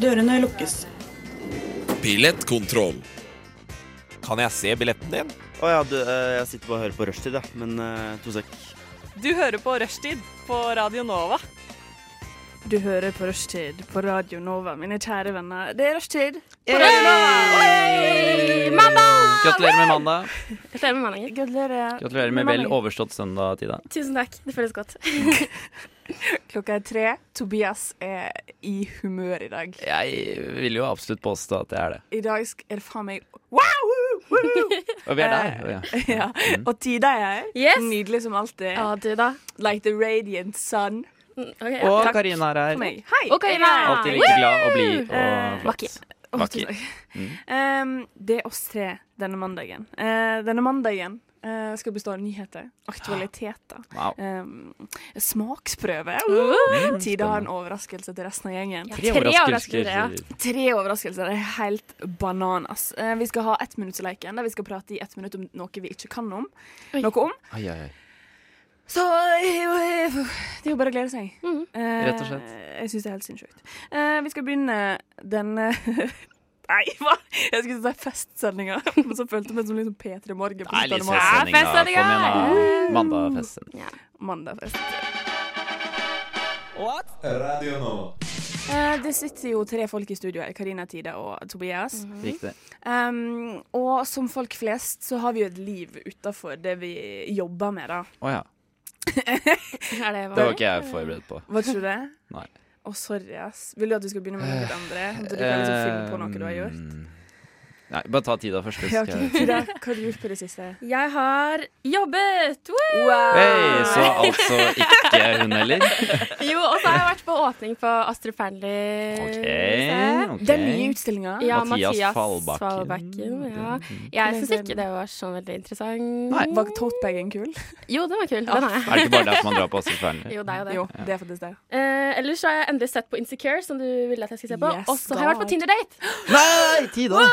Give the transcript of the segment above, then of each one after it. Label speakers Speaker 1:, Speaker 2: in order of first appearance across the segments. Speaker 1: Dørene lukkes.
Speaker 2: Billettkontroll.
Speaker 3: Kan jeg se billetten din?
Speaker 4: Å ja, du, eh, jeg sitter bare og hører på rushtid, jeg. Men eh, to sek.
Speaker 5: Du hører på Rushtid på Radio Nova.
Speaker 6: Du hører på Rushtid på Radio Nova, mine kjære venner. Det er rushtid.
Speaker 7: Gratulerer med mandag.
Speaker 8: Gratulerer med mandagen.
Speaker 6: Gratulerer.
Speaker 7: Gratulerer med vel overstått søndag, Tida.
Speaker 8: Tusen takk. Det føles godt.
Speaker 6: Klokka er tre. Tobias er i humør i dag.
Speaker 7: Jeg vil jo absolutt påstå at jeg er det.
Speaker 6: I dag sk- er det faen meg wow! Woo!
Speaker 7: Og vi er der. Ja.
Speaker 6: ja.
Speaker 7: Mm.
Speaker 6: Og Tida er her.
Speaker 8: Yes.
Speaker 6: Nydelig som alltid.
Speaker 8: Ja, du da?
Speaker 6: Like the radiant sun.
Speaker 8: Mm, ok, ja.
Speaker 7: Og
Speaker 6: Takk
Speaker 7: Karina er
Speaker 6: For
Speaker 7: her.
Speaker 6: meg. Hei.
Speaker 8: Og Karina.
Speaker 7: Alltid like glad og blid og
Speaker 6: Eh,
Speaker 7: flott.
Speaker 6: Å, tusen takk. Um, det er oss tre denne mandagen. Eh, denne mandagen eh, skal bestå av nyheter, aktualiteter,
Speaker 7: Wow.
Speaker 6: um, smaksprøve. Tida har en overraskelse til resten av gjengen.
Speaker 8: Ja,
Speaker 7: Tre
Speaker 8: overraskelser, ja.
Speaker 7: overraskelser.
Speaker 6: Tre overraskelser. Det er helt bananas. Eh, vi skal ha ettminuttsleiken, der vi skal prate i ett minutt om noe vi ikke kan om.
Speaker 8: Oi.
Speaker 6: Noe om.
Speaker 7: Ai, ai, ai.
Speaker 6: Så eh, det er jo bare å glede seg.
Speaker 8: Mhm.
Speaker 6: Eh,
Speaker 7: Rett og slett.
Speaker 6: Jeg syns det er helt sinnssykt. Eh, vi skal begynne den eh, Nei, hva? Jeg skulle si festsendinga, men så følte jeg meg som liksom P3 Morgen.
Speaker 7: Det er litt
Speaker 6: på slutten av
Speaker 7: festsending, da. Kom
Speaker 8: festsending,
Speaker 7: igjen,
Speaker 8: ja.
Speaker 7: da. Mandagfesten.
Speaker 6: mandag. Mandagfest. Eh, det sitter jo tre folk i studio her. Karina, Tida og Tobias.
Speaker 7: Riktig.
Speaker 6: Um, og som folk flest så har vi jo et liv utafor det vi jobber med, da.
Speaker 7: Å ja.
Speaker 8: Er det
Speaker 7: Det var ikke jeg forberedt på.
Speaker 6: Var ikke du det?
Speaker 7: Nei. Eh,
Speaker 6: Å, sorry, ass. Vil du at du skal begynne med noe andre? At du kan liksom fylle på noe du har gjort?
Speaker 7: Um, Nei, bare ta Tida først. så
Speaker 6: Ja,
Speaker 7: skal
Speaker 6: ok.
Speaker 7: jeg-
Speaker 6: Tida, hva har du gjort på det siste?
Speaker 8: Jeg har jobbet! Woo!
Speaker 7: Hei, så altså ikke hun heller.
Speaker 8: Jo, og så har jeg vært på åpning på Astrid Fearnley.
Speaker 7: OK. ok.
Speaker 6: Den nye utstillinga?
Speaker 8: Ja,
Speaker 7: Mathias
Speaker 8: Mathias,
Speaker 7: Fallbakken.
Speaker 8: Fallbakken. ja. Jeg syns ikke det var så veldig interessant.
Speaker 7: Nei.
Speaker 6: Var totebagen kul?
Speaker 8: Jo, den var kul. Den har
Speaker 7: Er
Speaker 8: jeg.
Speaker 7: det ikke bare derfor man drar på Astrid Fearnley?
Speaker 8: Jo, det er jo det.
Speaker 6: Jo, det er faktisk det.
Speaker 8: Eh, ellers så har jeg endelig sett på Insecure, som du ville at jeg skulle se på.
Speaker 6: Yes,
Speaker 8: og så har jeg vært på
Speaker 6: God.
Speaker 8: Tinder-date!
Speaker 7: Nei, Tida!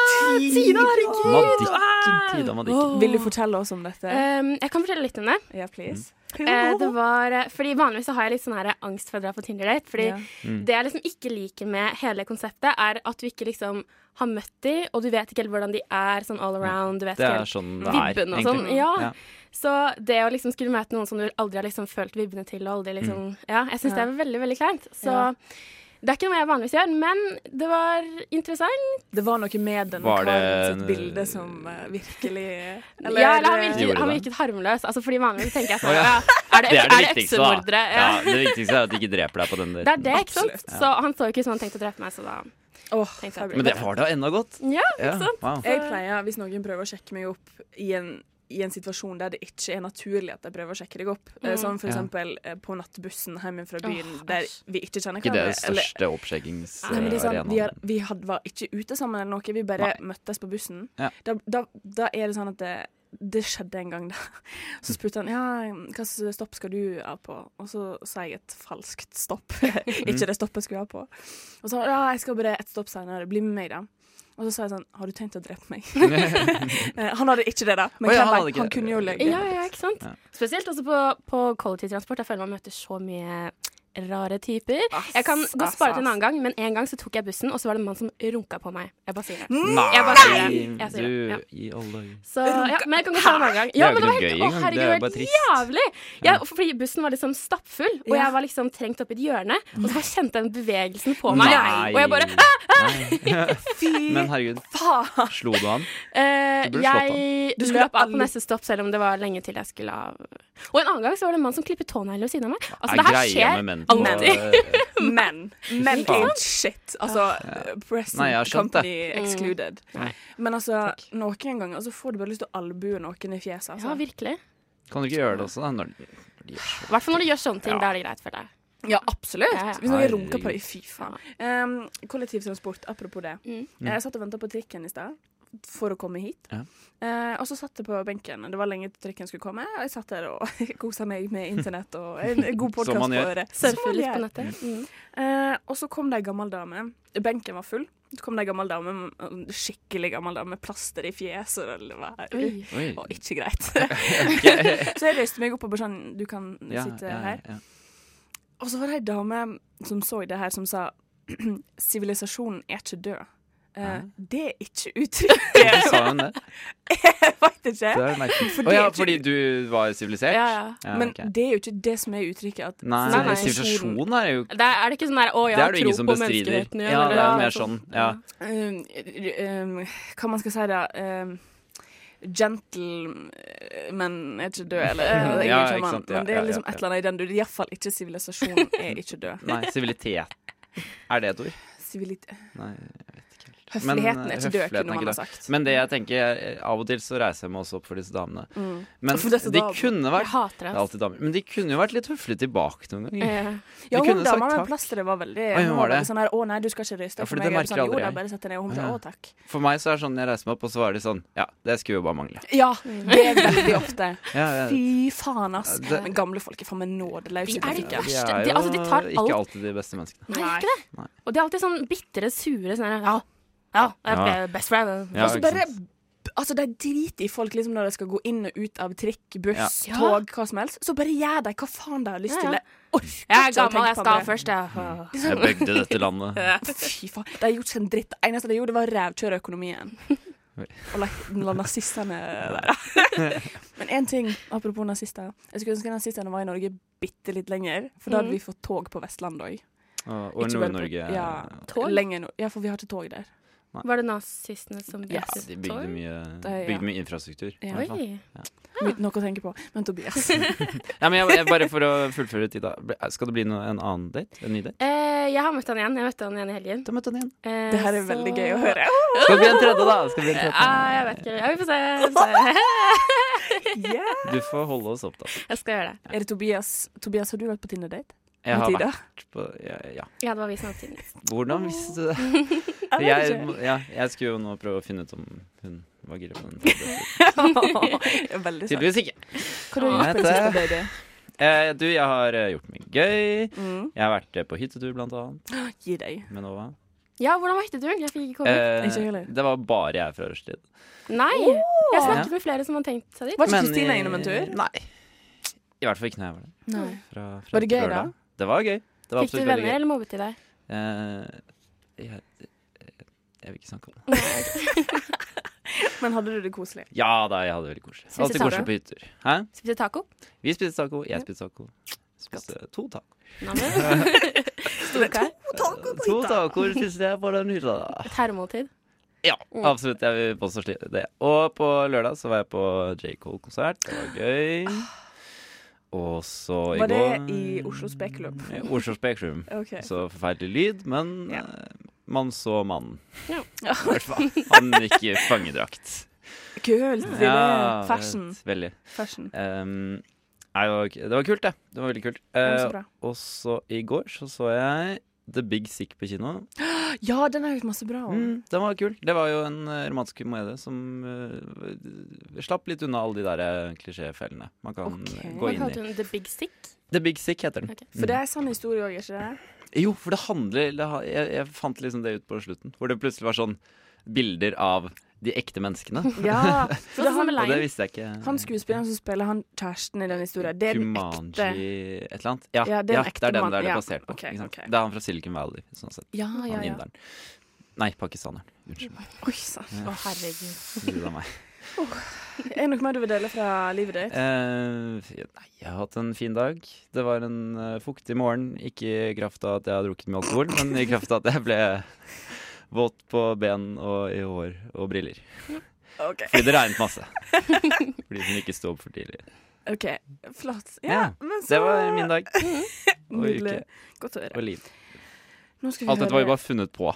Speaker 8: Tida, herregud!
Speaker 7: Madikken, Tida Madikken.
Speaker 6: Vil du fortelle oss om dette?
Speaker 8: Eh, jeg kan fortelle litt om det.
Speaker 6: Ja, please.
Speaker 8: Eh, det var, eh, fordi Vanligvis så har jeg litt sånn her angst for å dra på Tinder-date. Fordi
Speaker 6: Ja.
Speaker 7: Mm.
Speaker 8: det jeg liksom ikke liker med hele konseptet, er at du ikke liksom har møtt de, og du vet ikke helt hvordan de er sånn all around. Du vet
Speaker 7: Det
Speaker 8: ikke
Speaker 7: er
Speaker 8: helt.
Speaker 7: sånn det er,
Speaker 8: Vibben og sånn.
Speaker 7: egentlig.
Speaker 8: Ja.
Speaker 7: Ja.
Speaker 8: Så det å liksom skulle møte noen som du aldri har liksom følt vibbene til, og aldri liksom
Speaker 7: Mm.
Speaker 8: Ja, jeg syns det er veldig, veldig kleint. Så
Speaker 6: Ja.
Speaker 8: det er ikke noe jeg vanligvis gjør, men det var interessant.
Speaker 6: Det var noe med den
Speaker 7: Var det
Speaker 6: karen sitt
Speaker 7: en-
Speaker 6: bilde som eh, virkelig
Speaker 8: ja, eller han
Speaker 6: eh,
Speaker 7: Gjorde
Speaker 8: virket, han
Speaker 7: det?
Speaker 8: virket harmløs. Altså, fordi vanligvis tenker jeg
Speaker 7: Å,
Speaker 8: sånn
Speaker 7: ja.
Speaker 8: ja. Er det,
Speaker 7: Det er det
Speaker 8: er det
Speaker 7: viktigste, da.
Speaker 8: øksemordere?
Speaker 7: Ja,
Speaker 8: Ja.
Speaker 7: det viktigste er at de ikke dreper deg på den
Speaker 8: Det
Speaker 7: daten.
Speaker 8: er det, ikke sant? Så han så jo ikke ut som han tenkte å drepe meg, så da
Speaker 6: Åh,
Speaker 8: tenkte jeg
Speaker 7: Men det var da enda godt.
Speaker 8: Ja, ikke sant?
Speaker 7: wow.
Speaker 6: Jeg pleier, hvis noen prøver å sjekke meg opp i en, i en situasjon der det ikke er naturlig at de prøver å sjekke deg opp, eh, som for
Speaker 7: Ja.
Speaker 6: eksempel eh, på nattbussen hjemme fra byen
Speaker 8: Mm. Åh,
Speaker 6: der
Speaker 8: æsj.
Speaker 6: vi ikke kjenner
Speaker 7: Ikke det
Speaker 6: hverandre. eller-
Speaker 7: største
Speaker 6: Nei, men det er sånn, vi,
Speaker 7: eh,
Speaker 6: har,
Speaker 7: oppsjekkingsarenaen.
Speaker 6: vi hadde, var ikke ute sammen eller noe, vi bare møttes på bussen.
Speaker 7: Ja.
Speaker 6: Da, da, da er det sånn at det, det skjedde en gang, da. Så spurte han ja, hva slags stopp skal du av på, og så sa jeg et falskt stopp.
Speaker 7: Mm.
Speaker 6: ikke det stoppet jeg skulle av på. Og så ja, jeg skal bare et stopp senere, bli med meg da. Og så sa jeg sånn, har du tenkt å drepe meg? Eh, han hadde ikke det da, men
Speaker 7: Å, ja,
Speaker 6: hvem
Speaker 7: han
Speaker 6: vet,
Speaker 7: hadde ikke
Speaker 6: han
Speaker 7: det.
Speaker 6: kunne jo løye.
Speaker 8: Ja, ja, ikke sant?
Speaker 7: Ja.
Speaker 8: Spesielt også på, på kollektivtransport. Jeg føler man møter så mye rare typer.
Speaker 6: Ass,
Speaker 8: Jeg kan godt
Speaker 6: ass,
Speaker 8: spare til en
Speaker 6: ass.
Speaker 8: annen gang, men en gang så tok jeg bussen, og så var det en mann som runka på meg. Jeg bare sier det.
Speaker 7: Nei!
Speaker 8: Mm, Jeg bare sier det. Jeg sier det, ja.
Speaker 7: Du, i alle dager.
Speaker 8: Så, ja, men jeg kan godt ta en annen gang.
Speaker 7: er
Speaker 8: Ja,
Speaker 7: jo
Speaker 8: men det
Speaker 7: ikke noe
Speaker 8: var helt,
Speaker 7: gøy
Speaker 8: å,
Speaker 7: engang, det
Speaker 8: herregud,
Speaker 7: er
Speaker 8: det
Speaker 7: jo
Speaker 8: var
Speaker 7: bare
Speaker 8: helt
Speaker 7: trist.
Speaker 8: jævlig! Ja, fordi bussen var liksom stappfull, og
Speaker 6: Ja.
Speaker 8: jeg var liksom trengt opp i et hjørne. Og så bare kjente jeg den bevegelsen på meg,
Speaker 7: Nei.
Speaker 8: og jeg bare "Ah,
Speaker 7: Fy Men herregud,
Speaker 6: Faen!
Speaker 7: slo du han?
Speaker 8: Eh,
Speaker 7: Du burde slått
Speaker 8: jeg
Speaker 6: Du skulle
Speaker 8: løp av
Speaker 6: aldri-
Speaker 8: på neste stopp, selv om det var lenge til jeg skulle av. Og en annen gang så var det en mann som klippet tånegler ved siden av meg. Altså, det her skjer.
Speaker 7: med menn på
Speaker 6: eh, Men, men
Speaker 7: faen.
Speaker 6: ain't shit.
Speaker 8: Ah.
Speaker 6: Altså, present
Speaker 7: Nei, jeg har skjønt det. Mm.
Speaker 6: company excluded.
Speaker 8: Nei.
Speaker 6: Men altså, noen ganger så får du bare lyst til å albue noen i fjeset.
Speaker 8: Ja,
Speaker 6: Altså.
Speaker 8: virkelig.
Speaker 7: Kan du ikke gjøre det også, da? Når, når de gjør så-
Speaker 8: I hvert fall når du gjør sånne ting.
Speaker 7: Ja.
Speaker 8: Da er det greit for deg.
Speaker 6: Ja, absolutt.
Speaker 8: Ja, ja.
Speaker 6: Hvis noen
Speaker 7: Herregud.
Speaker 6: runker på deg, fy faen. Um, kollektivtransport, apropos det.
Speaker 8: Mm.
Speaker 6: Jeg satt og venta på trikken i stad for å komme hit.
Speaker 7: Ja.
Speaker 6: Eh, og så satt jeg på benken. Det var lenge til trikken skulle komme. Og jeg satt der og kosa meg med internett og en god
Speaker 7: Som
Speaker 6: podkast
Speaker 7: man
Speaker 6: på
Speaker 7: gjør.
Speaker 6: øret. Som
Speaker 8: Surfe
Speaker 6: man
Speaker 8: litt
Speaker 6: gjør.
Speaker 8: på nettet. Mm.
Speaker 6: Eh, og så kom det ei gammel dame. Benken var full. Så kom det ei gammel dame, en skikkelig gammel dame, med plaster i fjeset. og Det var
Speaker 8: Oi.
Speaker 7: Oi.
Speaker 6: og ikke greit. så jeg reiste meg opp og bare sånn Du kan
Speaker 7: Ja,
Speaker 6: sitte
Speaker 7: ja,
Speaker 6: her.
Speaker 7: ja.
Speaker 6: Og så var det ei dame som så det her, som sa sivilisasjonen er ikke død. Eh,
Speaker 7: Hæ?
Speaker 6: det er ikke uttrykket.
Speaker 7: Sa hun det?
Speaker 6: jeg vet ikke.
Speaker 7: Det er merkelig.
Speaker 6: For
Speaker 7: Å ja,
Speaker 6: det er
Speaker 7: fordi du var sivilisert?
Speaker 8: Ja, ja.
Speaker 6: Men
Speaker 7: ok.
Speaker 6: det er jo ikke det som er uttrykket. At
Speaker 7: Nei,
Speaker 8: Nei, nei.
Speaker 7: sivilisasjon er jo
Speaker 8: Det er, er det ikke sånn der 'å ja,
Speaker 7: Det er det
Speaker 8: tro
Speaker 7: ingen som
Speaker 8: på
Speaker 7: bestrider.
Speaker 8: menneskeheten'?
Speaker 7: Ja, det er
Speaker 8: eller-
Speaker 7: mer sånn. Ja.
Speaker 6: um, um, Hva man skal si da um, Gentlemen er eh, ikke død, eller?
Speaker 7: Ja,
Speaker 6: Jeg er
Speaker 7: ja,
Speaker 6: ikke
Speaker 7: ikke
Speaker 6: mann,
Speaker 7: sant, ja,
Speaker 6: men det
Speaker 7: ja,
Speaker 6: er
Speaker 7: ja,
Speaker 6: liksom
Speaker 7: ja.
Speaker 6: et eller annet i den du Iallfall ikke sivilisasjonen er ikke død.
Speaker 7: Nei, sivilitet. Er det et ord?
Speaker 6: Sivilit
Speaker 7: Nei. Men,
Speaker 6: høfligheten er ikke død,
Speaker 7: høfligheten er
Speaker 6: kunne
Speaker 7: ikke
Speaker 6: man ha
Speaker 7: død.
Speaker 6: sagt.
Speaker 7: Men det jeg tenker, jeg- av og til så reiser jeg meg også opp for disse damene.
Speaker 6: Mm.
Speaker 7: Men
Speaker 6: For disse
Speaker 7: de
Speaker 6: damene.
Speaker 7: kunne
Speaker 8: Jeg
Speaker 7: vært
Speaker 8: hater
Speaker 7: Det
Speaker 8: det.
Speaker 7: er
Speaker 8: Altså.
Speaker 7: alltid damer. Men de kunne jo vært litt høflige tilbake noen ganger.
Speaker 8: Eh,
Speaker 6: Ja,
Speaker 7: De
Speaker 6: hun
Speaker 7: kunne sagt
Speaker 6: dama med
Speaker 7: takk.
Speaker 6: plasteret var veldig
Speaker 7: Oi, hun
Speaker 6: Hun var
Speaker 7: var
Speaker 6: veldig
Speaker 7: det.
Speaker 6: sånn her 'Å nei, du skal ikke røyste
Speaker 7: Ja,
Speaker 6: for
Speaker 7: fordi
Speaker 6: meg.'
Speaker 7: det
Speaker 6: Jeg bare
Speaker 7: merker
Speaker 6: sånn,
Speaker 7: aldri
Speaker 6: jo da,
Speaker 7: jeg.
Speaker 6: bare sett deg ned. Og hun sa
Speaker 7: Ja.
Speaker 6: 'Å takk'.
Speaker 7: For meg så er det sånn jeg reiser meg opp, og så er de sånn Ja, det skulle jo bare mangle.
Speaker 6: Ja, det er veldig ofte.
Speaker 7: Ja, ja.
Speaker 6: Fy faen, ass.
Speaker 7: Ja, det-
Speaker 6: Men gamle folk er faen meg nådeløse. i
Speaker 8: De er de
Speaker 6: trafikken.
Speaker 8: verste.
Speaker 7: De er
Speaker 8: De,
Speaker 7: jo
Speaker 8: altså, de tar
Speaker 7: ikke
Speaker 8: alt.
Speaker 7: alltid de beste menneskene.
Speaker 8: Nei, ikke det.
Speaker 7: Nei.
Speaker 8: Og de er alltid sånn bitre, sure sånn her, Ja, ja, jeg ble best friend.
Speaker 7: Ja,
Speaker 6: og så
Speaker 7: ikke
Speaker 6: bare Altså, De driter i folk liksom når de skal gå inn og ut av trikk, buss,
Speaker 8: Ja.
Speaker 6: tog, hva som helst. Så bare gjør de hva faen de har lyst
Speaker 8: Ja,
Speaker 6: til.
Speaker 8: ja.
Speaker 6: Jeg orker
Speaker 8: Jeg er
Speaker 6: ikke å
Speaker 8: gammel,
Speaker 6: tenke
Speaker 8: jeg
Speaker 6: på
Speaker 8: skal
Speaker 6: det.
Speaker 8: først. Jeg.
Speaker 7: Jeg bygde dette landet.
Speaker 6: Fy faen. De har gjort seg en dritt. Det eneste de gjorde, var å rævkjøre økonomien.
Speaker 7: Oi.
Speaker 6: Og la, la nazistene der. Men én ting apropos nazister. Jeg skulle ønske nazistene var i Norge bitte litt lenger. For da
Speaker 8: Mhm.
Speaker 6: hadde vi fått tog på Vestlandet òg.
Speaker 7: Og og Nord-Norge
Speaker 6: Ja,
Speaker 7: eh,
Speaker 8: Tog?
Speaker 6: lenger nord. ja, for vi har ikke tog der.
Speaker 8: Var det nazistene som
Speaker 7: ja,
Speaker 8: brukte
Speaker 7: de bygde
Speaker 8: tog?
Speaker 7: mye,
Speaker 6: Det er-
Speaker 7: bygde mye infrastruktur. i
Speaker 6: Ja.
Speaker 7: hvert fall.
Speaker 8: Oi. Ah.
Speaker 6: Mye- Noe å tenke på. Men Tobias,
Speaker 7: Ja, men jeg, jeg, bare for å fullføre tida. ble- Skal det bli noe, en annen date? En ny date?
Speaker 8: Eh, jeg har møtt han igjen. Jeg møtte han igjen i helgen.
Speaker 7: Da møtte han igjen.
Speaker 8: Eh,
Speaker 6: det her er
Speaker 8: så-
Speaker 6: veldig gøy å høre.
Speaker 7: Skal det bli en tredje, da? Skal det bli en tredje?
Speaker 8: Ja, Ah, jeg vet ikke. Ja, vi får se.
Speaker 6: Yeah.
Speaker 7: Du får holde oss opptatt.
Speaker 8: Jeg skal gjøre det.
Speaker 6: Er det Tobias? Tobias, har du vært på Tinder-date?
Speaker 7: Jeg har
Speaker 6: Med Tida?
Speaker 7: vært på ja, ja.
Speaker 8: Ja, det var vi som hadde tiden.
Speaker 7: Hvordan visste du det?
Speaker 6: Jeg vet
Speaker 7: Jeg,
Speaker 6: ikke.
Speaker 7: må- ja, jeg skulle jo nå prøve å finne ut om hun var gira på den. tabletten.
Speaker 6: Det er Veldig sant.
Speaker 7: Tydeligvis ikke.
Speaker 6: Hva har du gjort på den siste daten?
Speaker 7: Eh, du, jeg har eh, gjort meg gøy.
Speaker 6: Mm.
Speaker 7: Jeg har vært eh, på hyttetur, blant annet,
Speaker 6: Gi deg.
Speaker 7: med Nova.
Speaker 8: Ja, hvordan var hytteturen? Jeg fikk ikke komme.
Speaker 7: Eh,
Speaker 6: Ikke heller.
Speaker 7: det var bare jeg fra Rushtid.
Speaker 8: Nei! Jeg snakket med flere som hadde tenkt seg dit.
Speaker 6: Var ikke Kristina innom en tur?
Speaker 7: eh, Nei. I hvert fall ikke når jeg var der.
Speaker 6: Nei.
Speaker 7: Fra, fra
Speaker 6: Var det gøy,
Speaker 7: lørdag. Det var gøy. Det var
Speaker 8: Fikk du
Speaker 7: absolutt
Speaker 8: venner,
Speaker 7: veldig gøy.
Speaker 8: eller mobbet de deg?
Speaker 7: Eh, jeg, jeg, jeg vil ikke snakke om det.
Speaker 6: Men hadde du det koselig?
Speaker 7: Ja da, jeg hadde det veldig koselig.
Speaker 8: Spiste
Speaker 7: Alltid
Speaker 8: taco?
Speaker 7: koselig på hyttetur. Hæ?
Speaker 8: Spiste taco?
Speaker 7: Vi spiste taco, jeg spiste taco. Spiste to taco.
Speaker 8: Namen? Storkar?
Speaker 7: To tacoer spiste jeg på den hytta. da.
Speaker 8: Et herremåltid?
Speaker 7: Ja, absolutt. Jeg vil påstå sli- det. Og på lørdag så var jeg på J. Cole-konsert. Det var gøy. Og så i
Speaker 6: Ah. Var det
Speaker 7: går-
Speaker 6: i Oslo Spekulum?
Speaker 7: I Oslo Spektrum.
Speaker 6: OK.
Speaker 7: Så forferdelig lyd, men
Speaker 6: Ja.
Speaker 7: eh, man så mannen.
Speaker 8: Ja.
Speaker 7: I hvert fall. Han gikk i fangedrakt.
Speaker 6: Kult! Silje.
Speaker 7: Ja,
Speaker 6: Fashion.
Speaker 7: vet- Veldig.
Speaker 6: Fashion.
Speaker 7: Um, nei, det var, det var kult, det. Det var veldig kult.
Speaker 6: Ja,
Speaker 7: Eh,
Speaker 6: så bra.
Speaker 7: og så i går så så jeg The Big Sick på kino.
Speaker 6: Ja, den har jeg hørt masse bra om.
Speaker 7: Mm, den var kul. Det var jo en eh, romantisk komedie som eh, slapp litt unna alle de der eh, klisjéfellene man kan
Speaker 6: Ok.
Speaker 7: eh,
Speaker 8: Hva
Speaker 7: gå inn
Speaker 8: kalte
Speaker 7: i.
Speaker 8: hun The Big Stick?
Speaker 7: The Big Sick heter den.
Speaker 8: Ok.
Speaker 6: For det er en sann historie òg, ikke det?
Speaker 7: Jo, for det handler det, ha- jeg, jeg fant liksom det ut på slutten, hvor det plutselig var sånn bilder av de ekte menneskene.
Speaker 6: Ja. For det
Speaker 8: Sånn
Speaker 6: er
Speaker 8: som
Speaker 6: han,
Speaker 8: med
Speaker 7: Og det
Speaker 8: Lion.
Speaker 7: visste jeg ikke.
Speaker 6: han skuespilleren som spiller han kjæresten i den historien, det er den
Speaker 7: Jumanji
Speaker 6: ekte.
Speaker 7: et eller annet. Ja,
Speaker 6: Ja,
Speaker 7: ja,
Speaker 6: det
Speaker 7: det
Speaker 6: er
Speaker 7: er,
Speaker 6: en ekte
Speaker 7: den
Speaker 6: mann.
Speaker 7: det er det
Speaker 6: Ja,
Speaker 7: basert på.
Speaker 6: ok,
Speaker 7: ikke sant?
Speaker 6: ok.
Speaker 7: Det er han fra Silicon Valley, sånn sett.
Speaker 6: Ja,
Speaker 7: Han
Speaker 6: ja, ja.
Speaker 7: inderen. Nei, pakistaneren. Unnskyld meg.
Speaker 6: Oi sann.
Speaker 8: Å, herregud.
Speaker 7: Gud av meg.
Speaker 6: Er det noe mer du vil dele fra livet ditt?
Speaker 7: Eh, nei, jeg har hatt en fin dag. Det var en eh, fuktig morgen. Ikke i kraft av at jeg har drukket mye alkohol, men i kraft av at jeg ble våt på ben og i hår og briller.
Speaker 6: OK.
Speaker 7: Eh, Fordi det regnet masse. Fordi hun ikke sto opp for tidlig.
Speaker 6: ok, Flott. Ja,
Speaker 7: Ja,
Speaker 6: men så
Speaker 7: Det var min dag. Og
Speaker 6: Nydelig.
Speaker 7: uke
Speaker 6: Godt å høre.
Speaker 7: og liv.
Speaker 6: Nå skal vi
Speaker 7: Alt dette var jo bare funnet på.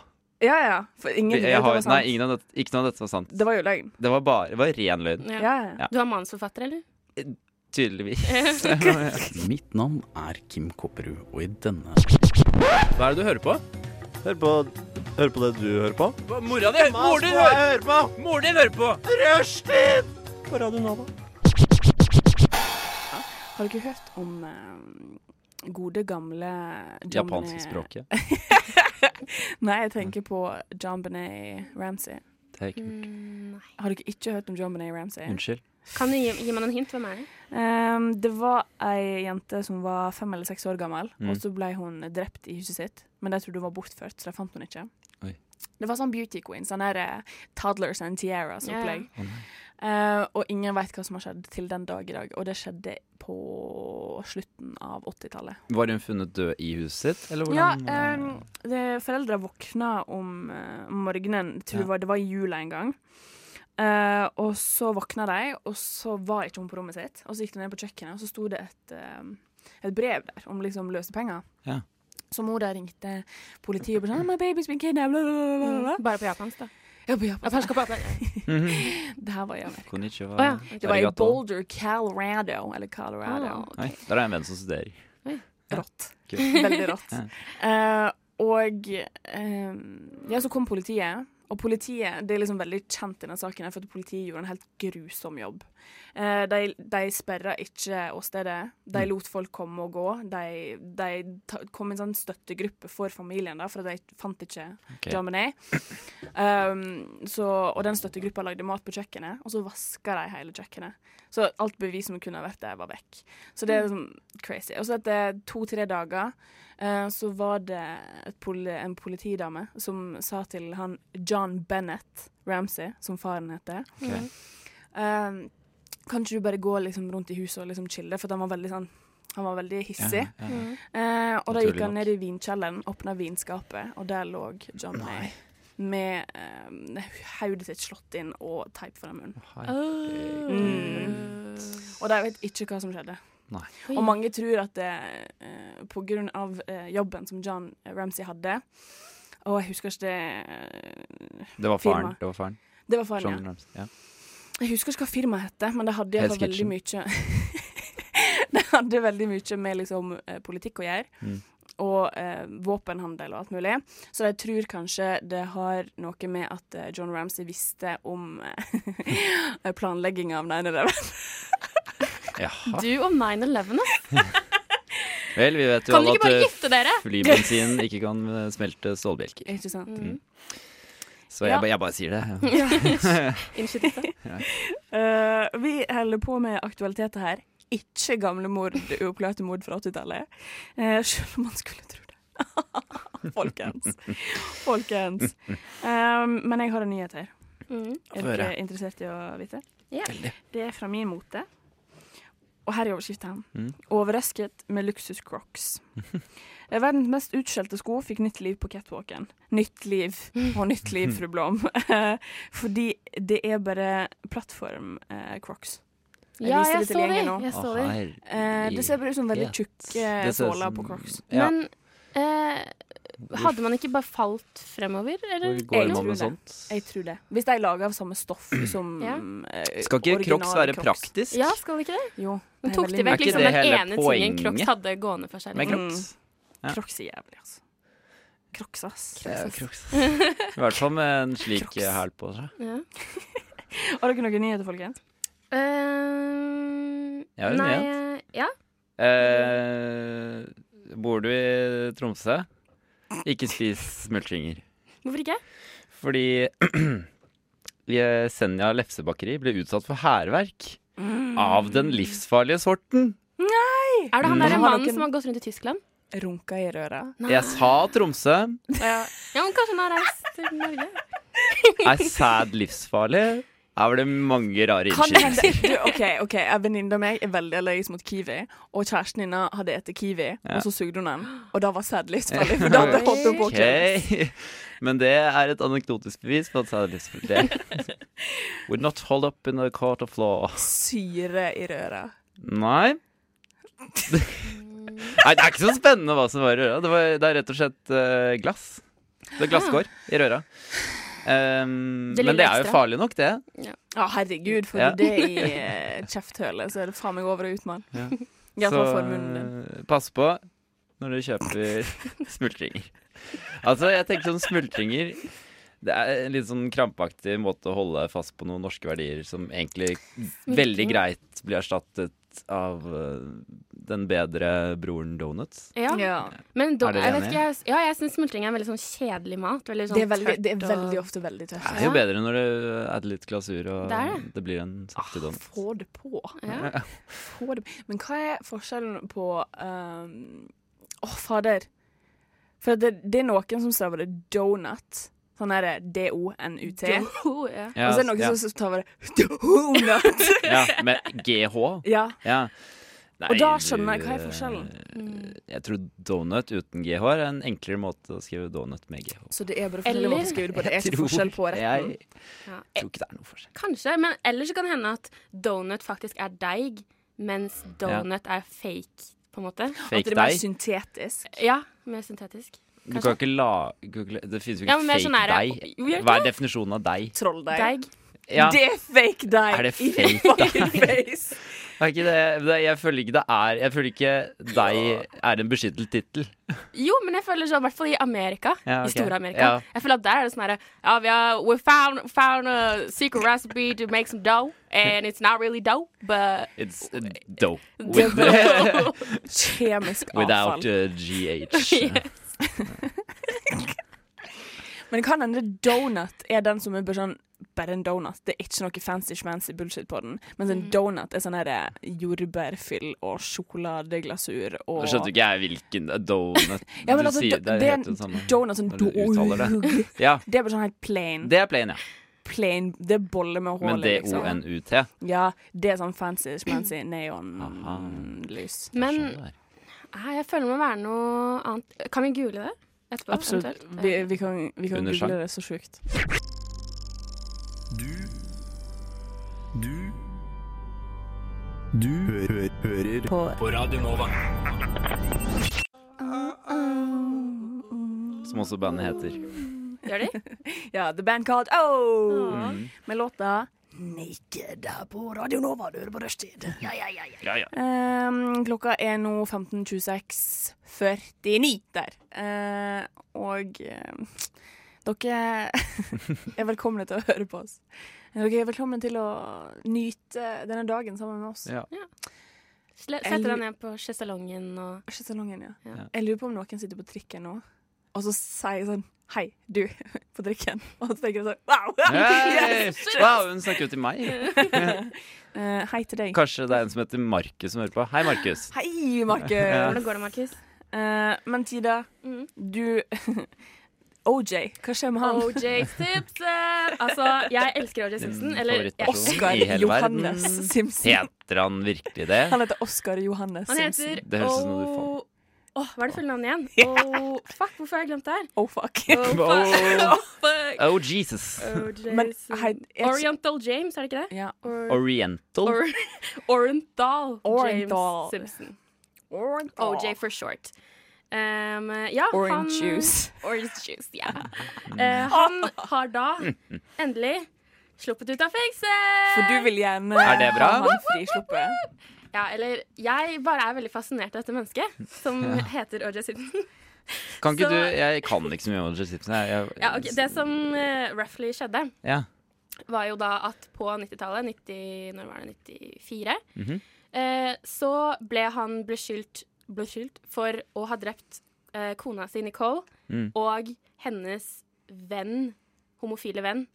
Speaker 6: Ja, ja. For ingen
Speaker 7: Jeg
Speaker 6: det var
Speaker 7: har,
Speaker 6: sant.
Speaker 7: nei, ingen av dette, ikke noe av dette var sant.
Speaker 6: Det var jo løgn.
Speaker 7: Det var bare det var ren løgn.
Speaker 8: Ja.
Speaker 6: Ja, ja.
Speaker 7: Ja.
Speaker 8: Du er manusforfatter, eller?
Speaker 7: Tydeligvis.
Speaker 1: Mitt navn er Kim Kopperud, og i denne
Speaker 7: Hva er det du hører på?
Speaker 4: Hør på, hør på det du hører på.
Speaker 7: Mora di! Mor din hører på! Mor din hører på!
Speaker 4: På Radio Nova.
Speaker 6: Har dere hørt om eh, gode, gamle John Benet-
Speaker 7: Japanskspråket. Mm.
Speaker 6: Nei, jeg tenker på John Benet Ramsey.
Speaker 7: Det er ikke
Speaker 8: Mm, nei.
Speaker 6: Har dere ikke hørt om John Benet Ramsay?
Speaker 7: Unnskyld.
Speaker 8: Kan du gi, gi meg noen hint? Hvem er det?
Speaker 6: Ehm, det var ei jente som var fem eller seks år gammel,
Speaker 7: Mm.
Speaker 6: og så ble hun drept i huset sitt. Men de trodde hun var bortført, så de fant hun ikke.
Speaker 7: Oi.
Speaker 6: Det var sånn beauty queen, sånn der eh, toddlers and tiaras
Speaker 8: Ja, ja.
Speaker 6: opplegg.
Speaker 7: Å nei.
Speaker 6: Eh, og ingen veit hva som har skjedd til den dag i dag, og det skjedde på slutten av 80-tallet.
Speaker 7: Var hun funnet død i huset sitt, eller
Speaker 6: Ja,
Speaker 7: hvordan eh,
Speaker 6: um, det, foreldre våkna om eh, om morgenen, jeg tror det,
Speaker 7: Ja.
Speaker 6: var, det var i jula en gang. Eh, og så våkna de, og så var ikke hun på rommet sitt. Og så gikk de ned på kjøkkenet, og så sto det et, eh, et brev der om liksom løsepenger.
Speaker 7: Ja.
Speaker 6: Så mor der ringte politiet og bare sånn «My baby's been kidnapped, bla, bla, bla, bla, bla.
Speaker 8: Bare på japansk, da.
Speaker 6: Ja, på Japan.
Speaker 8: Japansk og Mm. på japansk.
Speaker 7: Mhm.
Speaker 6: Det her var i Amerika.
Speaker 7: Konnichiwa.
Speaker 8: Å ja.
Speaker 6: Det var i
Speaker 7: Arigato.
Speaker 6: Boulder, Colorado. Eller Colorado.
Speaker 8: Ah,
Speaker 7: Nei, der er en venn som studerer. Ja.
Speaker 6: Rått.
Speaker 7: Gøy.
Speaker 6: Veldig rått.
Speaker 7: Ja.
Speaker 6: Eh, og eh, ja, så kom politiet. Og politiet det er liksom veldig kjent i denne saken, her, for at politiet gjorde en helt grusom jobb. Eh, de de sperra ikke åstedet. De
Speaker 7: Mm.
Speaker 6: lot folk komme og gå. De, de ta, kom i en sånn støttegruppe for familien, da, for de fant ikke
Speaker 7: Ok.
Speaker 6: John Benet. Um, så, og den støttegruppa lagde mat på kjøkkenet, og så vaska de hele kjøkkenet. Så alt bevis som kunne ha vært der, var vekk. Så
Speaker 7: Mm.
Speaker 6: det er liksom crazy. Og så etter to-tre dager eh, så var det et poli, en politidame som sa til han John Bennett Ramsey, som faren heter
Speaker 7: Ok.
Speaker 6: um, Kan ikke du bare gå liksom rundt i huset og liksom chille, for han var veldig sånn han var veldig hissig.
Speaker 7: Ja, ja.
Speaker 8: Mm.
Speaker 6: Eh, og da gikk
Speaker 7: Naturlig
Speaker 6: han
Speaker 7: nok.
Speaker 6: ned i vinkjelleren, åpna vinskapet, og der lå John May. Med eh, hodet sitt slått inn og teip foran munnen. Ah. Mm. Og de vet ikke hva som skjedde.
Speaker 7: Nei.
Speaker 6: Og mange tror at det eh, på grunn av eh, jobben som John Ramsay hadde Og jeg husker ikke det eh,
Speaker 7: Det var
Speaker 6: Firma.
Speaker 7: faren. Det var faren.
Speaker 6: Det var faren,
Speaker 7: John
Speaker 6: ja.
Speaker 7: Ramsay. Ja.
Speaker 6: Jeg husker ikke hva firmaet hette, men det hadde i hvert fall
Speaker 7: Hell's
Speaker 6: veldig mye Det hadde veldig mye med liksom, eh, politikk å gjøre.
Speaker 7: Mm.
Speaker 6: Og eh, våpenhandel og alt mulig. Så jeg tror kanskje det har noe med at eh, John Ramsay visste om eh, planlegginga av 9-11.
Speaker 7: Jaha.
Speaker 8: Du om 9-11, ass.
Speaker 7: Vel, vi vet jo
Speaker 8: Kan
Speaker 7: alle
Speaker 8: dere ikke
Speaker 7: at
Speaker 8: bare
Speaker 7: eh,
Speaker 8: gjette dere?
Speaker 7: flybensin ikke kan eh, smelte stålbjelker.
Speaker 6: Ikke sant?
Speaker 8: Mm.
Speaker 7: Så jeg,
Speaker 6: Ja.
Speaker 7: ba- jeg bare sier det.
Speaker 8: Innskytelse.
Speaker 6: Eh, vi holder på med aktualiteter her. Ikke gamle mord, uoppklarte mord fra 80-tallet. Eh, selv om man skulle tro det. Folkens. Folkens. Um, men jeg har en nyhet her.
Speaker 8: Mm.
Speaker 6: Er
Speaker 7: Få høre.
Speaker 6: dere interessert i å vite?
Speaker 8: Ja.
Speaker 6: Det er fra min mote. Og her er overskriften.
Speaker 7: Mm.
Speaker 6: Overrasket med luksus crocs. Eh, Verdens mest utskjelte sko fikk nytt liv på catwalken. Nytt liv og nytt liv, fru Blom. Eh, Fordi det er bare eh, plattform-crocs. Jeg
Speaker 8: ja,
Speaker 6: viser
Speaker 8: jeg
Speaker 6: det til
Speaker 8: så
Speaker 6: gjengen
Speaker 8: de.
Speaker 6: nå.
Speaker 8: Jeg så de.
Speaker 6: Eh, det ser bare ut som veldig tjukke
Speaker 7: Det ser ut
Speaker 6: såler
Speaker 7: som-
Speaker 6: på crocs.
Speaker 7: Ja.
Speaker 8: Men eh, hadde man ikke bare falt fremover, eller?
Speaker 7: Hvor går
Speaker 6: Jeg
Speaker 7: man med
Speaker 6: tror
Speaker 7: sånt?
Speaker 6: Jeg tror det. Hvis de er laga av samme stoff som
Speaker 8: Ja.
Speaker 6: eh,
Speaker 7: Skal ikke crocs
Speaker 6: originale
Speaker 7: være
Speaker 6: Crocs.
Speaker 7: praktisk?
Speaker 8: Ja, skal det ikke det?
Speaker 6: Jo.
Speaker 8: Men
Speaker 6: det er
Speaker 8: tok
Speaker 6: veldig
Speaker 8: de
Speaker 7: Er
Speaker 8: vekk
Speaker 7: ikke
Speaker 8: liksom
Speaker 7: det
Speaker 8: den
Speaker 7: hele
Speaker 8: ene tingen
Speaker 7: poenget?
Speaker 8: Crocs hadde gående for seg?
Speaker 7: Med
Speaker 8: Liksom.
Speaker 7: crocs. Ja.
Speaker 6: Crocs er jævlig, altså. Crocs, ass.
Speaker 7: Ja, crocs. I hvert fall med en slik
Speaker 6: Crocs.
Speaker 7: eh, hæl på seg.
Speaker 8: Ja.
Speaker 6: Har dere noen nyheter, folkens?
Speaker 8: Eh,
Speaker 7: Jeg har en
Speaker 8: nei, eh, ja.
Speaker 7: Eh, bor du i Tromsø? Ikke spis smultringer.
Speaker 8: Hvorfor ikke?
Speaker 6: Mm.
Speaker 7: Fordi eh, Senja Lefsebakeri ble utsatt for hærverk
Speaker 6: Mm.
Speaker 7: av den livsfarlige sorten.
Speaker 8: Er det han
Speaker 7: Mm.
Speaker 8: derre
Speaker 6: Har
Speaker 8: mannen
Speaker 6: dere-
Speaker 8: som har gått rundt i Tyskland?
Speaker 6: Runka i røra.
Speaker 7: Jeg sa Tromsø
Speaker 8: Ja, ja men kanskje han har reist til Norge?
Speaker 7: er sæd livsfarlig. Her var det mange rare
Speaker 6: Kan det hende
Speaker 7: innskytelser.
Speaker 6: du, OK, ok, en venninne av meg er veldig allergisk mot kiwi, og kjæresten hennes hadde spist kiwi,
Speaker 7: Ja.
Speaker 6: og så sugde hun den, og da var sæd livsfarlig, for da hadde holdt hun på å
Speaker 7: Ok.
Speaker 6: kveles.
Speaker 7: Men det er et anekdotisk bevis på at sæd er livsfarlig. Det. Would not hold up in a court of law.
Speaker 6: Syre i røra.
Speaker 7: Nei. Nei, det er ikke så spennende hva som var i røra. Det, var, det er rett og slett eh, glass. Det er glasskår i røra. Ehm,
Speaker 8: Det
Speaker 7: men
Speaker 8: lille
Speaker 7: det er jo
Speaker 8: ekstra.
Speaker 7: farlig nok, det.
Speaker 6: Ja, herregud, får
Speaker 7: Ja.
Speaker 6: du det i eh, kjefthølet, så er det faen meg over og ut, mann.
Speaker 7: Ja.
Speaker 6: I hvert
Speaker 7: Så
Speaker 6: fall for munnen din.
Speaker 7: eh, pass på når du kjøper smultringer. Altså, jeg tenker sånn smultringer Det er en litt sånn krampaktig måte å holde fast på noen norske verdier som egentlig veldig greit blir erstattet litt av eh, den bedre broren donuts.
Speaker 8: Ja.
Speaker 5: Ja.
Speaker 8: Men
Speaker 7: Er
Speaker 8: do,
Speaker 7: dere
Speaker 8: jeg vet
Speaker 7: enige?
Speaker 8: ikke, jeg, ja, jeg syns smultring er en veldig sånn kjedelig mat. Veldig sånn
Speaker 6: Det er veldig, det er
Speaker 8: tørt
Speaker 6: veldig
Speaker 8: og...
Speaker 6: ofte veldig
Speaker 7: Det
Speaker 6: tørt.
Speaker 7: er jo
Speaker 8: Ja.
Speaker 7: bedre når du adder litt glasur, og
Speaker 8: Det
Speaker 7: det,
Speaker 8: er det.
Speaker 7: blir en
Speaker 6: Ah,
Speaker 7: sakte donut.
Speaker 6: Få det på.
Speaker 8: Ja.
Speaker 6: Få det. Men hva er forskjellen på ehm, Å, fader. For det, det er noen som staver det donut. Sånn er det D-O-N-U-T.
Speaker 8: Jo, oh, ja.
Speaker 7: Ja,
Speaker 6: Og så er Altså, det noen
Speaker 7: ja,
Speaker 6: som staver det donut.
Speaker 7: ja, med GH.
Speaker 6: ja.
Speaker 7: Ja. Nei,
Speaker 6: Og da skjønner jeg, hva er
Speaker 7: du,
Speaker 6: forskjellen?
Speaker 7: eh,
Speaker 8: Mm.
Speaker 7: Jeg tror donut uten GH er en enklere måte å skrive donut med GH.
Speaker 6: Så det er bare forskjellig måte å skrive det på. Det er
Speaker 7: Jeg
Speaker 6: ikke forskjell på
Speaker 7: tror-
Speaker 6: retten.
Speaker 7: Jeg
Speaker 8: Ja.
Speaker 7: tror ikke det er noe forskjell.
Speaker 8: Kanskje, men ellers så kan det hende at donut faktisk er deig, mens donut er fake, på en måte.
Speaker 6: At
Speaker 7: Fake
Speaker 6: det er mer
Speaker 7: deig.
Speaker 6: syntetisk.
Speaker 8: Ja, mer syntetisk.
Speaker 7: Du kan ikke la du kan ikke- Det finnes jo
Speaker 8: Ja, men
Speaker 7: ikke
Speaker 8: mer
Speaker 7: fake
Speaker 8: sånn her-
Speaker 7: deig.
Speaker 8: Jo, gjør det
Speaker 7: Hva er definisjonen av deig?
Speaker 6: Trolldeig.
Speaker 8: Deig.
Speaker 7: Ja,
Speaker 6: Det er fake deig.
Speaker 7: Er det
Speaker 6: i
Speaker 7: fake
Speaker 6: fucking face.
Speaker 7: er ikke det, det Jeg føler ikke det er Jeg føler ikke deig er en beskyttet tittel.
Speaker 8: Jo, men jeg føler sånn, i hvert fall i Amerika.
Speaker 7: Ja, ok.
Speaker 8: I Store-Amerika.
Speaker 7: Ja.
Speaker 8: Jeg føler at der er det sånn herre ja, vi har- We found, found a secret recipe to make some dough, and it's not really dough, but
Speaker 7: It's a dope
Speaker 6: Det
Speaker 7: with,
Speaker 6: er bare kjemisk avfall.
Speaker 7: without uh, a GH.
Speaker 6: Men det kan hende donut er den som er bare sånn bare en donut. Det er ikke noe fancy-schmancy bullshit på den. Mens en donut er sånn her jordbærfyll og sjokoladeglasur og
Speaker 7: Nå skjønte ikke jeg hvilken uh, donut
Speaker 6: ja, men
Speaker 7: du
Speaker 6: altså,
Speaker 7: sier.
Speaker 6: do-
Speaker 7: Det
Speaker 6: det
Speaker 7: er
Speaker 6: er
Speaker 7: helt det
Speaker 6: en
Speaker 7: samme.
Speaker 6: donut sånn
Speaker 7: når du uttaler det.
Speaker 6: donut.
Speaker 7: Ja,
Speaker 6: Det er bare sånn helt plain.
Speaker 7: det er plain, ja.
Speaker 6: plain. Det er bolle med
Speaker 7: Men
Speaker 6: hull i, liksom.
Speaker 7: D-O-N-U-T.
Speaker 6: Ja, det er sånn fancy-schmancy
Speaker 7: Aha.
Speaker 6: neonlys.
Speaker 8: Men
Speaker 7: Sånn det er.
Speaker 8: Nei, jeg føler det må være noe annet. Kan vi google det etterpå?
Speaker 6: Absolutt.
Speaker 8: eventuelt?
Speaker 6: Vi, vi kan, vi kan
Speaker 7: Under sang.
Speaker 6: google det så sjukt.
Speaker 2: Du Du Du hø hø hører på. på Radio Nova.
Speaker 8: Oh,
Speaker 7: Som også bandet heter.
Speaker 8: Gjør de?
Speaker 6: Ja, The Band Called Oh!
Speaker 8: Ja.
Speaker 6: Med låta Naked på Radio Nova. Du hører på rushtid. Ja, ja, ja, ja.
Speaker 7: Ja, ja.
Speaker 6: Ehm, klokka er nå 15.26,49 der. Eh, og ehm, dere er velkomne til å høre på oss. Dere er velkomne til å nyte denne dagen sammen med oss.
Speaker 7: Ja.
Speaker 8: Sle- Setter deg ned på sjeselongen og
Speaker 6: Ikke så lang en, ja.
Speaker 8: Ja.
Speaker 6: Jeg lurer på om noen sitter på trikken nå, og så sier jeg sånn Hei, du, på trikken. Og så tenker jeg sånn Wow!
Speaker 7: Hei! Wow, hun snakker jo til meg.
Speaker 6: Eh, hei til deg.
Speaker 7: Kanskje det er en som heter Markus som hører på. Hei, Markus.
Speaker 6: Hei, Markus!
Speaker 8: Hvordan går det, Markus?
Speaker 6: Eh, men Tida,
Speaker 8: Mm.
Speaker 6: du OJ, hva skjer med han?
Speaker 8: OJ Simpson! Altså, jeg elsker OJ Simpson.
Speaker 7: Din
Speaker 8: Eller jeg,
Speaker 7: favorittperson.
Speaker 6: Oscar
Speaker 7: i hele
Speaker 6: Johannes
Speaker 7: verden.
Speaker 6: Simpson.
Speaker 7: Heter han virkelig det?
Speaker 6: Han heter Oscar Johannes
Speaker 8: han
Speaker 6: Simpson.
Speaker 8: heter
Speaker 7: Det høres ut som noe du
Speaker 8: O- Åh, hva er det fulle navnet igjen? Oh, fuck, hvorfor har jeg glemt det her?
Speaker 6: Oh, fuck.
Speaker 8: Oh, fuck.
Speaker 7: Oh,
Speaker 8: Oh, fuck.
Speaker 7: oh Jesus.
Speaker 8: OJ
Speaker 6: Men heit-
Speaker 8: Simpson.
Speaker 6: jeg-
Speaker 8: Oriental James, er det ikke det?
Speaker 6: Ja.
Speaker 8: Or,
Speaker 7: Oriental.
Speaker 8: or, Oriental
Speaker 6: Oriental.
Speaker 8: James Simpson. OJ for short. Um, ja, han,
Speaker 6: Orange juice.
Speaker 8: Orange juice, ja. Eh, han har da endelig sluppet ut av fengsel!
Speaker 6: For du vil gjerne
Speaker 7: Er det bra?
Speaker 6: ha han frisluppet.
Speaker 8: Ja, eller jeg bare er veldig fascinert av dette mennesket som heter OJ Simpson.
Speaker 7: Kan ikke
Speaker 8: så-
Speaker 7: du Jeg kan ikke så mye om Roger Simpson. Jeg, jeg,
Speaker 8: Ja, ok, det som uh, roughly skjedde,
Speaker 7: ja.
Speaker 8: var jo da at på 90-tallet, 90, når var det, 94,
Speaker 7: Mhm.
Speaker 8: eh, så ble han beskyldt, beskyldt for å ha drept eh, kona si Nicole
Speaker 7: Mm.
Speaker 8: og hennes venn, homofile venn.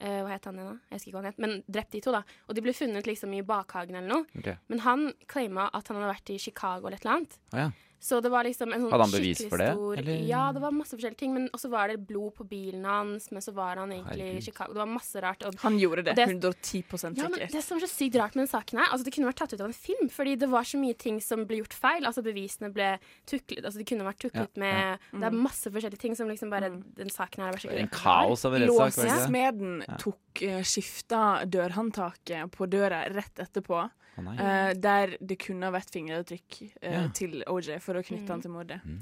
Speaker 8: Eh, hva het han igjen da? Jeg husker ikke hva han het, men drept de to, da. Og de ble funnet liksom i bakhagen eller noe.
Speaker 7: Ok.
Speaker 8: Men han claima at han hadde vært i Chicago eller et eller annet.
Speaker 7: Å ja.
Speaker 8: Så det var liksom en sånn
Speaker 7: Hadde han bevis
Speaker 8: skikkelig
Speaker 7: for det,
Speaker 8: Stor,
Speaker 7: eller?
Speaker 8: Ja, det var masse forskjellige ting. Men også var det blod på bilen hans, men så var han egentlig i
Speaker 7: Herregud.
Speaker 8: Chicago. Det var masse rart. Og
Speaker 6: Han gjorde det.
Speaker 8: Det-
Speaker 6: 110 sikkert.
Speaker 8: ja, men Det som er så sykt rart med den saken her, altså det kunne vært tatt ut av en film, fordi det var så mye ting som ble gjort feil. Altså Bevisene ble tuklet altså Det kunne vært tuklet med
Speaker 6: Mm.
Speaker 8: Det er masse forskjellige ting som liksom bare Den saken her har vært så
Speaker 7: En kaos av en rettssak. var det ikke det?
Speaker 6: Låsesmeden tok uh, skifta dørhåndtaket på døra rett etterpå.
Speaker 7: Å, nei.
Speaker 6: Eh, der det kunne ha vært fingeravtrykk eh,
Speaker 7: Ja.
Speaker 6: til OJ for å knytte
Speaker 8: Mm.
Speaker 6: han til mordet.
Speaker 7: Mm.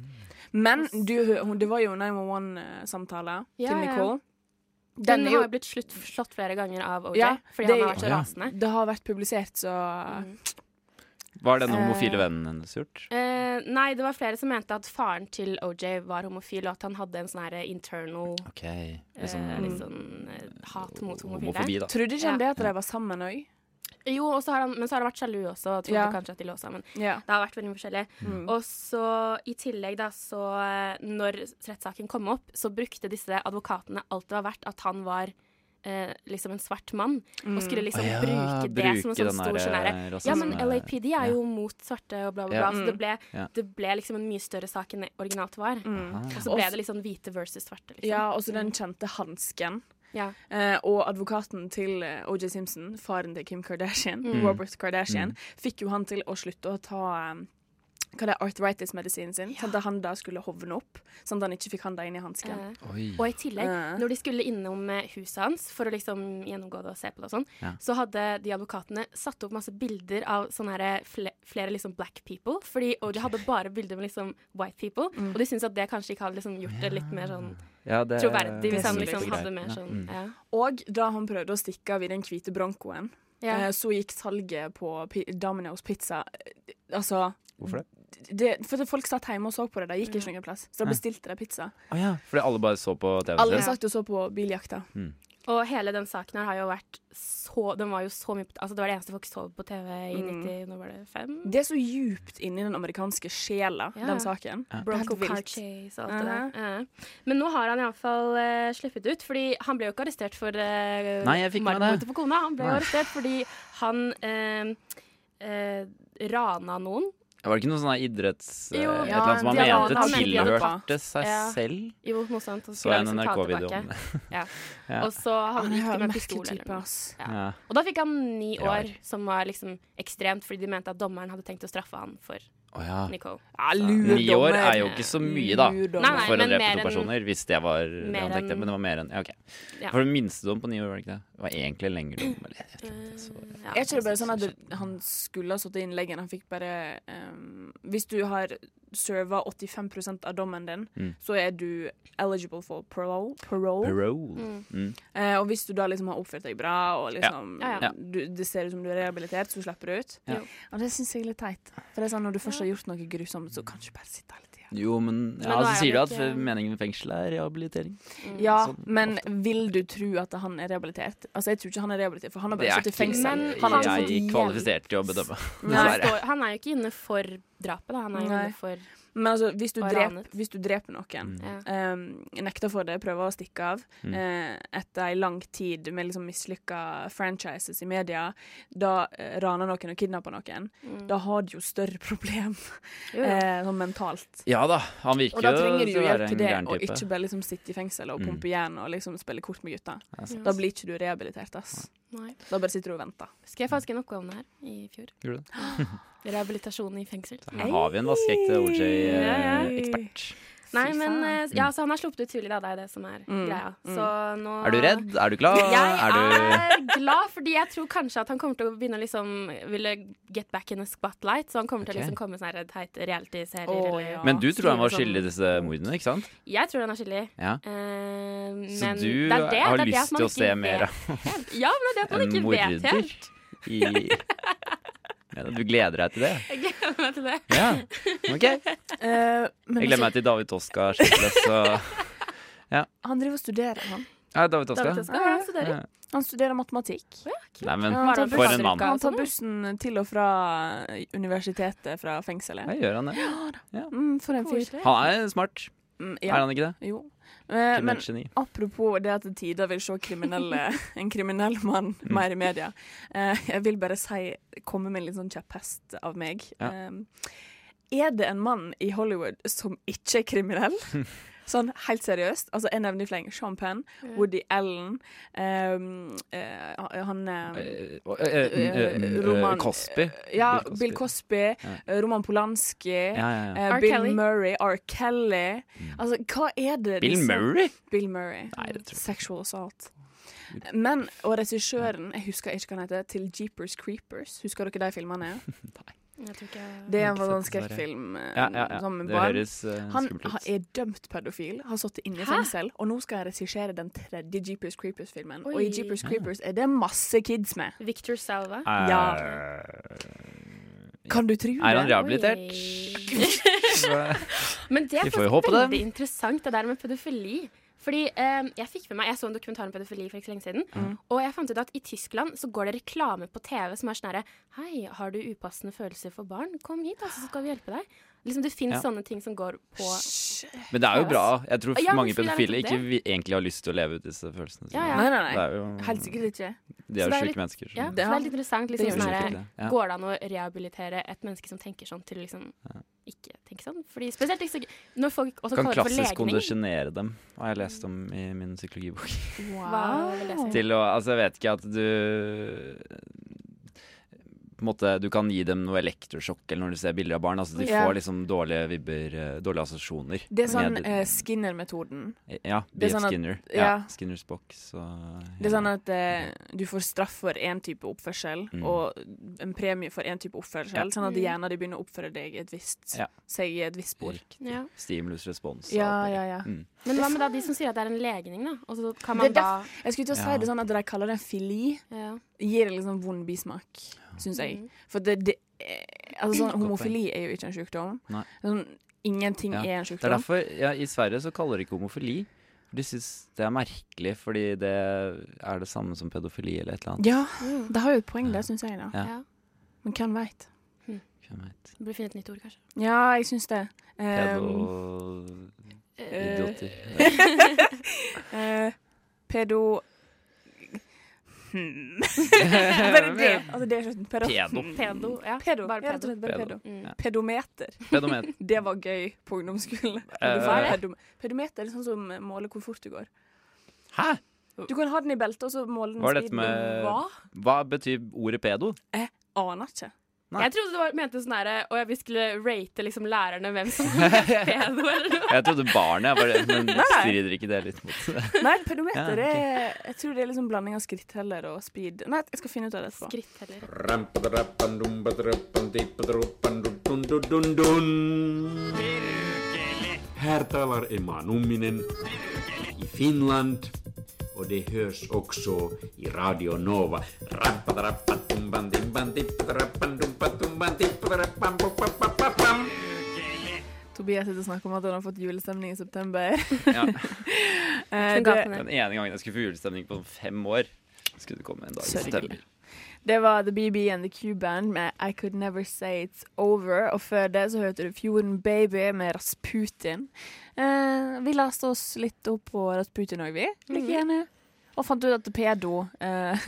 Speaker 6: Men du, hun, det var jo 911-samtale
Speaker 8: Ja,
Speaker 6: eh, til
Speaker 8: ja, ja.
Speaker 6: Nicole.
Speaker 8: Den
Speaker 6: Den er
Speaker 8: har
Speaker 6: jo,
Speaker 8: jo blitt slutt, slått flere ganger av OJ
Speaker 6: Ja,
Speaker 8: fordi
Speaker 6: det-
Speaker 8: han har vært så
Speaker 7: Å, ja.
Speaker 8: rasende.
Speaker 6: det har vært publisert, så
Speaker 8: Mm.
Speaker 7: Var den
Speaker 6: Eh.
Speaker 7: homofile vennen hennes gjort?
Speaker 8: Eh, nei, det var flere som mente at faren til OJ var homofil, og at han hadde en sånn her internal
Speaker 7: OK.
Speaker 8: eh,
Speaker 7: Liksom,
Speaker 6: mm.
Speaker 8: litt sånn eh, hat mot homofile.
Speaker 7: homofobi, da.
Speaker 6: Trodde ikke han
Speaker 8: Ja.
Speaker 6: det at de var sammen òg?
Speaker 8: Jo, og så har han, men så har han vært sjalu også og trodde
Speaker 6: Ja.
Speaker 8: kanskje at de lå sammen.
Speaker 6: Ja.
Speaker 8: Det har vært veldig forskjellig. Og så i tillegg, da, så eh, når rettssaken kom opp, så brukte disse advokatene alt det var verdt at han var eh, liksom en svart mann,
Speaker 6: Mm.
Speaker 8: og skulle
Speaker 7: Mm.
Speaker 8: liksom
Speaker 7: Å ja,
Speaker 8: bruke det som
Speaker 7: bruke
Speaker 8: en sånn
Speaker 7: den
Speaker 8: stor
Speaker 7: der,
Speaker 8: sånn herre
Speaker 7: eh,
Speaker 8: Ja, men
Speaker 7: rasisme-
Speaker 8: LAPD
Speaker 7: ja.
Speaker 8: er jo mot svarte og bla, bla,
Speaker 7: Ja.
Speaker 8: bla. Så det ble,
Speaker 7: Ja. Mm.
Speaker 8: det ble liksom en mye større sak enn det originalt var. Og så ble
Speaker 6: Og-
Speaker 8: det litt sånn hvite versus svarte, liksom.
Speaker 6: Ja, også den kjente hansken.
Speaker 8: Ja.
Speaker 6: Eh, og advokaten til eh, OJ Simpson, faren til Kim Kardashian, Robert Kardashian, fikk jo han til å slutte å ta eh, hva det er, arthritis-medisinen sin, sånn at han da skulle hovne opp. Sånn at han ikke fikk handa inn i hansken.
Speaker 8: Eh,
Speaker 7: Oi.
Speaker 8: Og i tillegg,
Speaker 6: Ja.
Speaker 8: når de skulle innom eh, huset hans for å liksom gjennomgå det og se på det og sånn,
Speaker 7: Ja.
Speaker 8: så hadde de advokatene satt opp masse bilder av sånne her fle flere liksom black people. Fordi, og de hadde bare bilder med liksom white people,
Speaker 6: Mm.
Speaker 8: og de syntes at det kanskje ikke hadde liksom gjort det litt mer sånn
Speaker 7: Ja, det-
Speaker 8: troverdig hvis han
Speaker 7: det er
Speaker 8: liksom
Speaker 7: greit. Mm.
Speaker 8: hadde mer sånn ja.
Speaker 6: Og da han prøvde å stikke av i den hvite broncoen,
Speaker 8: Ja.
Speaker 6: eh, så gikk salget på pi Domino's pizza eh, Altså
Speaker 7: Hvorfor det?
Speaker 6: det, for at Folk satt hjemme og så på det, de gikk ikke noen plass. Så da
Speaker 7: Nei.
Speaker 6: bestilte de pizza.
Speaker 7: Å ja, fordi alle bare så på TV-en
Speaker 6: Alle
Speaker 7: sin?
Speaker 6: satt og så på biljakta.
Speaker 8: Og hele den saken her har jo vært så Den var jo så mye Altså, det var det eneste folk så på TV i
Speaker 6: Mm.
Speaker 8: 90, nå var det fem?
Speaker 6: Det er så djupt inni den amerikanske sjela,
Speaker 8: Ja.
Speaker 6: den saken. Det er helt
Speaker 8: Bronco
Speaker 6: vilt.
Speaker 8: car chase og alt
Speaker 6: Uh-huh.
Speaker 8: det der. Ja. Men nå har han iallfall uh, sluppet ut, fordi han ble jo ikke arrestert for uh,
Speaker 7: Nei, jeg fikk med det.
Speaker 8: på kona. Han ble jo
Speaker 7: Nei.
Speaker 8: arrestert fordi han eh, eh, rana noen.
Speaker 7: Var det ikke noe sånn her idretts... eh,
Speaker 8: Jo,
Speaker 7: et
Speaker 6: ja,
Speaker 7: eller annet som han
Speaker 6: det var-
Speaker 7: mente
Speaker 6: han mente det var
Speaker 7: tilhørte seg
Speaker 8: Ja.
Speaker 7: selv?
Speaker 8: Jo, noe sånt. og
Speaker 7: Så
Speaker 8: skulle
Speaker 7: jeg en
Speaker 8: liksom ta det
Speaker 7: NRK-video om
Speaker 8: tilbake.
Speaker 7: det.
Speaker 8: Ja.
Speaker 7: Ja.
Speaker 8: Og så han
Speaker 6: Han
Speaker 8: gikk
Speaker 6: er
Speaker 8: det
Speaker 6: en
Speaker 8: med
Speaker 6: merkelig
Speaker 8: pistol.
Speaker 6: type,
Speaker 8: Eller noe.
Speaker 6: ass.
Speaker 7: Ja.
Speaker 8: Og da fikk han ni
Speaker 7: Rar.
Speaker 8: år, som var liksom ekstremt, fordi de mente at dommeren hadde tenkt å straffe han for
Speaker 7: Å ja.
Speaker 8: Nicole.
Speaker 6: Ja,
Speaker 7: Ni år er jo ikke så mye, da.
Speaker 6: Lurdommer.
Speaker 8: Nei, nei,
Speaker 7: for å
Speaker 8: men
Speaker 7: drepe
Speaker 8: mer
Speaker 7: to
Speaker 8: enn-
Speaker 7: personer, hvis det var det
Speaker 8: mer
Speaker 7: han tenkte.
Speaker 8: enn-
Speaker 7: Men det var mer enn Ja, OK.
Speaker 8: Ja.
Speaker 7: For minstedom på ni år, var det ikke det? Det var egentlig lengre dom. Eller, jeg vet ikke om
Speaker 8: Eh,
Speaker 7: det er så-
Speaker 8: Ja.
Speaker 6: Er ikke det bare sånn at det- han skulle ha satt inn leggen, han fikk bare ehm, Hvis du har serva 85 av dommen din,
Speaker 7: Mm.
Speaker 6: så er du eligible for parole. parole.
Speaker 7: Parole. Mm.
Speaker 6: Eh, og hvis du da liksom har oppført deg bra, og liksom
Speaker 8: Ja, ja.
Speaker 6: Du, det ser ut som du er rehabilitert, så slipper du ut.
Speaker 7: Ja.
Speaker 6: Og det syns jeg er litt teit. For det er sånn, når du først har gjort noe grusomt, så kan du ikke bare sitte hele tida.
Speaker 7: Jo, men ja,
Speaker 8: Men da
Speaker 7: Så
Speaker 8: er
Speaker 7: sier du
Speaker 8: det
Speaker 7: at
Speaker 8: ikke-
Speaker 7: meningen med fengsel er rehabilitering.
Speaker 6: Mm.
Speaker 8: mm.
Speaker 6: Ja,
Speaker 7: Sånn
Speaker 6: men vil du tro at han er rehabilitert? Altså, jeg tror ikke han er rehabilitert, for han har
Speaker 7: Det
Speaker 6: bare
Speaker 7: er
Speaker 6: sittet i fengsel.
Speaker 8: Men
Speaker 6: Han har ikke fått
Speaker 7: jeg
Speaker 6: hjelp.
Speaker 7: kvalifisert til å bedømme.
Speaker 8: Men
Speaker 6: Nei.
Speaker 8: han, står, han er jo ikke inne for drapet, da. Han er jo
Speaker 6: Nei.
Speaker 8: inne for
Speaker 6: Men altså, hvis du,
Speaker 8: Og
Speaker 6: drep,
Speaker 8: ranet.
Speaker 6: hvis du dreper noen,
Speaker 7: Mm.
Speaker 8: ja.
Speaker 6: eh, nekter for det, prøver å stikke av, eh, etter ei lang tid med liksom mislykka franchises i media, da eh, raner noen og kidnapper noen, da har du jo større problem
Speaker 8: Mm. Jo, jo.
Speaker 6: eh, sånn mentalt.
Speaker 7: Ja da, han virker
Speaker 6: Og da trenger du
Speaker 7: til
Speaker 6: jo
Speaker 7: å
Speaker 6: hjelp
Speaker 7: være en
Speaker 6: til det,
Speaker 7: gæren
Speaker 6: og
Speaker 7: type. Mm.
Speaker 6: ikke bare liksom sitte i fengsel og pumpe jern og liksom spille kort med gutta.
Speaker 7: sant.
Speaker 6: Da blir ikke du rehabilitert, ass.
Speaker 8: Nei.
Speaker 6: Da bare sitter du og venter.
Speaker 8: Skrev faktisk en oppgave om det her i fjor.
Speaker 7: Gjorde du det?
Speaker 8: Rehabilitasjon i fengsel.
Speaker 7: Her har vi en vaskeekte eh,
Speaker 6: Hei.
Speaker 7: OJ-ekspert.
Speaker 8: Nei, men
Speaker 6: faen.
Speaker 7: Mm.
Speaker 8: eh, Ja, så han har sluppet ut tidlig, da. Det er det som er greia. Så nå
Speaker 7: Er du redd? Er du glad?
Speaker 8: Jeg
Speaker 7: er du
Speaker 8: er glad, fordi jeg tror kanskje at han kommer til å begynne å liksom ville get back in the spotlight. Så han kommer til
Speaker 7: Ok.
Speaker 8: å liksom komme sånn her teit reality-serier.
Speaker 6: Å,
Speaker 8: eller-
Speaker 6: ja.
Speaker 7: Men du tror han var
Speaker 8: skrive
Speaker 7: skyldig i disse mordene, ikke sant?
Speaker 8: Jeg tror han er skyldig.
Speaker 7: Ja.
Speaker 8: Eh,
Speaker 7: Så
Speaker 8: men
Speaker 7: du
Speaker 8: det er det,
Speaker 7: har
Speaker 8: det er det at
Speaker 7: lyst
Speaker 8: man
Speaker 7: til å
Speaker 8: ikke
Speaker 7: se mer
Speaker 8: vet
Speaker 7: av
Speaker 8: helt. Ja, men det er det at man
Speaker 7: en
Speaker 8: ikke vet
Speaker 7: morder
Speaker 8: helt.
Speaker 7: i ja, Du gleder deg til det?
Speaker 8: Jeg gleder meg til det.
Speaker 7: Ja, OK. Jeg
Speaker 6: Eh, men
Speaker 7: gleder meg til David Toska skyldes og
Speaker 6: han driver og studerer, han.
Speaker 7: Ja, David
Speaker 8: Da
Speaker 7: Toska.
Speaker 8: vet jeg hva han studerer.
Speaker 7: Ja.
Speaker 6: Han studerer matematikk.
Speaker 7: Nei, men
Speaker 6: Ja,
Speaker 8: Var
Speaker 7: for
Speaker 8: det
Speaker 7: en
Speaker 8: bussdrukket
Speaker 7: mann.
Speaker 8: og
Speaker 6: Han tar
Speaker 8: sånn, da?
Speaker 6: bussen til og fra eh, universitetet fra fengselet.
Speaker 7: Ja, gjør han det?
Speaker 6: Mm, for en fyr.
Speaker 8: Koselig.
Speaker 7: Han er smart,
Speaker 6: Mm,
Speaker 7: er
Speaker 6: ja.
Speaker 7: han ikke det?
Speaker 6: Jo. Eh, Men
Speaker 7: Kriminelt geni.
Speaker 6: apropos det at til tider vil se kriminelle, en kriminell mann
Speaker 7: Mm.
Speaker 6: mer i media. eh, Jeg vil bare si, komme med en litt sånn kjepphest av meg.
Speaker 7: Ja.
Speaker 6: Eh, Er det en mann i Hollywood som ikke er kriminell? Sånn helt seriøst. Altså, jeg nevner i fleng Sean Penn, Woody Allen eh, eh, Han eh,
Speaker 7: Eh, eh, eh, eh,
Speaker 6: Roman-
Speaker 7: Cosby.
Speaker 6: Ja, Bill Cosby, eh, Roman Polanski,
Speaker 7: Ja, ja, ja.
Speaker 6: eh,
Speaker 8: R.
Speaker 6: Bill
Speaker 8: Kelly.
Speaker 6: Murray, R. Kelly. Altså, hva er det
Speaker 7: Bill
Speaker 6: disse-
Speaker 7: Murray?
Speaker 6: Bill Murray.
Speaker 7: Nei, det tror jeg
Speaker 6: Sexual assault. Men, og regissøren, jeg husker ikke hva han heter, til Jeepers Creepers. Husker dere de filmene?
Speaker 8: Jeg tror ikke jeg-
Speaker 6: Det var en
Speaker 7: sett, dessverre.
Speaker 6: skrekkfilm eh,
Speaker 7: Ja, ja, ja.
Speaker 6: sammen med
Speaker 7: Det
Speaker 6: barn.
Speaker 7: høres eh,
Speaker 6: Han
Speaker 7: skummelt
Speaker 6: ha-
Speaker 7: ut.
Speaker 6: er dømt pedofil, har sittet inne i
Speaker 8: Hæ?
Speaker 6: fengsel, og nå skal han regissere den tredje Jeepers Creepers-filmen. Og i
Speaker 8: Oi.
Speaker 6: Jeepers Creepers er det masse kids med.
Speaker 8: Victor Salva.
Speaker 6: Ja. Kan du tro
Speaker 7: Eh, Er han
Speaker 6: det?
Speaker 7: rehabilitert?
Speaker 8: Oi. Men det er
Speaker 7: Vi får jo
Speaker 8: faktisk
Speaker 7: håpe det.
Speaker 8: veldig interessant, det der med pedofili. Fordi eh, jeg fikk med meg, jeg så en dokumentar om pedofili for ikke så lenge siden,
Speaker 7: Mm.
Speaker 8: og jeg fant ut at i Tyskland så går det reklame på TV som er sånn herre Hei, har du upassende følelser for barn? Kom hit, altså, så skal vi hjelpe deg. Liksom Det fins
Speaker 7: Ja.
Speaker 8: sånne ting som går på
Speaker 7: Men det er jo bra. Jeg tror
Speaker 8: Ja,
Speaker 7: mange
Speaker 8: hvorfor er det
Speaker 7: pedofile ikke
Speaker 8: nettopp
Speaker 7: vi- egentlig har lyst til å leve ut disse følelsene.
Speaker 8: Ja, ja.
Speaker 6: Nei, nei,
Speaker 7: Det
Speaker 6: nei.
Speaker 7: er jo,
Speaker 6: Helt sikkert ikke.
Speaker 7: de er
Speaker 8: Så det
Speaker 7: jo
Speaker 8: er litt-
Speaker 7: sjuke mennesker.
Speaker 8: Ja,
Speaker 7: som-
Speaker 8: så det er litt interessant. Liksom,
Speaker 6: Det gjør
Speaker 8: sånn
Speaker 7: Unnskyld
Speaker 8: herre,
Speaker 7: for det. Ja.
Speaker 8: Går det an å rehabilitere et menneske som tenker sånn, til å liksom ikke tenke sånn? Fordi spesielt ikke, når folk også
Speaker 7: Kan
Speaker 8: kaller det
Speaker 7: klassisk
Speaker 8: for legning.
Speaker 7: kondisjonere dem, har jeg lest om i min psykologibok.
Speaker 8: Hva vil jeg si?
Speaker 7: Til å, altså jeg vet ikke at du på en måte, Du kan gi dem noe elektrosjokk eller når du ser bilder av barn. Altså De
Speaker 6: Ja.
Speaker 7: får liksom dårlige vibber, eh, dårlige assosiasjoner.
Speaker 6: Det er sånn
Speaker 7: Med-
Speaker 6: eh, Skinner-metoden.
Speaker 7: Ja,
Speaker 6: det er
Speaker 7: B.F.
Speaker 6: sånn at-
Speaker 7: Skinner. Ja.
Speaker 6: ja.
Speaker 7: Skinners box og
Speaker 6: Det er sånn at eh, du får straff for én type oppførsel
Speaker 7: Mm.
Speaker 6: og en premie for én type oppførsel,
Speaker 7: Ja.
Speaker 6: sånn at
Speaker 8: Mm.
Speaker 6: hjernen din begynner å oppføre deg i et visst,
Speaker 7: Ja.
Speaker 6: seg i et visst spor.
Speaker 7: Riktig.
Speaker 8: Ja.
Speaker 7: Stimulus respons. og
Speaker 6: Ja,
Speaker 7: alt det
Speaker 6: ja,
Speaker 7: der.
Speaker 6: ja.
Speaker 7: Mm.
Speaker 8: Men hva med da de som sier at det er en legning, da? Og så kan
Speaker 6: Det
Speaker 8: man
Speaker 6: er
Speaker 8: da
Speaker 6: Jeg skulle til å si
Speaker 7: Ja.
Speaker 6: det sånn at de kaller det en fili.
Speaker 8: ja.
Speaker 6: Gir det liksom vond bismak, syns jeg.
Speaker 8: Mm.
Speaker 6: For det, det eh, altså sånn,
Speaker 7: poeng.
Speaker 6: homofili er jo ikke en sykdom.
Speaker 7: Nei.
Speaker 6: Sånn, ingenting
Speaker 7: Ja.
Speaker 6: er en
Speaker 7: Det er
Speaker 6: sykdom.
Speaker 7: derfor ja, I Sverige så kaller de ikke homofili. De syns det er merkelig, fordi det er det samme som pedofili eller et eller annet.
Speaker 6: Ja, det har jo et poeng der, syns jeg. da
Speaker 7: Ja.
Speaker 8: Ja.
Speaker 6: Men hvem veit?
Speaker 7: Hvem vet.
Speaker 8: Det blir funnet et nytt ord, kanskje.
Speaker 6: Ja, jeg syns det. Um,
Speaker 7: Pedo...
Speaker 6: eh,
Speaker 7: Idioter.
Speaker 6: Eh, pedo Hmm. Bare det. Altså, det er ikke pedo. Hmm.
Speaker 7: Pedo.
Speaker 8: Pedo. Ja.
Speaker 6: Pedo.
Speaker 8: Bare
Speaker 6: Ja, rett og
Speaker 8: pedo.
Speaker 6: slett bare pedo.
Speaker 7: Pedo.
Speaker 8: Mm.
Speaker 7: Ja.
Speaker 6: Pedometer.
Speaker 7: Pedomet.
Speaker 6: Det var gøy på ungdomsskolen.
Speaker 7: Eh,
Speaker 6: Du får
Speaker 7: hva er
Speaker 6: pedom- Pedometer er sånn som måler hvor fort du går.
Speaker 7: Hæ?
Speaker 6: Du kan ha den i beltet, og så måle den
Speaker 7: Hva er dette
Speaker 6: speeden.
Speaker 7: med-
Speaker 6: Hva?
Speaker 7: Hva betyr ordet pedo?
Speaker 6: Aner ikke.
Speaker 7: Nei.
Speaker 8: Jeg trodde du var, mente sånn herre Og vi skulle rate liksom lærerne hvem som var pedo, eller noe.
Speaker 7: Jeg trodde barnet, jeg bare, men strider ikke det litt mot det?
Speaker 6: Nei, pedometer
Speaker 7: Ja,
Speaker 6: er Jeg tror det er liksom blanding av skritteller og speed. Nei, jeg skal finne ut av det etterpå.
Speaker 8: Skritt heller.
Speaker 9: Här talar Emma Numminen i Finland och det hörs också i Radio Nova. Rappadrappatumbandimbandippadrappandumpatumbandippadadrappamboppapappam.
Speaker 6: Tobias sitter og snakker om at han har fått julestemning i september.
Speaker 7: Ja.
Speaker 6: Eh,
Speaker 8: Hun ga
Speaker 6: det,
Speaker 8: på den.
Speaker 7: Den ene gangen jeg skulle få julestemning på sånn fem år, skulle det komme en dag i
Speaker 6: Sørgelig.
Speaker 7: september.
Speaker 6: Det var The BB and The Q-Band med I Could Never Say It's Over. Og før det så hørte du Fjorden Baby med Rasputin. Eh, vi leste oss litt opp på Rasputin òg, vi. Like
Speaker 7: Mhm.
Speaker 6: gjerne. Og fant ut at pedo eh,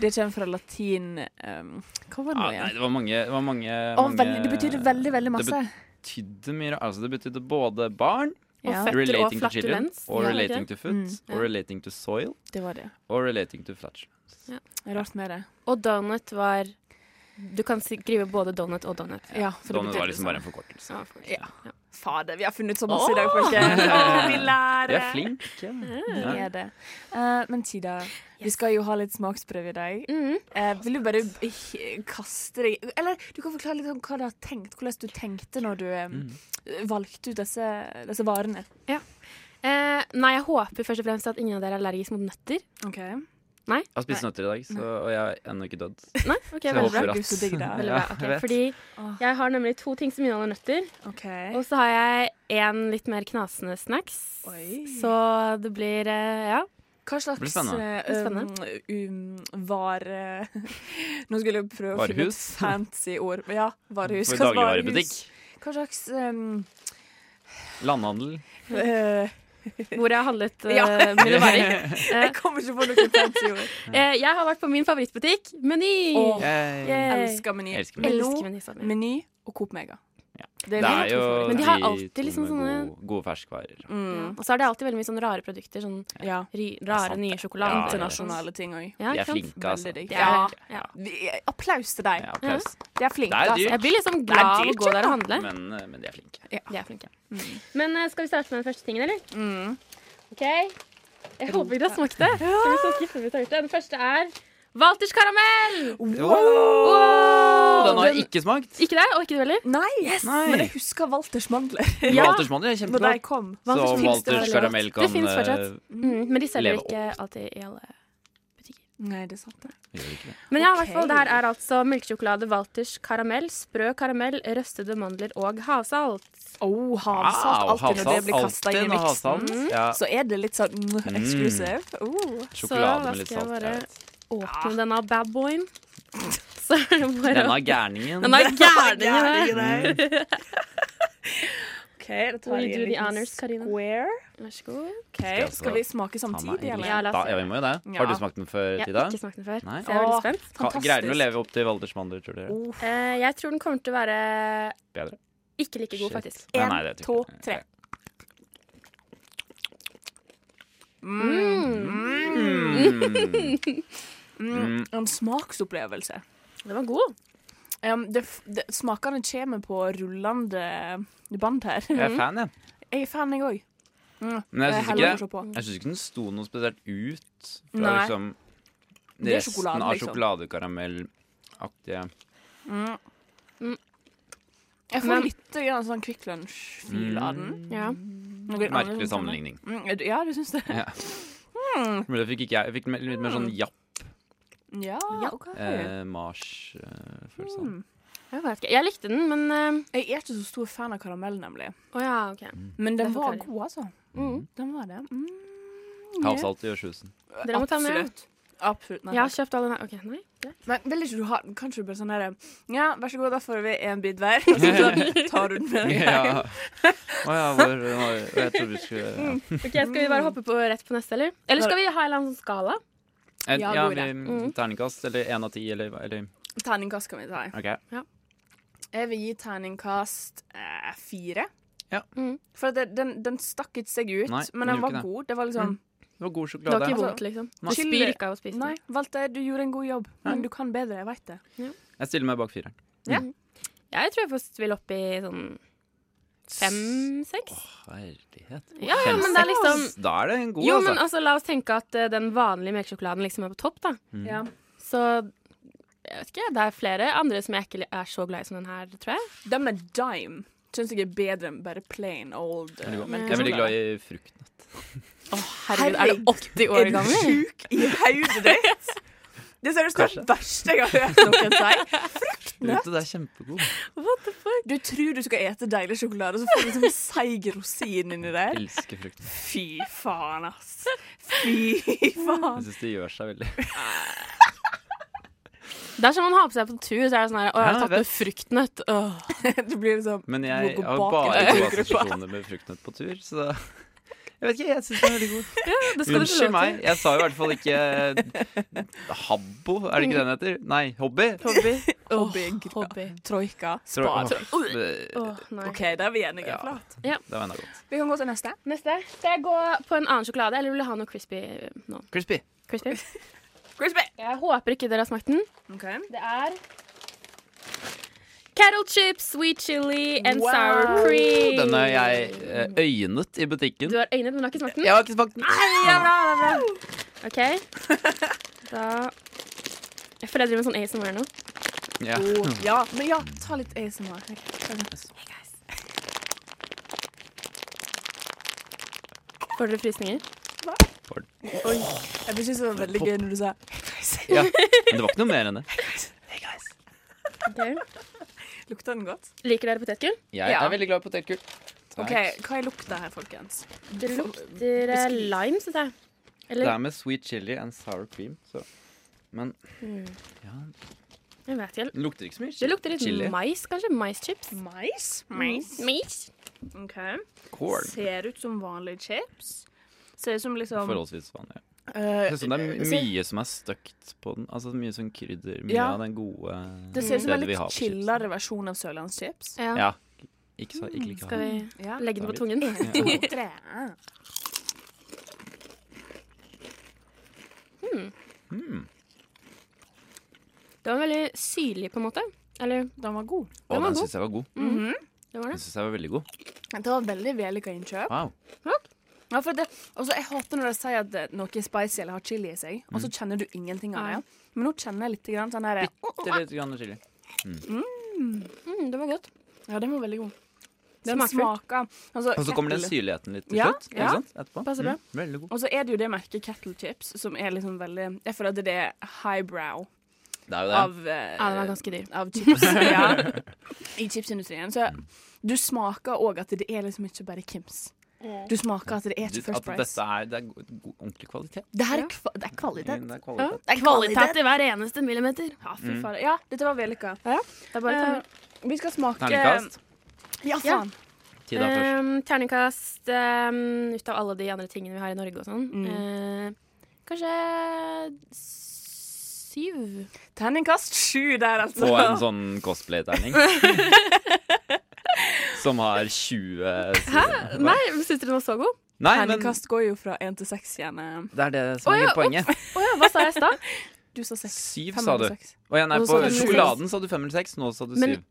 Speaker 6: Det kommer fra latin eh, Hva var det
Speaker 7: Ja,
Speaker 6: nå
Speaker 7: Ah, nei,
Speaker 6: igjen?
Speaker 7: det var mange, det var mange,
Speaker 6: Å,
Speaker 7: mange
Speaker 6: veldig, det betydde veldig, veldig
Speaker 7: det
Speaker 6: masse.
Speaker 7: betydde mye ra- Altså, det betydde både barn,
Speaker 8: Og
Speaker 6: Ja,
Speaker 8: føtter og
Speaker 7: relating to children,
Speaker 8: flatulens.
Speaker 7: og
Speaker 8: Ja, ikke
Speaker 7: relating
Speaker 8: det?
Speaker 7: to foot,
Speaker 8: Ja.
Speaker 7: og relating to soil,
Speaker 6: det var det.
Speaker 7: og relating to flatulence.
Speaker 6: Rart med det.
Speaker 8: Og donut var Du kan skrive både donut og donut.
Speaker 6: Ja, for det
Speaker 7: Sånn, det
Speaker 6: betydde
Speaker 7: var liksom bare
Speaker 6: det
Speaker 7: en forkortelse.
Speaker 8: Ja,
Speaker 6: Ja. samme. Fader, vi har funnet ut så masse i dag,
Speaker 8: Åh!
Speaker 6: folkens. Åh, vi
Speaker 8: Eh,
Speaker 7: Jeg
Speaker 6: lærer.
Speaker 7: er flink. Ja.
Speaker 8: Ah.
Speaker 6: Vi er det. Eh, men Tida, vi skal jo ha litt smaksprøve i dag.
Speaker 8: Mm.
Speaker 6: Eh, vil du bare eh, kaste deg Eller du kan forklare litt om hva du har tenkt, hvordan du tenkte når du eh,
Speaker 7: Mm.
Speaker 6: valgte ut disse, disse varene.
Speaker 8: Eh, nei, jeg håper først og fremst at ingen av dere er allergisk mot nøtter.
Speaker 6: OK.
Speaker 7: Jeg har spist nøtter i dag, så,
Speaker 8: Mm.
Speaker 7: og jeg er ennå ikke dødd.
Speaker 8: Nei? Ok,
Speaker 7: Så jeg
Speaker 8: veldig bra.
Speaker 7: håper at
Speaker 6: Gud, så digg det er.
Speaker 8: Veldig
Speaker 7: Ja,
Speaker 8: bra. ok.
Speaker 7: jeg vet.
Speaker 6: Åh.
Speaker 8: Fordi jeg har nemlig to ting som inneholder nøtter.
Speaker 6: ok
Speaker 8: Og så har jeg en litt mer knasende snacks.
Speaker 6: Oi.
Speaker 8: Så det blir eh, Ja.
Speaker 6: Hva
Speaker 7: blir
Speaker 6: slags
Speaker 7: spennende.
Speaker 6: eh, um,
Speaker 8: Spennende.
Speaker 6: um, var... eh, Nå skulle jeg prøve å finne et
Speaker 7: Varehus?
Speaker 6: fancy ord. Ja, varehus.
Speaker 7: For
Speaker 6: Hva slags
Speaker 7: dagligvarebutikk.
Speaker 6: varehus? Hva slags um,
Speaker 7: Landhandel.
Speaker 6: eh,
Speaker 8: Hvor jeg har handlet eh,
Speaker 6: Ja.
Speaker 8: mine varer.
Speaker 6: Jeg kommer ikke på noe fancy ord.
Speaker 8: Eh, jeg har vært på min favorittbutikk, Meny.
Speaker 6: Åh,
Speaker 7: Jeg
Speaker 8: Yay.
Speaker 6: Elsker Meny.
Speaker 7: elsker meg.
Speaker 8: Elsker
Speaker 6: Meny,
Speaker 8: Meny sammen.
Speaker 6: Meny og Coop Mega. Det
Speaker 7: Det er
Speaker 6: mine
Speaker 7: jo
Speaker 6: to favoritter.
Speaker 8: Men de har alltid
Speaker 7: to
Speaker 8: liksom
Speaker 7: med
Speaker 8: sånne-
Speaker 7: gode, gode ferskvarer.
Speaker 8: Ja.
Speaker 6: Mm,
Speaker 8: Og så er det alltid veldig mye sånne rare produkter. Sånn
Speaker 6: ja.
Speaker 8: ry, rare,
Speaker 7: sant,
Speaker 8: nye
Speaker 7: Ja,
Speaker 8: sjokolader.
Speaker 6: internasjonale ting òg.
Speaker 8: Ja,
Speaker 7: De
Speaker 8: ikke
Speaker 7: er
Speaker 8: sant?
Speaker 7: flinke, altså.
Speaker 6: Veldig digg.
Speaker 8: De er,
Speaker 6: Ja.
Speaker 8: ja.
Speaker 6: Vi- Applaus til deg.
Speaker 7: Ja, applaus.
Speaker 6: De er flinke.
Speaker 7: Det er
Speaker 6: altså.
Speaker 7: dyrt.
Speaker 8: Jeg blir liksom
Speaker 6: Det er
Speaker 8: glad av å
Speaker 6: dyrt,
Speaker 8: gå der og
Speaker 6: ja.
Speaker 8: handle.
Speaker 7: Men, eh, men de er flinke.
Speaker 8: De er flinke. Men eh, skal vi starte med den første tingen, eller?
Speaker 6: Mm.
Speaker 8: OK. Jeg håper dere har smakt det. Så blir vi så skuffet hvis dere har gjort det. Den første er Walters karamell!
Speaker 7: Den har
Speaker 8: Den-
Speaker 7: jeg ikke smakt.
Speaker 8: Ikke deg, og ikke du heller.
Speaker 6: Nei, yes.
Speaker 7: Nei.
Speaker 6: men jeg husker Walters mandler.
Speaker 8: Ja.
Speaker 7: Walters mandel er
Speaker 6: Når de
Speaker 7: kjempegodt.
Speaker 6: kom.
Speaker 7: Så
Speaker 8: Walters
Speaker 7: Walters
Speaker 8: finnes det veldig
Speaker 7: karamell
Speaker 8: godt.
Speaker 7: kan
Speaker 8: Det finnes
Speaker 7: eh,
Speaker 8: fortsatt. Mm, men de selger
Speaker 7: Leve
Speaker 8: ikke alltid i alle butikker.
Speaker 6: Nei, det er sant, det.
Speaker 7: Vi gjør ikke det.
Speaker 8: Men ja, i
Speaker 5: Ok.
Speaker 8: hvert fall, det her er altså melkesjokolade, Walters karamell, sprø karamell, røstede mandler og havsalt.
Speaker 6: Oh, havsalt.
Speaker 7: Wow,
Speaker 6: alltid når det
Speaker 7: havsalt.
Speaker 6: blir kasta inn i
Speaker 7: Alltid noe havsalt.
Speaker 6: miksen, Mm.
Speaker 7: Ja.
Speaker 6: så er det litt sånn mm, exclusive. Oh.
Speaker 7: Sjokolade
Speaker 8: så da
Speaker 7: med litt
Speaker 8: skal jeg
Speaker 7: salt.
Speaker 8: bare
Speaker 7: ja.
Speaker 8: åpne denne badboyen. Så er det bare
Speaker 7: Denne gærningen.
Speaker 8: Denne gærningen her.
Speaker 6: OK, da tar
Speaker 8: Will
Speaker 6: jeg en
Speaker 8: you do the
Speaker 6: liten
Speaker 8: honors, Karina?
Speaker 6: square.
Speaker 8: Vær så god.
Speaker 6: Ok,
Speaker 7: jeg altså også
Speaker 6: Skal vi smake samtidig,
Speaker 7: Ja,
Speaker 6: eller?
Speaker 8: Ja, la
Speaker 7: Da,
Speaker 8: oss
Speaker 7: ja,
Speaker 8: se.
Speaker 7: vi må jo det.
Speaker 6: Ja.
Speaker 7: Har du smakt den før,
Speaker 8: Jeg
Speaker 7: Tida?
Speaker 8: har ikke smakt den før,
Speaker 7: Nei.
Speaker 8: så jeg er veldig
Speaker 6: Åh.
Speaker 8: spent.
Speaker 7: Ka- Greier den å
Speaker 6: fantastisk.
Speaker 7: leve opp til Valders mandler, tror dere?
Speaker 6: Oh,
Speaker 8: Eh, jeg tror den kommer til å være
Speaker 7: Bedre?
Speaker 8: ikke like god,
Speaker 7: Shit.
Speaker 8: faktisk.
Speaker 7: Nei,
Speaker 6: En,
Speaker 7: nei, det tror
Speaker 6: to,
Speaker 7: jeg ikke.
Speaker 6: tre.
Speaker 7: Mm.
Speaker 6: Mm. En smaksopplevelse.
Speaker 8: Den var god.
Speaker 6: Um, det, f- det, smakene kommer på rullende bånd her.
Speaker 7: Jeg er fan, jeg.
Speaker 6: Jeg er fan, jeg òg.
Speaker 7: Men jeg syns ikke,
Speaker 6: ikke
Speaker 7: jeg synes ikke den sto noe spesielt ut fra
Speaker 6: Nei.
Speaker 7: liksom
Speaker 6: Det er
Speaker 7: resten
Speaker 6: sjokoladen,
Speaker 7: av
Speaker 6: liksom.
Speaker 7: sjokoladekaramellaktige
Speaker 6: Jeg får
Speaker 8: Men-
Speaker 6: litt grann sånn Kvikk Lunsj-fil av den.
Speaker 8: Ja.
Speaker 6: Noe annet
Speaker 7: Mm. Merkelig
Speaker 6: sånn-
Speaker 7: sammenligning.
Speaker 6: Mm, er du- ja, du syns det?
Speaker 7: Men det fikk ikke jeg. Jeg fikk litt mer
Speaker 6: Mm.
Speaker 7: sånn japp
Speaker 6: Ja, OK.
Speaker 7: eh,
Speaker 6: Mm.
Speaker 7: sånn. Mars-følelse.
Speaker 8: Jeg vet ikke. Jeg likte den, men eh,
Speaker 6: Jeg er ikke så stor fan av karamell, nemlig.
Speaker 7: Mm.
Speaker 8: Å ja, OK.
Speaker 6: Men den
Speaker 8: Det
Speaker 6: var
Speaker 8: forklarer.
Speaker 6: god, altså.
Speaker 8: Mm.
Speaker 6: Den var det. Mm.
Speaker 7: Havsalt gjør sjusen.
Speaker 8: Dere må ta med.
Speaker 6: Absolutt. Absolutt. Nei,
Speaker 8: Jeg har kjøpt all den her. OK, nei. greit.
Speaker 6: Men vil ikke du ha Kanskje du bare sånn her Ja, vær så god, da får vi en bit hver. Og så tar du den med deg.
Speaker 7: Ja. Å ja, hvor hvor- Jeg trodde du skulle ja.
Speaker 8: Ok, Skal vi bare hoppe på rett på neste, eller? Eller skal vi ha en eller annen sånn skala?
Speaker 7: En,
Speaker 6: Ja,
Speaker 7: ja,
Speaker 6: god idé.
Speaker 7: vi-
Speaker 8: Mm.
Speaker 7: Terningkast eller én av ti, eller, hva- eller
Speaker 6: Terningkast kan vi ta.
Speaker 7: OK.
Speaker 6: Jeg vil gi terningkast eh, fire.
Speaker 7: Ja.
Speaker 8: Mm.
Speaker 6: For at det, den, den stakk ikke seg ut,
Speaker 7: Nei, den
Speaker 6: men den
Speaker 7: gjorde
Speaker 6: var
Speaker 7: ikke det.
Speaker 6: god. Det var liksom
Speaker 7: Det var god
Speaker 8: Det var
Speaker 7: sjokolade.
Speaker 8: ikke
Speaker 6: Altså,
Speaker 8: vondt, liksom. Du
Speaker 7: nei.
Speaker 8: spyr ikke av å spise
Speaker 6: Nei,
Speaker 8: den.
Speaker 6: Walter, du gjorde en god jobb, men du kan bedre. Jeg veit det.
Speaker 7: Jeg stiller meg bak fireren.
Speaker 8: Jeg tror jeg faktisk vil opp i sånn fem-seks.
Speaker 7: Herlighet.
Speaker 8: Ja, ja, men det er liksom
Speaker 7: Da er det en god,
Speaker 8: Jo,
Speaker 7: altså.
Speaker 8: men altså, la oss tenke at eh, den vanlige melkesjokoladen liksom er på topp, da.
Speaker 6: Ja.
Speaker 8: Så jeg vet ikke, det er flere andre som jeg ikke er så glad i som den her, tror jeg.
Speaker 6: Den med dime syns jeg er bedre enn bare plain old. eh, melkesjokolade.
Speaker 7: Jeg er veldig glad i fruktnøtt.
Speaker 8: Herregud, er du 80 år
Speaker 6: Er du
Speaker 8: gammel?
Speaker 6: sjuk i hodet ditt? Det er seriøst det verste jeg har hørt noen si.
Speaker 7: Vet du, det er kjempegod.
Speaker 6: Du tror du skal ete deilig sjokolade, så får du liksom en seig rosin inni der.
Speaker 7: Elsker frukt.
Speaker 6: Fy faen, ass. Fy faen.
Speaker 7: Jeg syns det gjør seg veldig.
Speaker 8: Det er som man har på seg på tur, så er det sånn her Å, jeg
Speaker 7: Ja,
Speaker 8: har tatt
Speaker 7: vet-
Speaker 8: med fruktnøtt. Åh.
Speaker 6: Det blir liksom
Speaker 7: Men
Speaker 6: Gå-
Speaker 7: jeg
Speaker 6: gå
Speaker 7: har
Speaker 6: bak
Speaker 7: bare
Speaker 6: i
Speaker 7: gode
Speaker 6: gruppa.
Speaker 7: assosiasjoner med fruktnøtt på tur, så da- Jeg vet ikke, jeg syns den er veldig god.
Speaker 8: Det skal du få
Speaker 7: Unnskyld
Speaker 8: lov til.
Speaker 7: meg, jeg sa i hvert fall ikke eh, Habbo, er det ikke den heter? Nei, hobby.
Speaker 8: Hobby.
Speaker 6: hobby, hobby. Troika.
Speaker 7: Tror-
Speaker 6: Spar.
Speaker 7: Åh, det-
Speaker 8: Åh, nei.
Speaker 6: OK, da er vi enige.
Speaker 7: Ja.
Speaker 6: Flott.
Speaker 7: Det var enda godt.
Speaker 6: Vi kan gå til neste.
Speaker 8: Neste. Skal jeg gå på en annen sjokolade, eller vil du ha noe crispy eh, nå?
Speaker 7: Crispy.
Speaker 8: Crispy?
Speaker 6: Crispy.
Speaker 8: Jeg håper ikke dere har smakt den.
Speaker 6: OK.
Speaker 8: Det er Cattle chips, sweet chili and
Speaker 6: Wow.
Speaker 8: sour cream.
Speaker 7: Den har jeg eh, øynet i butikken.
Speaker 8: Du har øynet, men du har ikke smakt den?
Speaker 7: Jeg har ikke smakt den.
Speaker 8: OK. Da Jeg føler jeg driver med sånn ASMR nå.
Speaker 7: Ja.
Speaker 6: Oh, ja, men ja, ta litt ASMR. Okay.
Speaker 8: Får dere frysninger?
Speaker 6: Oi. Jeg syns det var veldig gøy når du sa
Speaker 7: ja. Men det var ikke noe mer enn det.
Speaker 8: Ok.
Speaker 6: Lukta den godt?
Speaker 8: Liker dere potetgull?
Speaker 7: Jeg
Speaker 6: Ja.
Speaker 7: er veldig glad i potetgull. Takk.
Speaker 6: OK, hva er lukta her, folkens?
Speaker 8: Det lukter eh, lime, syns jeg.
Speaker 7: Det
Speaker 8: Eller
Speaker 7: er med sweet chili and sour cream, så Men ja,
Speaker 8: jeg vet ikke. helt.
Speaker 7: den lukter ikke så mye.
Speaker 8: Det lukter litt
Speaker 7: chili.
Speaker 8: mais, kanskje? Maischips?
Speaker 6: Mais.
Speaker 8: Mais?
Speaker 6: OK.
Speaker 7: Corn.
Speaker 6: Ser ut som vanlige chips. Ser ut som liksom
Speaker 7: Forholdsvis vanlig.
Speaker 6: eh,
Speaker 7: Jeg synes det er
Speaker 8: se.
Speaker 7: my- mye som er støkt på den. Altså Mye sånn krydder. Mye
Speaker 6: Ja.
Speaker 7: av den gode
Speaker 6: Det ser ut som en
Speaker 7: stedet vi har
Speaker 6: litt
Speaker 7: på
Speaker 6: chillere versjon av sørlandschips.
Speaker 7: chips.
Speaker 8: Ja.
Speaker 7: Ja. Ikke så ikke like
Speaker 8: Hmm, Skal
Speaker 7: hard.
Speaker 8: vi
Speaker 6: Ja.
Speaker 8: legge den på tungen?
Speaker 6: To, tre.
Speaker 8: Den var veldig syrlig, på en måte. Eller
Speaker 6: Den var god.
Speaker 7: Å,
Speaker 8: var
Speaker 7: den
Speaker 8: god.
Speaker 7: syns jeg var god.
Speaker 8: det var
Speaker 7: Den
Speaker 8: det.
Speaker 7: synes jeg var veldig god.
Speaker 6: Det var veldig vellykka innkjøp.
Speaker 7: Wow.
Speaker 6: Ja, for det, altså, jeg hater når de sier at eh, noe er spicy eller har chili i seg, og så
Speaker 7: Mm.
Speaker 6: kjenner du ingenting av det.
Speaker 8: Nei.
Speaker 6: Men nå kjenner jeg litt grann sånn her
Speaker 7: Det er litt grann chili.
Speaker 8: Mm, det var godt.
Speaker 6: Ja, den var veldig god. Den
Speaker 8: Smakfullt.
Speaker 6: smaker altså,
Speaker 7: Og så kommer den
Speaker 6: kettle-
Speaker 7: syrligheten litt til
Speaker 6: Ja,
Speaker 7: slutt.
Speaker 6: ja.
Speaker 7: Ikke sant? Etterpå.
Speaker 6: Passer bra.
Speaker 7: Mm, veldig god.
Speaker 6: Og så er det jo det merket Kettle Chips, som er liksom veldig Jeg føler at det er highbrow
Speaker 7: Det er jo det.
Speaker 6: av, eh,
Speaker 8: Ja, den var ganske dyr.
Speaker 6: av chips. ja. I chipsindustrien. Så du smaker òg at det er liksom ikke bare Kims. Du smaker at det er ikke
Speaker 7: Du-
Speaker 6: First
Speaker 7: At
Speaker 6: Price.
Speaker 7: dette er, det er god, god, ordentlig kvalitet.
Speaker 6: Det her er, kva det er
Speaker 7: Mm, Det
Speaker 6: kvalitet.
Speaker 7: er Mm. kvalitet.
Speaker 6: Det er
Speaker 8: Kvalitet i hver eneste millimeter.
Speaker 6: Ja, fy fader. Ja, dette var vellykka.
Speaker 8: Det er bare
Speaker 6: Eh, vi skal smake
Speaker 7: Terningkast.
Speaker 6: Ja,
Speaker 8: Ja.
Speaker 6: faen.
Speaker 7: Tida først.
Speaker 8: Um, terningkast um, ut av alle de andre tingene vi har i Norge og sånn. Eh, kanskje syv?
Speaker 6: Terningkast sju der, altså.
Speaker 7: Og en sånn cosplay-terning. Som har 20 sider.
Speaker 8: Nei, syns dere den var så god?
Speaker 7: Nei, men
Speaker 6: Terningkast går jo fra én til seks, eh. gjerne.
Speaker 7: det er det som
Speaker 8: Å,
Speaker 7: er
Speaker 8: ja,
Speaker 7: hele poenget.
Speaker 8: Å ja, hva sa jeg i stad?
Speaker 6: Du sa seks.
Speaker 7: Syv,
Speaker 6: Fem
Speaker 7: sa
Speaker 6: eller
Speaker 7: du.
Speaker 6: seks.
Speaker 7: Og jeg, nei,
Speaker 8: Og så
Speaker 7: på
Speaker 8: sa du seks.
Speaker 7: sjokoladen sa du fem eller seks, nå sa du
Speaker 8: Men-
Speaker 7: syv.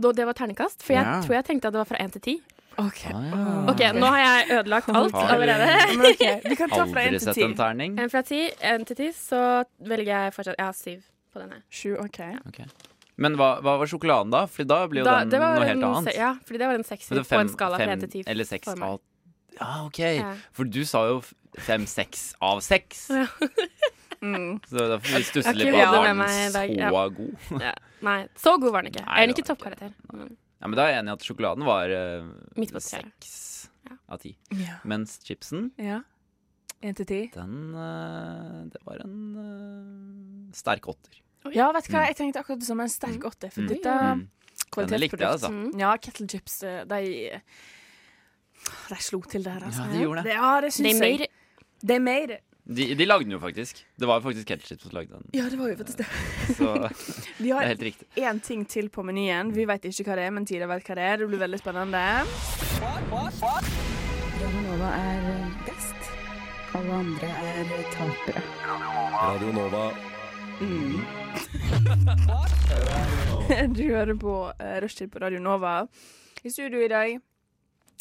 Speaker 8: Da- Det var terningkast, for jeg
Speaker 1: Ja.
Speaker 8: tror jeg tenkte at det var fra én til ti.
Speaker 6: OK.
Speaker 7: Ah,
Speaker 8: OK, nå har jeg ødelagt alt
Speaker 7: Har du-
Speaker 8: allerede.
Speaker 6: Men ok, Vi kan ta fra én
Speaker 7: Aldri
Speaker 6: til
Speaker 7: sett
Speaker 6: ti.
Speaker 7: en terning.
Speaker 8: En fra ti, en til ti, så velger jeg fortsatt Jeg har syv på den her.
Speaker 6: Sju, OK.
Speaker 7: Men hva, hva var sjokoladen da? Fordi da blir jo
Speaker 8: Da-
Speaker 7: den
Speaker 8: det var
Speaker 7: noe
Speaker 8: en
Speaker 7: helt
Speaker 8: se-
Speaker 7: annet.
Speaker 8: Ja, fordi det var en
Speaker 7: Men
Speaker 8: sekser
Speaker 7: det er
Speaker 8: på en skala fra én til ti.
Speaker 7: Eller seks
Speaker 8: for meg.
Speaker 7: av Ja, OK.
Speaker 8: Ja.
Speaker 7: For du sa jo f- fem, seks av seks.
Speaker 8: Ja.
Speaker 6: Mm.
Speaker 7: Så derfor vi stusser
Speaker 8: Jeg
Speaker 7: litt
Speaker 8: har
Speaker 7: på
Speaker 8: ikke hodet
Speaker 7: at
Speaker 8: med meg i
Speaker 7: den så
Speaker 8: dag, ja.
Speaker 7: god.
Speaker 8: Ja. Nei, så god var den ikke.
Speaker 7: Nei,
Speaker 8: Jeg er den
Speaker 7: det
Speaker 8: ikke toppkarakter. men
Speaker 7: Ja, men Da er jeg enig i at sjokoladen var eh,
Speaker 8: Midt på treet.
Speaker 7: seks
Speaker 8: Ja.
Speaker 7: av ti.
Speaker 6: Ja.
Speaker 7: Mens chipsen,
Speaker 6: Ja. Én til ti.
Speaker 7: den eh, Det var en eh, sterk åtter.
Speaker 6: Ja, vet du hva, jeg tenkte akkurat det samme. En sterk åtte. For
Speaker 7: Mm.
Speaker 6: dette
Speaker 7: Mm. Denne likte jeg,
Speaker 6: kvalitetsprodukt.
Speaker 7: altså.
Speaker 6: Ja, kettle chips, eh, de De slo til der, altså.
Speaker 7: Ja, de gjorde det.
Speaker 6: Ja, det
Speaker 8: They
Speaker 6: syns
Speaker 8: made
Speaker 6: jeg.
Speaker 8: it.
Speaker 6: They made it.
Speaker 7: De, de lagde den jo faktisk. Det var jo faktisk Ketchup som lagde den.
Speaker 6: Ja, det var jo faktisk det.
Speaker 7: Så
Speaker 6: Vi
Speaker 7: det er
Speaker 6: har
Speaker 7: helt riktig.
Speaker 6: én ting til på menyen. Vi vet ikke hva det er, men Tida vet hva det er. Det blir veldig spennende.
Speaker 10: Nova er best. Alle andre er tapere.
Speaker 2: Radio Nova.
Speaker 6: Du hører på eh, Rushtid på Radio Nova. I studio i dag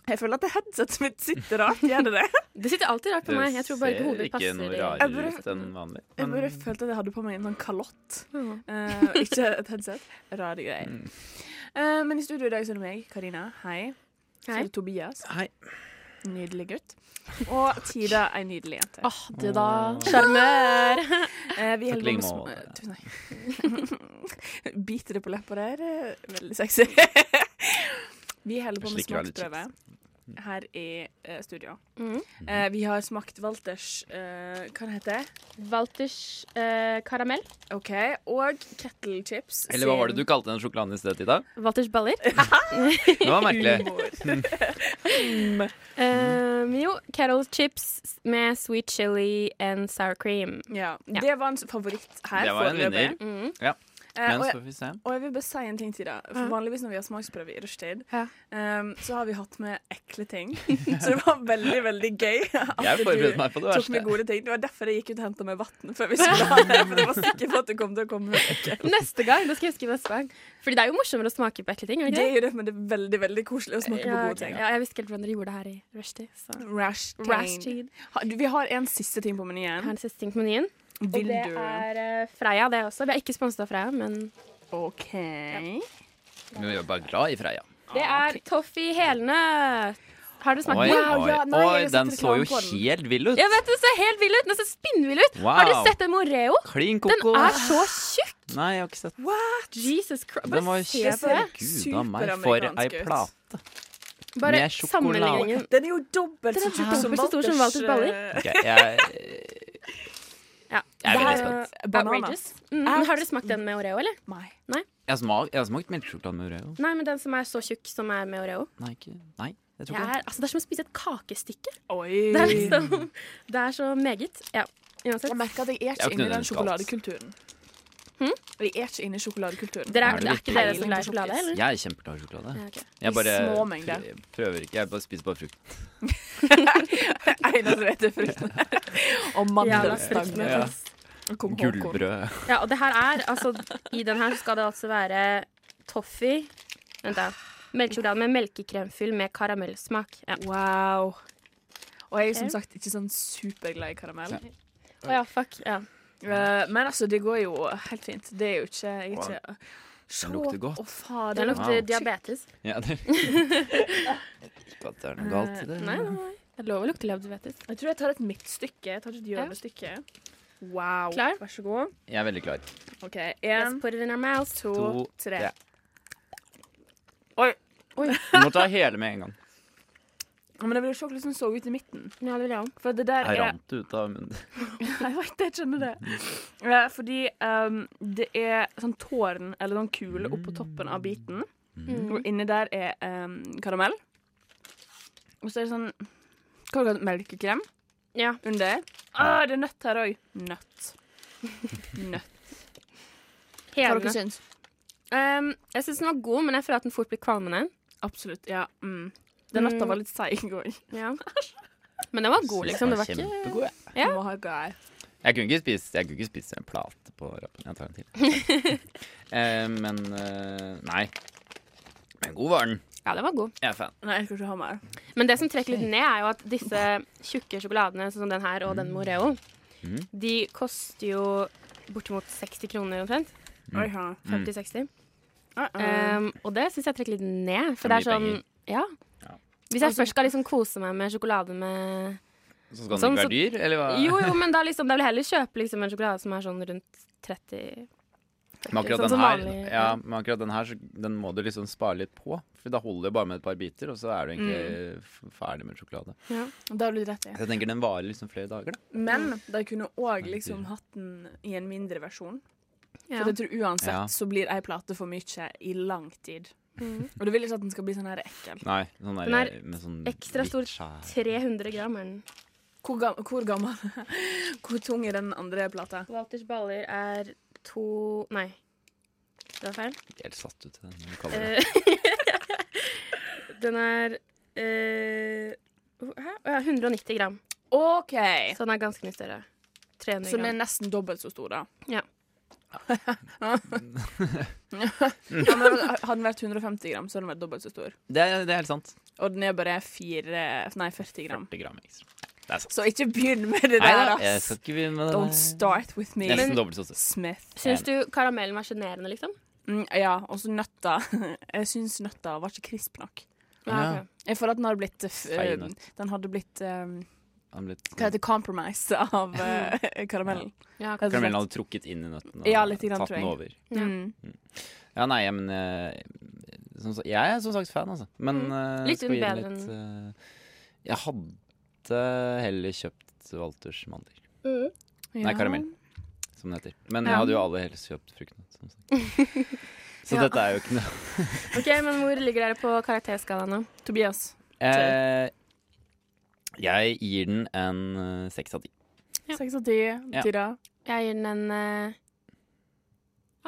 Speaker 6: Jeg føler at det headsetet mitt sitter rart. Gjør det det?
Speaker 8: Det sitter alltid rart på meg. Jeg tror bare ikke hodet
Speaker 7: ikke
Speaker 8: passer.
Speaker 7: noe
Speaker 8: i-
Speaker 6: Jeg
Speaker 7: rarere
Speaker 6: bare-
Speaker 7: ut enn vanlig.
Speaker 6: Jeg
Speaker 7: men-
Speaker 6: bare følte at jeg hadde på meg en sånn kalott.
Speaker 8: Mhm.
Speaker 6: Eh, og ikke et headset. Rare greier.
Speaker 7: Mm.
Speaker 6: Eh, men i studio i dag så er det meg, Karina. Hei. Så
Speaker 8: Hei.
Speaker 6: er det Tobias.
Speaker 7: Hei.
Speaker 6: Nydelig gutt. Og Tida, ei nydelig jente.
Speaker 7: Ah,
Speaker 8: Åh, du da.
Speaker 6: Sjarmør! Eh, vi holder på
Speaker 7: ligge
Speaker 6: med sm-
Speaker 7: med
Speaker 6: eh, Tusen takk. Biter det på leppa der. eh, Veldig sexy. vi holder på med
Speaker 7: Slikker Mm. av litt
Speaker 6: smaksprøve her i eh, studio.
Speaker 8: Mhm.
Speaker 7: Mm.
Speaker 6: Eh, vi har smakt Walters eh, Hva det heter det?
Speaker 8: Walters eh, karamell.
Speaker 6: OK. Og kettle chips.
Speaker 7: Eller hva var det du kalte den sjokoladen i sted, Ida?
Speaker 8: Walters baller.
Speaker 7: Det var merkelig.
Speaker 8: Um, jo, kettle chips med sweet chili and sour cream.
Speaker 6: Ja,
Speaker 8: Ja.
Speaker 6: Det var en favoritt her.
Speaker 7: Det var en
Speaker 6: foreløpig.
Speaker 7: vinner.
Speaker 8: Mm.
Speaker 6: Eh,
Speaker 7: Men
Speaker 6: og,
Speaker 7: så
Speaker 6: jeg,
Speaker 7: får vi se.
Speaker 6: og jeg vil bare si en ting til deg. For
Speaker 8: Ja.
Speaker 6: Vanligvis når vi har smaksprøve i rushtid,
Speaker 8: Ja.
Speaker 6: ehm, så har vi hatt med ekle ting. Så det var veldig, veldig gøy at
Speaker 7: Jeg forberedte
Speaker 6: du
Speaker 7: meg på det
Speaker 6: tok
Speaker 7: verste.
Speaker 6: med gode ting. Det var derfor jeg gikk ut og henta meg vann før vi skulle ha det. For jeg var sikker på at det kom til å komme med ekkel.
Speaker 8: Neste gang. Da skal jeg huske neste gang. Fordi det er jo morsommere å smake på ekle ting. Er det
Speaker 6: Det
Speaker 8: ikke det?
Speaker 6: er jo det, men det er veldig veldig koselig å smake på
Speaker 8: ja,
Speaker 6: gode ting.
Speaker 8: ja, jeg visste ikke helt hvordan dere gjorde det her i rushtid. så-
Speaker 6: Rash ting.
Speaker 8: Rashtid.
Speaker 6: Ha- du, Vi har en siste ting på
Speaker 8: Her er
Speaker 6: menyen.
Speaker 8: det siste ting på menyen. Og
Speaker 6: Vil
Speaker 8: det
Speaker 6: du?
Speaker 8: er eh, Freia, det også. Vi er ikke sponset av Freia, men
Speaker 6: OK.
Speaker 7: Men vi er bare glad i Freia.
Speaker 8: Det er toffee helnøtt. Har dere smakt
Speaker 7: Ah, Oi,
Speaker 8: på den?
Speaker 6: Wow,
Speaker 7: oi,
Speaker 6: ja, nei, jeg
Speaker 7: oi,
Speaker 6: har
Speaker 7: den
Speaker 6: sett
Speaker 7: så jo
Speaker 6: reklame på den.
Speaker 7: helt vill ut.
Speaker 8: Jeg vet, Den ser helt vill ut! Den ser spinnvill ut!
Speaker 7: Wow.
Speaker 8: Har dere sett den moreo?
Speaker 7: Klin
Speaker 8: Den
Speaker 7: koko.
Speaker 8: er så tjukk!
Speaker 7: Nei, jeg har ikke sett den.
Speaker 8: Jesus Christ.
Speaker 7: Den var
Speaker 8: Bare se på det.
Speaker 7: Gud av meg, for ei
Speaker 6: superamerikansk ut.
Speaker 7: plate.
Speaker 8: Bare
Speaker 7: med sjokolade.
Speaker 8: sammenligningen.
Speaker 6: Den er jo dobbelt
Speaker 8: Den
Speaker 6: så
Speaker 8: er
Speaker 6: tjukk som
Speaker 8: dobbelt så stor som Walters baller.
Speaker 6: eh,
Speaker 7: Ok, jeg,
Speaker 8: Ja.
Speaker 7: jeg er
Speaker 6: Det
Speaker 7: veldig
Speaker 6: er
Speaker 7: spent.
Speaker 8: eh,
Speaker 6: bananas.
Speaker 8: Outrageous. Mm. men Har dere smakt den med oreo, eller?
Speaker 6: Nei.
Speaker 7: Jeg har smak- jeg har smakt melkesjokolade med Oreo.
Speaker 8: Nei, men den som er så tjukk som er med oreo.
Speaker 7: Nei, ikke Nei, jeg
Speaker 8: Det
Speaker 7: tror ikke det.
Speaker 8: er, altså, det er som å spise et kakestykke.
Speaker 6: Oi.
Speaker 8: Det er liksom Det er så meget. Ja. Uansett.
Speaker 6: Jeg merker at jeg er
Speaker 7: Jeg
Speaker 6: ikke
Speaker 7: er
Speaker 6: inne i den
Speaker 7: nødvendigvis
Speaker 6: sjokoladekulturen.
Speaker 8: Hm?
Speaker 6: Jeg er ikke inne i sjokoladekulturen.
Speaker 8: Dere
Speaker 7: Er
Speaker 8: er,
Speaker 7: det
Speaker 8: det er ikke
Speaker 7: virkelig?
Speaker 8: dere som glad i sjokolade, eller?
Speaker 7: Jeg er kjempeglad i sjokolade.
Speaker 8: Ja, ok.
Speaker 7: Jeg
Speaker 6: I
Speaker 7: bare
Speaker 6: små
Speaker 7: pr-
Speaker 6: mengder.
Speaker 7: prøver ikke. Jeg bare spiser bare frukt.
Speaker 6: Einar som heter frukten. Og
Speaker 8: Jævla
Speaker 6: mandelstang.
Speaker 8: frukt med
Speaker 7: Ja.
Speaker 8: ost.
Speaker 6: Kom Håkon.
Speaker 7: Gullbrød.
Speaker 8: Ja, og det her er altså I den her så skal det altså være toffee Vent, da. Melkesjokolade med melkekremfyll med karamellsmak. Ja.
Speaker 6: Wow. Og jeg er som
Speaker 8: Ok.
Speaker 6: sagt ikke sånn superglad i karamell.
Speaker 8: Å ja, fuck. Ja.
Speaker 6: Eh, Men altså, det går jo helt fint. Det er jo ikke Jeg er ikke Sjå,
Speaker 7: lukter godt.
Speaker 6: Å, fader.
Speaker 8: Den lukter
Speaker 7: Wow.
Speaker 8: diabetes.
Speaker 7: Ja, det Ikke at det er noe galt i det.
Speaker 8: Nei, nei, nei. Det er lov å lukte diabetes.
Speaker 6: Jeg tror jeg tar et midtstykke. Jeg tar et hjørnestykke. Wow.
Speaker 8: Klar?
Speaker 6: Vær så god.
Speaker 7: Jeg er veldig klar.
Speaker 6: OK,
Speaker 8: Let's
Speaker 6: én,
Speaker 8: put it in our mouth.
Speaker 6: to,
Speaker 7: To,
Speaker 6: tre.
Speaker 7: tre.
Speaker 6: Oi.
Speaker 7: Du må ta hele med en gang.
Speaker 6: Ja, Men jeg vil se hvordan den så ut i midten.
Speaker 8: Ja, det vil jeg også.
Speaker 6: For det der
Speaker 7: Jeg
Speaker 6: er
Speaker 7: rant ut av munnen.
Speaker 6: Jeg vet det, jeg skjønner det. Eh, Fordi ehm, det er sånn tårn, eller sånn kule, oppå toppen av biten. Og inni der er ehm, karamell. Og så er det sånn Hva var det? Melkekrem
Speaker 8: Ja.
Speaker 6: under. Ah, det er nøtt her òg. Nøtt. Nøtt. Hva dere
Speaker 8: Helende.
Speaker 6: syns
Speaker 8: Um, jeg syns den var god, men jeg føler at den fort blir kvalmende.
Speaker 6: Absolutt. Ja. Mm. Den nøtta var litt seig òg.
Speaker 8: Ja. Men den var god, liksom. Det var ikke
Speaker 7: Kjempegod, jeg.
Speaker 8: Ja.
Speaker 7: Jeg kunne ikke spist, jeg kunne ikke spist en plate på rappen. Jeg tar en til. Eh, men eh, nei. Men god var den.
Speaker 8: Ja, den var god.
Speaker 7: Jeg er fan.
Speaker 6: Nei, jeg skal ikke ha mer.
Speaker 8: Men det som trekker litt ned, er jo at disse tjukke sjokoladene, sånn som den her og
Speaker 7: Mm.
Speaker 8: den Moreo, de koster jo bortimot 60 kroner omtrent.
Speaker 6: Oi, ha.
Speaker 7: Mm.
Speaker 8: 50-60.
Speaker 6: Ah, ah.
Speaker 8: Um, og det syns jeg trekker litt ned, for
Speaker 7: Det er
Speaker 8: det er sånn
Speaker 7: mye
Speaker 8: Ja.
Speaker 7: Ja.
Speaker 8: Hvis jeg først skal liksom kose meg med sjokolade med
Speaker 7: Så skal den
Speaker 8: Sånn,
Speaker 7: ikke være dyr, eller hva?
Speaker 8: Jo, jo, men da, liksom, da vil jeg heller kjøpe liksom en sjokolade som er sånn rundt 30
Speaker 7: Men akkurat,
Speaker 8: sånn
Speaker 7: den
Speaker 8: som
Speaker 7: her,
Speaker 8: vanlig,
Speaker 7: ja,
Speaker 8: ja.
Speaker 7: men akkurat den her, så den må du liksom spare litt på. For da holder det bare med et par biter, og så er du egentlig
Speaker 8: Mm.
Speaker 7: f- ferdig med sjokolade.
Speaker 6: Det har du rett i.
Speaker 7: Så jeg tenker den varer liksom flere dager, da.
Speaker 6: Men de kunne òg liksom hatt den i en mindre versjon.
Speaker 8: Ja.
Speaker 6: For jeg tror uansett
Speaker 7: Ja.
Speaker 6: så blir ei plate for mye i lang tid.
Speaker 8: Mm.
Speaker 6: Og du vil ikke at den skal bli sånn her ekkel.
Speaker 7: Nei, sånn der,
Speaker 8: Den er
Speaker 7: med sånn
Speaker 8: ekstra stor.
Speaker 7: litt skjær.
Speaker 8: 300 gram er den.
Speaker 6: Hvor, gam hvor gammel Hvor tung er den andre plata?
Speaker 8: Walters baller er to Nei, det var feil.
Speaker 7: Ikke Helt satt ut i den. hva kaller du det?
Speaker 8: Eh, den er eh, hvor- Hæ? Å ja, 190 gram.
Speaker 6: OK!
Speaker 8: Så den er ganske mye større. 300
Speaker 6: Så den er
Speaker 8: gram.
Speaker 6: nesten dobbelt så stor, da.
Speaker 8: Ja.
Speaker 6: Ja, men hadde den vært 150 gram, så hadde den vært dobbelt så stor.
Speaker 7: Det er, det er helt sant.
Speaker 6: Og den er bare fire, nei, 40 gram.
Speaker 7: 40 gram ekstra. Det er sant.
Speaker 6: Så ikke begynn med det
Speaker 7: Nei
Speaker 6: der,
Speaker 7: da, jeg
Speaker 6: ass.
Speaker 7: skal ikke begynne med
Speaker 6: Don't
Speaker 7: det.
Speaker 6: start with me,
Speaker 7: Nesten dobbelt så stor.
Speaker 6: Smith.
Speaker 8: Syns du karamellen var sjenerende, liksom?
Speaker 6: Mm, ja, og så nøtta. Jeg syns nøtta var ikke crisp nok.
Speaker 7: Ja.
Speaker 8: ok.
Speaker 6: Jeg føler at den hadde blitt eh, f-
Speaker 7: Feil nøtt.
Speaker 6: eh, Den hadde blitt eh,
Speaker 7: Han ble litt-
Speaker 6: Hva heter det? compromise av eh, karamellen. Rett og
Speaker 8: Ja, ok.
Speaker 6: slett.
Speaker 7: Karamellen sånn- hadde trukket inn i nøtten og
Speaker 6: Ja, litt grann,
Speaker 7: tatt
Speaker 6: tror jeg.
Speaker 7: den over.
Speaker 8: Ja.
Speaker 6: Mm.
Speaker 7: Ja, nei, men eh, som, sa- Jeg er som sagt fan, altså. Men
Speaker 6: Mm.
Speaker 7: eh,
Speaker 8: Litt
Speaker 7: skal gi den
Speaker 8: bedre
Speaker 7: litt eh, Jeg hadde heller kjøpt Walters mandel. Nei,
Speaker 6: Ja.
Speaker 7: karamell, som det heter. Men jeg
Speaker 6: Ja.
Speaker 7: hadde jo aller helst kjøpt fruktnøtt. Som sagt. Så
Speaker 6: Ja.
Speaker 7: dette er jo ikke noe
Speaker 8: OK, men hvor ligger dere på karakterskalaen nå?
Speaker 6: Tobias.
Speaker 7: Eh, Jeg gir den en eh, seks av ti.
Speaker 6: Seks av ti.
Speaker 7: Ja.
Speaker 6: Tyra.
Speaker 8: Jeg gir den en eh,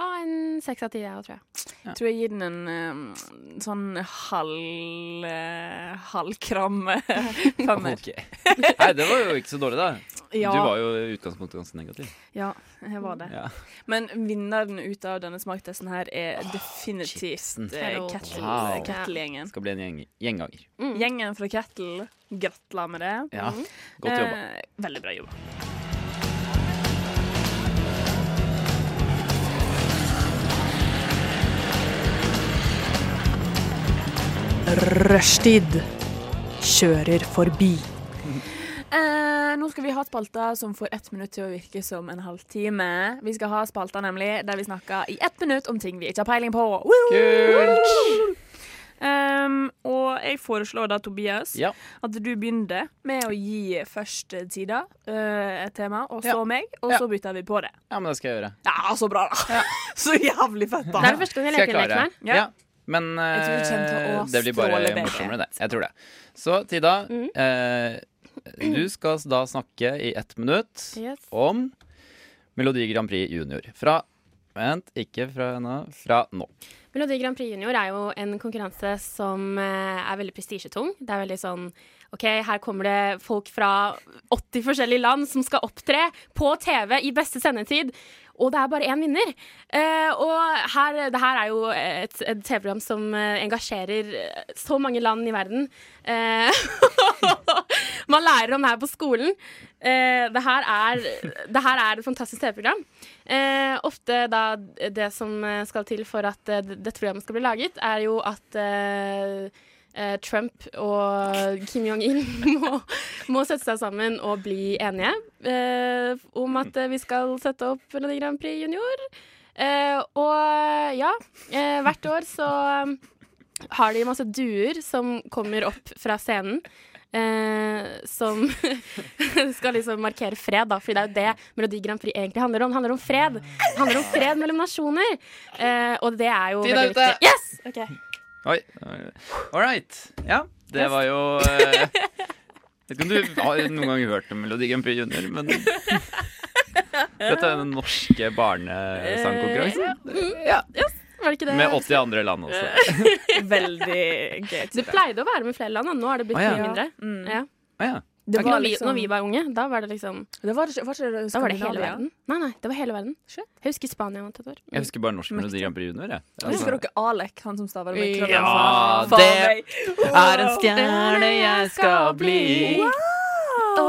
Speaker 8: Ja, en seks av ti, jeg òg, tror jeg.
Speaker 7: Ja.
Speaker 6: Tror jeg gir den en eh, sånn halv eh, halvkram eh, femmer.
Speaker 7: Ok. Nei, det var jo ikke så dårlig, da.
Speaker 6: Ja,
Speaker 7: Du var jo i utgangspunktet ganske negativ.
Speaker 6: ja, jeg var det.
Speaker 7: Ja.
Speaker 6: Men vinneren ut av denne smaktesten her er definitivt eh,
Speaker 8: Hello.
Speaker 6: Kettle-
Speaker 7: Wow.
Speaker 6: Kettle-gjengen.
Speaker 7: Skal bli en gjeng gjenganger.
Speaker 6: Mhm. Gjengen fra Kettle, gratulerer med det.
Speaker 7: Ja, Godt jobba.
Speaker 6: Eh, veldig bra jobba.
Speaker 11: Rushtid kjører forbi.
Speaker 6: Eh, nå skal vi ha spalta som får ett minutt til å virke som en halvtime. Vi skal ha spalta nemlig der vi snakker i ett minutt om ting vi ikke har peiling på. Woo!
Speaker 7: Kult!
Speaker 6: Um, og jeg foreslår da, Tobias,
Speaker 7: Ja.
Speaker 6: at du begynner med å gi først eh, Tida eh, et tema, og så
Speaker 7: Ja.
Speaker 6: meg, og
Speaker 7: Ja.
Speaker 6: så bytter vi på det.
Speaker 7: ja, men det skal jeg gjøre.
Speaker 6: Ja, så bra, da! så jævlig fett,
Speaker 8: Det
Speaker 6: da!
Speaker 8: er det første gang jeg
Speaker 7: Skal jeg
Speaker 8: leker
Speaker 7: klare?
Speaker 8: den leken her.
Speaker 7: Ja. Men
Speaker 6: Jeg tror vi kommer til å
Speaker 7: eh, det blir bare
Speaker 6: stråle bedre. Mhm.
Speaker 7: morsommere, det. Jeg tror det. Så Tida, eh, du skal da snakke i ett minutt
Speaker 8: Yes.
Speaker 7: om Melodi Grand Prix junior. Fra Vent, ikke fra nå. Fra nå.
Speaker 8: Melodi Grand Prix Junior er jo en konkurranse som eh, er veldig prestisjetung. Det er veldig sånn OK, her kommer det folk fra 80 forskjellige land som skal opptre på TV i beste sendetid. Og det er bare én vinner. Eh, og her, det her er jo et, et TV-program som eh, engasjerer eh, så mange land i verden. Eh, man man lærer om det her på skolen. Eh, det, her er, det her er et fantastisk TV-program. Eh, ofte da det som skal til for at eh, dette programmet skal bli laget, er jo at eh, eh, Trump og Kim Jong-il må, må sette seg sammen og bli enige eh, om at eh, vi skal sette opp Melodi Grand Prix Junior. Eh, og ja, eh, hvert år så eh, har de masse duer som kommer opp fra scenen. Eh, som skal liksom markere fred, da, Fordi det er jo det Melodi Grand Prix egentlig handler om. Det handler om fred Det handler om fred mellom nasjoner. Eh, og det er jo
Speaker 5: Tida er
Speaker 8: veldig
Speaker 5: ute.
Speaker 8: viktig. Yes! Ok.
Speaker 7: Oi. All right. Ja, det var jo eh, Vet ikke om du har noen gang hørt om Melodi Grand Prix Junior, men dette er den norske barnesangkonkurransen.
Speaker 8: Mm, ja. yes. Var det ikke det?
Speaker 7: Med 80 andre land også.
Speaker 5: Veldig gøy.
Speaker 8: Det pleide å være med flere land, da. nå har det blitt
Speaker 7: Å, ja.
Speaker 8: mye mindre.
Speaker 6: Mm.
Speaker 8: Ja.
Speaker 7: Å ja.
Speaker 6: Det
Speaker 8: når,
Speaker 6: var liksom
Speaker 8: vi, når vi var unge, da var det liksom
Speaker 6: det var, ikke- var ikke det
Speaker 8: Da var det hele
Speaker 6: Skandinavia?
Speaker 8: verden. Nei, nei, det var hele verden. Jeg husker Spania vant et år.
Speaker 7: Jeg husker bare norsk Melodi Grand Prix Junior, jeg.
Speaker 6: Husker dere Alek, han som staver med
Speaker 5: Ja,
Speaker 6: krøllalfa?
Speaker 7: det
Speaker 6: Faen meg.
Speaker 7: Altså, er en stjerne jeg skal bli.
Speaker 8: Nå.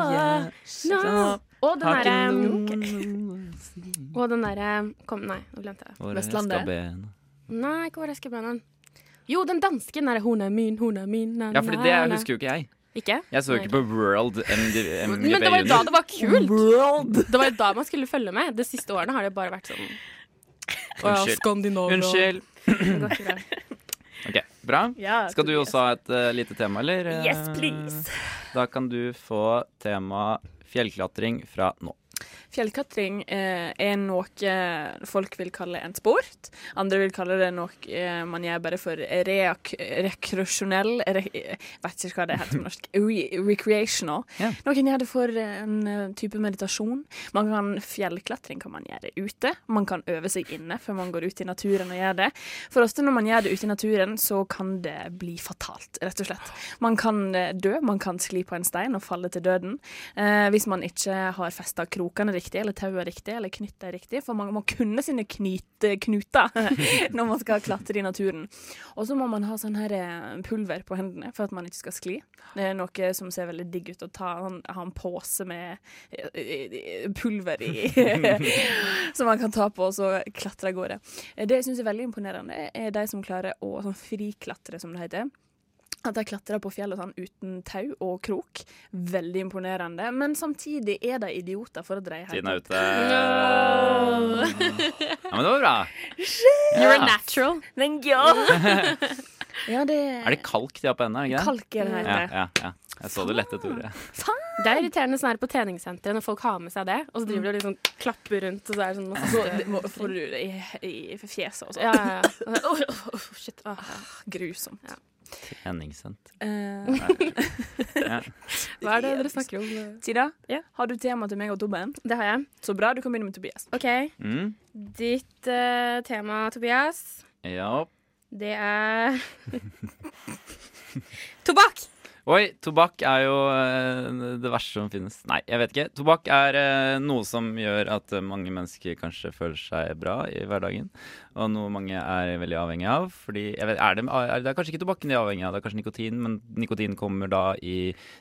Speaker 8: Og den
Speaker 7: altså. Har
Speaker 8: derre
Speaker 7: ikke
Speaker 8: Og den derre Kom, nei, nå glemte jeg det.
Speaker 7: Hvor jeg skal
Speaker 6: Vestlandet.
Speaker 7: ben.
Speaker 8: Nei, ikke hvor jeg skal bli Jo, den danske. Den derre 'Hun er min, hun er min'. Na,
Speaker 7: Ja, for
Speaker 8: na,
Speaker 7: det
Speaker 8: na.
Speaker 7: husker jo ikke jeg.
Speaker 8: Ikke?
Speaker 7: Jeg så jo ikke på World MD, MGP
Speaker 8: Men det var jo da
Speaker 7: Junior.
Speaker 8: det var kult. Det var jo da man skulle følge med. De siste årene har det bare vært sånn.
Speaker 7: Unnskyld.
Speaker 5: Skandinavia.
Speaker 7: Unnskyld.
Speaker 8: Det går ikke bra.
Speaker 7: Ok, Bra.
Speaker 5: Ja,
Speaker 7: Skal du også ha et eh, lite tema, eller?
Speaker 5: Yes,
Speaker 7: Eh,
Speaker 5: please.
Speaker 7: Da kan du få tema fjellklatring fra nå.
Speaker 6: Fjellklatring eh, er noe folk vil kalle en sport. Andre vil kalle det noe eh, man gjør bare for reak rekreasjonell re Jeg vet ikke hva det heter på norsk. Re recreational.
Speaker 7: Ja.
Speaker 6: Noen gjør det for en eh, type meditasjon. Man kan, fjellklatring kan man gjøre ute. Man kan øve seg inne før man går ut i naturen og gjør det. For ofte når man gjør det ute i naturen, så kan det bli fatalt, rett og slett. Man kan eh, dø, man kan skli på en stein og falle til døden. Eh, hvis man ikke har festa krokene riktig, eller taua riktig, eller knytta riktig. For man må kunne sine knyte, knuter når man skal klatre i naturen. Og så må man ha sånn her eh, pulver på hendene for at man ikke skal skli. Det er noe som ser veldig digg ut å ta. Han har en pose med eh, eh, pulver i som man kan ta på, og så klatre av gårde. Eh, Det jeg syns er veldig imponerende, er de som klarer å sånn friklatre, som det heter. At de klatrer på fjellet sånn uten tau og krok. Veldig imponerende. Men samtidig er de idioter for å dreie
Speaker 7: Tiden er ute.
Speaker 6: Ah.
Speaker 7: Ja, men det var bra.
Speaker 8: You're a natural.
Speaker 6: Thank you! ja, det
Speaker 7: Er det kalk de har på hendene? er det ikke det?
Speaker 6: kalk er det
Speaker 7: Ja,
Speaker 6: heter.
Speaker 7: ja, ja. Jeg så du lette, Tore.
Speaker 8: Det er irriterende sånn her på treningssenteret når folk har med seg det, og så driver de og liksom klapper rundt, og så er det sånn masse
Speaker 6: Så det må- får du det i, i fjeset og sånn.
Speaker 8: Ja, ja, ja. Åh, åh, åh, shit. Åh, ja.
Speaker 6: Grusomt.
Speaker 7: Henningssenter.
Speaker 6: Eh,
Speaker 7: Ja.
Speaker 8: Hva er det dere snakker om?
Speaker 6: Tida,
Speaker 8: Ja.
Speaker 6: har du tema til meg og Tobben?
Speaker 8: Det har jeg.
Speaker 6: Så bra, du kan begynne med Tobias.
Speaker 8: OK.
Speaker 7: Mm.
Speaker 8: Ditt eh, tema, Tobias,
Speaker 7: Ja.
Speaker 8: det er Tobakk!
Speaker 7: Oi, tobakk er jo eh, det verste som finnes. Nei, jeg vet ikke. Tobakk er eh, noe som gjør at eh, mange mennesker kanskje føler seg bra i hverdagen. Og noe mange er veldig avhengig av. Fordi, jeg vet, er det, er det er kanskje ikke tobakken de er avhengig av, det er kanskje nikotin. Men nikotin kommer da i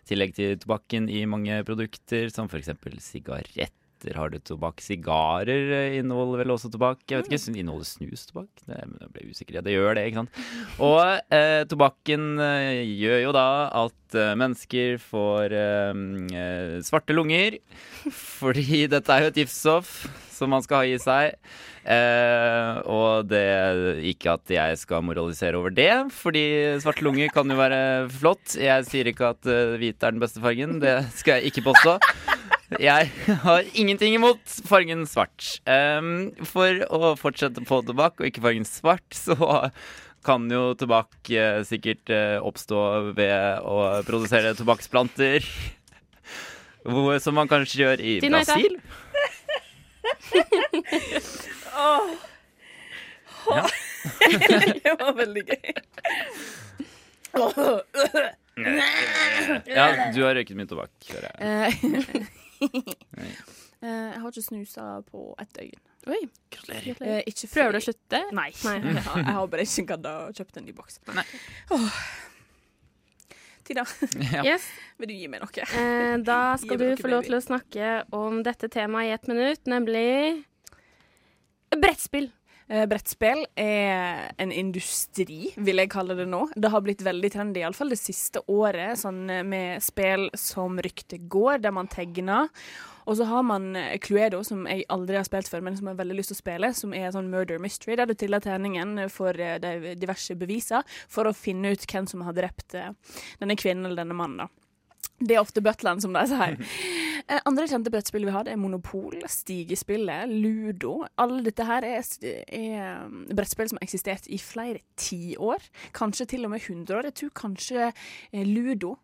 Speaker 7: tillegg til tobakken i mange produkter, som f.eks. sigaretter. Har du tobakk? Sigarer eh, inneholder vel også tobakk? Jeg vet ikke, sn- Inneholder snus tobakk? Det, men jeg ble usikker. Ja, det gjør det, ikke sant? Og eh, tobakken eh, gjør jo da at eh, mennesker får eh, mm, eh, svarte lunger. Fordi dette er jo et giftstoff som man skal ha i seg. Eh, og det ikke at jeg skal moralisere over det, fordi svarte lunger kan jo være flott. Jeg sier ikke at eh, hvit er den beste fargen, det skal jeg ikke påstå. Jeg har ingenting imot fargen svart. Em, for å fortsette på tobakk og ikke fargen svart, så kan jo tobakk eh, sikkert eh, oppstå ved å produsere tobakksplanter. hvor- Som man kanskje gjør i
Speaker 8: Tina, Ida.
Speaker 7: Brasil.
Speaker 6: Det var veldig gøy.
Speaker 7: Ja, du har røyket mye tobakk. hører jeg.
Speaker 6: Eh, eh, jeg har ikke snusa på ett døgn.
Speaker 8: Oi.
Speaker 6: Eh, ikke
Speaker 8: Prøver du å slutte?
Speaker 6: Nei.
Speaker 8: Nei.
Speaker 6: Jeg har jeg har bare ikke gadda å kjøpe en ny boks. Åh. Tida,
Speaker 7: Ja.
Speaker 8: Yes.
Speaker 6: vil du gi meg noe?
Speaker 8: Eh, da skal
Speaker 6: Gi meg
Speaker 8: du
Speaker 6: noe,
Speaker 8: få lov
Speaker 6: baby.
Speaker 8: til å snakke om dette temaet i ett minutt, nemlig brettspill.
Speaker 6: Eh, brettspill er en industri, vil jeg kalle det nå. Det har blitt veldig trendy, iallfall det siste året, sånn eh, med spill som ryktet går, der man tegner. Og så har man eh, Cluedo, som jeg aldri har spilt før, men som jeg har veldig lyst til å spille, som er et sånn murder mystery, der du triller terningen for eh, de diverse beviser for å finne ut hvem som har drept eh, denne kvinnen eller denne mannen, da. Det er ofte butleren, som de sier. Eh, Andre kjente brettspill vi har, det er Monopol, Stigespillet, Ludo. Alle dette her er, s- er um, brettspill som har eksistert i flere tiår. Kanskje til og med 100 år. Jeg tror kanskje eh, Ludo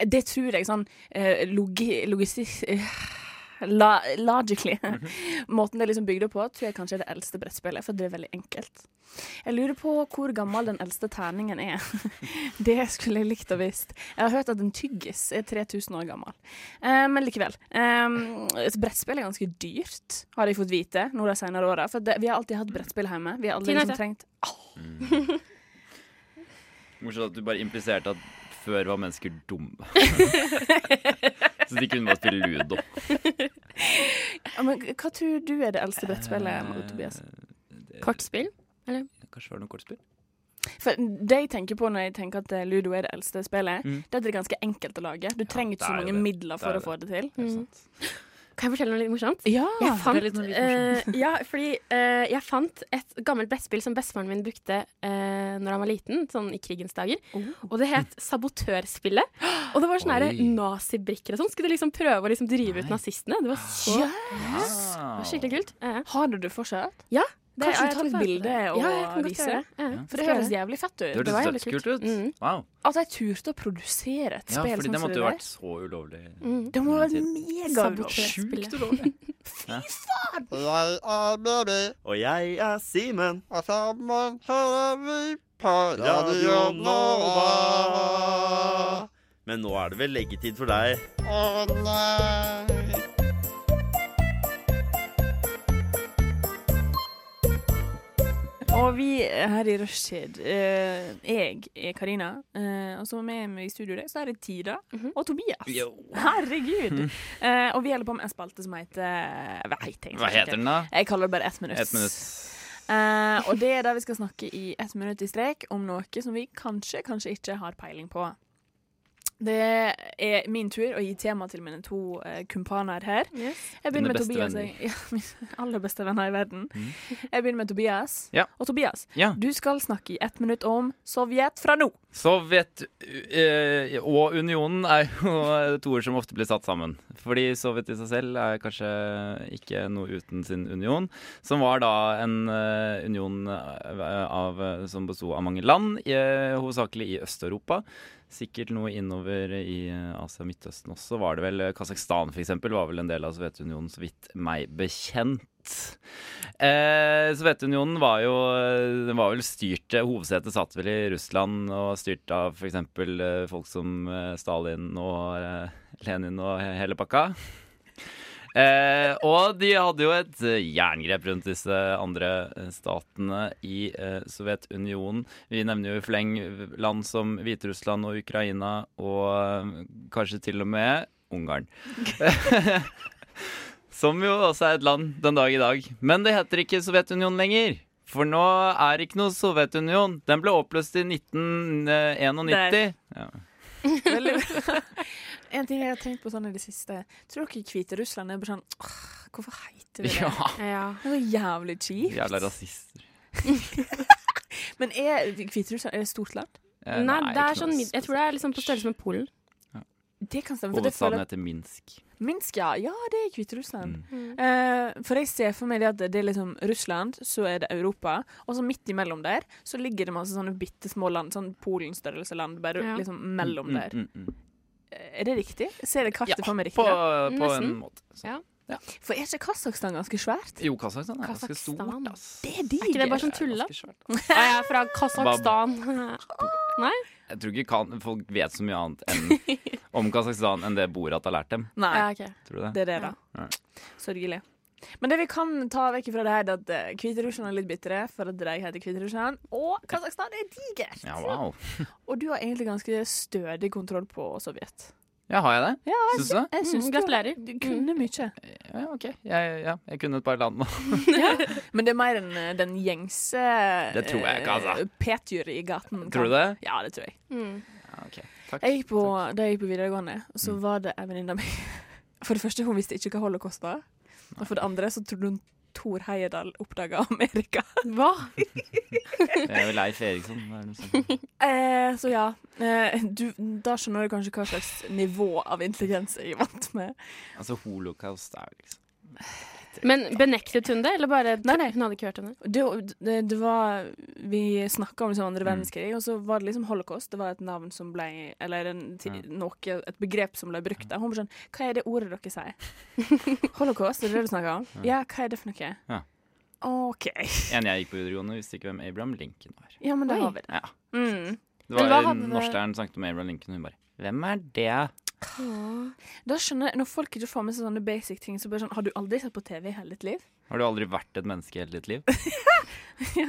Speaker 6: Det tror jeg sånn eh, logi, logistisk la, Logically.
Speaker 8: Mhm.
Speaker 6: Måten det er liksom bygd opp på, tror jeg kanskje er det eldste brettspillet, for det er veldig enkelt. Jeg lurer på hvor gammel den eldste terningen er. det skulle jeg likt å visst. Jeg har hørt at en tyggis er 3000 år gammel. Eh, men likevel. Eh, et brettspill er ganske dyrt, har jeg fått vite nå de senere åra. For det, vi har alltid hatt brettspill hjemme. Vi har aldri
Speaker 8: Tina,
Speaker 6: liksom
Speaker 8: ta.
Speaker 6: trengt
Speaker 7: Morsomt at du bare impliserte at før var mennesker dumme. Så de kunne bare spille ludo.
Speaker 6: ja, men, Hva tror du er det eldste brettspillet, Marie Tobias?
Speaker 8: Kortspill.
Speaker 7: Eh, Kanskje var det noe kortspill?
Speaker 6: For det jeg tenker på når jeg tenker at eh, Ludo er det eldste spillet,
Speaker 7: Mm.
Speaker 6: det er at det er ganske enkelt å lage. Du trenger
Speaker 7: det
Speaker 6: ikke så
Speaker 7: er jo
Speaker 6: mange
Speaker 7: det.
Speaker 6: midler
Speaker 7: Det
Speaker 6: for
Speaker 7: er
Speaker 6: å få det til.
Speaker 7: Er det
Speaker 8: Mm.
Speaker 7: sant?
Speaker 8: Kan jeg fortelle noe litt morsomt?
Speaker 6: Ja!
Speaker 8: Jeg fant,
Speaker 7: litt noe litt
Speaker 8: eh, ja, fordi eh, jeg fant et gammelt brettspill som bestefaren min brukte uh, når han var liten, sånn i krigens dager.
Speaker 6: Oh.
Speaker 8: Og det het Sabotørspillet. Og det var sånne her
Speaker 1: Oi.
Speaker 8: nazibrikker og sånn. Skulle liksom prøve å liksom drive ut nazistene. Det var så
Speaker 6: Ja.
Speaker 7: Ah.
Speaker 8: det var skikkelig kult. Ja, ja.
Speaker 6: Har du det fortsatt?
Speaker 8: Det-
Speaker 6: Kanskje
Speaker 8: ja,
Speaker 6: du
Speaker 8: jeg
Speaker 6: tar
Speaker 8: tror
Speaker 6: et
Speaker 8: jeg-
Speaker 6: bilde og
Speaker 8: ja, jeg kan godt
Speaker 6: viser
Speaker 8: gjøre det. Ja, ja.
Speaker 6: For det
Speaker 8: Skal jeg
Speaker 6: høres jævlig fett ut.
Speaker 7: Det
Speaker 8: det var
Speaker 7: hørtes
Speaker 8: jævlig
Speaker 7: dødskult
Speaker 8: kult.
Speaker 7: ut.
Speaker 8: Mm.
Speaker 7: Wow.
Speaker 6: At de turte å produsere et
Speaker 7: Ja,
Speaker 6: spill
Speaker 7: fordi
Speaker 6: sånn
Speaker 7: det
Speaker 6: som
Speaker 7: måtte
Speaker 6: det der.
Speaker 7: jo vært så ulovlig.
Speaker 8: Mm.
Speaker 6: Det må være
Speaker 8: Sabotør.
Speaker 6: megagodt.
Speaker 7: Sjukt ulovlig.
Speaker 4: Jeg er Mary. Og jeg er Simen. Og sammen hører vi på Radio Nova. Men nå er det vel leggetid for deg. Å nei.
Speaker 6: Og vi her i Rushtid, eh, jeg er Karina, eh, og så med meg i studio der, så er det Tida
Speaker 8: Mhm.
Speaker 6: og Tobias. Herregud! Eh, og vi holder på med en spalte som heter eh, Hva heter, jeg
Speaker 7: Hva heter den, da?
Speaker 6: Jeg kaller det bare Ett minutt.
Speaker 7: Ett minutt.
Speaker 6: Eh, og det er der vi skal snakke i ett minutt i strek om noe som vi kanskje, kanskje ikke har peiling på. Det er min tur å gi tema til mine to eh, kumpaner her.
Speaker 8: Yes.
Speaker 6: Jeg begynner
Speaker 7: Dine
Speaker 6: med
Speaker 7: beste
Speaker 6: Tobias.
Speaker 7: venner. Mm.
Speaker 6: Jeg, ja, mine aller beste venner i verden. Jeg begynner med Tobias.
Speaker 7: Ja.
Speaker 6: Og Tobias,
Speaker 7: Ja.
Speaker 6: du skal snakke i ett minutt om Sovjet fra nå.
Speaker 7: Sovjet eh, og unionen er jo to ord som ofte blir satt sammen. Fordi Sovjet i seg selv er kanskje ikke noe uten sin union, som var da en eh, union eh, av, som besto av mange land, i, eh, hovedsakelig i Øst-Europa. Sikkert noe innover i eh, Asia og Midtøsten også. Var det vel eh, Kasakhstan f.eks. var vel en del av Sovjetunionen, så vidt meg bekjent. Eh, Sovjetunionen var jo den var vel styrt Hovedsetet satt vel i Russland og styrt av f.eks. Eh, folk som eh, Stalin og eh, Lenin og he- hele pakka. Eh, og de hadde jo et eh, jerngrep rundt disse andre eh, statene i eh, Sovjetunionen. Vi nevner jo i fleng land som Hviterussland og Ukraina og eh, kanskje til og med Ungarn. Som jo også er et land den dag i dag. Men det heter ikke Sovjetunionen lenger. For nå er det ikke noe Sovjetunion. Den ble oppløst i eh, 1991. Ja.
Speaker 6: Veldig bra. En ting jeg har tenkt på sånn i det siste. Tror dere Hviterussland er bare sånn «Åh, Hvorfor heter vi det?
Speaker 7: ja.
Speaker 8: Ja.
Speaker 6: Det var jævlig kjipt.
Speaker 7: Jævla rasister.
Speaker 6: Men er Hviterussland er det et stort land?
Speaker 7: Eh,
Speaker 8: Nei, det er
Speaker 7: ikke
Speaker 8: sånn
Speaker 7: noe
Speaker 8: mid- Jeg tror det er liksom på størrelse med Polen.
Speaker 6: Det kan stemme. For det
Speaker 7: Hovedstaden
Speaker 6: føler,
Speaker 7: heter Minsk.
Speaker 8: Mm,
Speaker 6: Minsk, ja. Ja, det er Hviterussland.
Speaker 7: Mm.
Speaker 6: Eh, for jeg ser for meg det at det er liksom Russland, så er det Europa, og så midt imellom der så ligger det masse sånne bitte små land, sånn Polen-størrelse land, bare
Speaker 8: Ja.
Speaker 6: liksom mellom
Speaker 7: Mm,
Speaker 6: der. Eh,
Speaker 7: mm, mm.
Speaker 6: Er det riktig? Ser jeg kartet
Speaker 7: Ja,
Speaker 6: for meg riktig?
Speaker 7: På, eh,
Speaker 6: da?
Speaker 7: på en
Speaker 8: Nesten.
Speaker 7: måte. Så.
Speaker 8: Ja.
Speaker 6: For er ikke Kasakhstan ganske svært?
Speaker 7: Jo, Kasakhstan er ganske
Speaker 8: Kasakhstan.
Speaker 7: stort. Ass.
Speaker 6: Det er
Speaker 8: Er ikke det
Speaker 6: digert.
Speaker 8: bare sånn tulla?
Speaker 7: Ganske svært.
Speaker 8: Ah, jeg er fra Kasakhstan.
Speaker 7: Jeg tror ikke kan, folk vet så mye annet enn om Kasakhstan enn det Borat har lært dem.
Speaker 6: Nei,
Speaker 8: Ja, ok.
Speaker 7: Tror du det?
Speaker 6: det er det, da.
Speaker 7: Ja.
Speaker 6: Sørgelig. Men det vi kan ta vekk fra det her, er at eh, Hviterussland er litt bitre for at de heter Hviterussland. Og Kasakhstan er digert!
Speaker 7: Ja, wow.
Speaker 6: Og du har egentlig ganske stødig kontroll på Sovjet.
Speaker 7: Ja, har jeg det?
Speaker 6: Ja, jeg,
Speaker 7: Syns du det?
Speaker 6: jeg syns
Speaker 8: Mm,
Speaker 6: du-
Speaker 8: gratulerer.
Speaker 6: Du kunne mye.
Speaker 7: Ja, OK. Jeg, ja, jeg kunne et par land nå.
Speaker 6: Men det er mer enn eh, den gjengse
Speaker 7: Det tror jeg ikke, altså.
Speaker 6: eh, Petjur i gaten.
Speaker 7: Tror du det?
Speaker 6: Ja, det tror jeg.
Speaker 7: Ja, ok. Takk.
Speaker 6: Jeg gikk på, da jeg gikk på videregående,
Speaker 7: Mm.
Speaker 6: så var det ei venninne av meg For det første, hun visste ikke hva holocaust var. Og for det andre så trodde hun Thor Heyerdahl oppdaga Amerika.
Speaker 8: Hva?
Speaker 7: Jeg er jo Leif Eriksson. det er noe sånt.
Speaker 6: Eh, så ja. Eh, du, da skjønner du kanskje hva slags nivå av intelligens jeg er vant med.
Speaker 7: Altså, holocaust er jo liksom
Speaker 8: Men benektet hun det, eller bare
Speaker 6: Nei, nei.
Speaker 8: hun hadde ikke hørt om det?
Speaker 6: Det, det, det var Vi snakka om liksom
Speaker 7: Mm.
Speaker 6: andre verdenskrig, og så var det liksom holocaust. Det var et navn som ble Eller en, ti- noe, et begrep som ble brukt. da. Hun bare sånn Hva er det ordet dere sier? holocaust, er det det du snakker om? Ja, hva er det for noe?
Speaker 7: Ja.
Speaker 6: OK.
Speaker 7: En jeg gikk på videregående, visste ikke hvem Abraham Lincoln var.
Speaker 6: Ja, men da
Speaker 8: Oi.
Speaker 6: har vi det.
Speaker 7: Ja.
Speaker 6: Mm.
Speaker 7: Det
Speaker 8: Men hva
Speaker 7: var
Speaker 8: hadde
Speaker 7: en
Speaker 8: det-
Speaker 7: norsklæreren som snakket om Abraham Lincoln, og hun bare Hvem er det?
Speaker 6: Da skjønner jeg, Når folk ikke får med seg sånne basic ting, så bare sånn Har du aldri sett på TV i hele ditt liv?
Speaker 7: Har du aldri vært et menneske i hele ditt liv?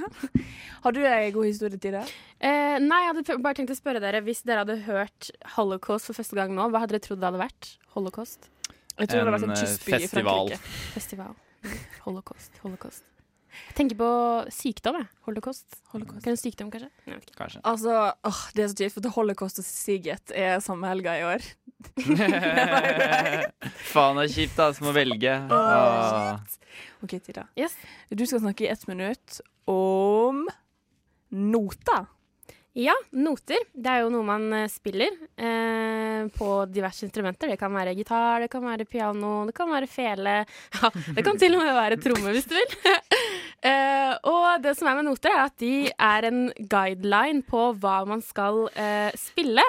Speaker 6: Har du ei god historie til det?
Speaker 8: Eh, nei, jeg hadde bare tenkt å spørre dere Hvis dere hadde hørt holocaust for første gang nå, hva hadde dere trodd det hadde vært? Holocaust?
Speaker 6: Jeg tror det har vært
Speaker 7: En,
Speaker 6: en
Speaker 7: eh,
Speaker 6: kystby i
Speaker 7: festival.
Speaker 6: Frankrike.
Speaker 8: Festival. Holocaust. Holocaust. Jeg tenker på sykdom, jeg. Holocaust. Holocaust. Er det en sykdom, kanskje? Nei, jeg vet ikke.
Speaker 7: Kanskje.
Speaker 6: Altså, åh, det er så kjipt, for det Holocaust og Sigget er samme helga i år. Det var jo greit.
Speaker 7: Faen, det er kjipt, da. Som å velge. Ah. Åh.
Speaker 6: OK, Tida.
Speaker 8: Yes.
Speaker 6: Du skal snakke i ett minutt om noter.
Speaker 8: Ja, noter. Det er jo noe man eh, spiller eh, på diverse instrumenter. Det kan være gitar, det kan være piano, det kan være fele. Ja, det kan til og med være tromme, hvis du vil. Eh, og det som er med noter, er at de er en guideline på hva man skal eh, spille.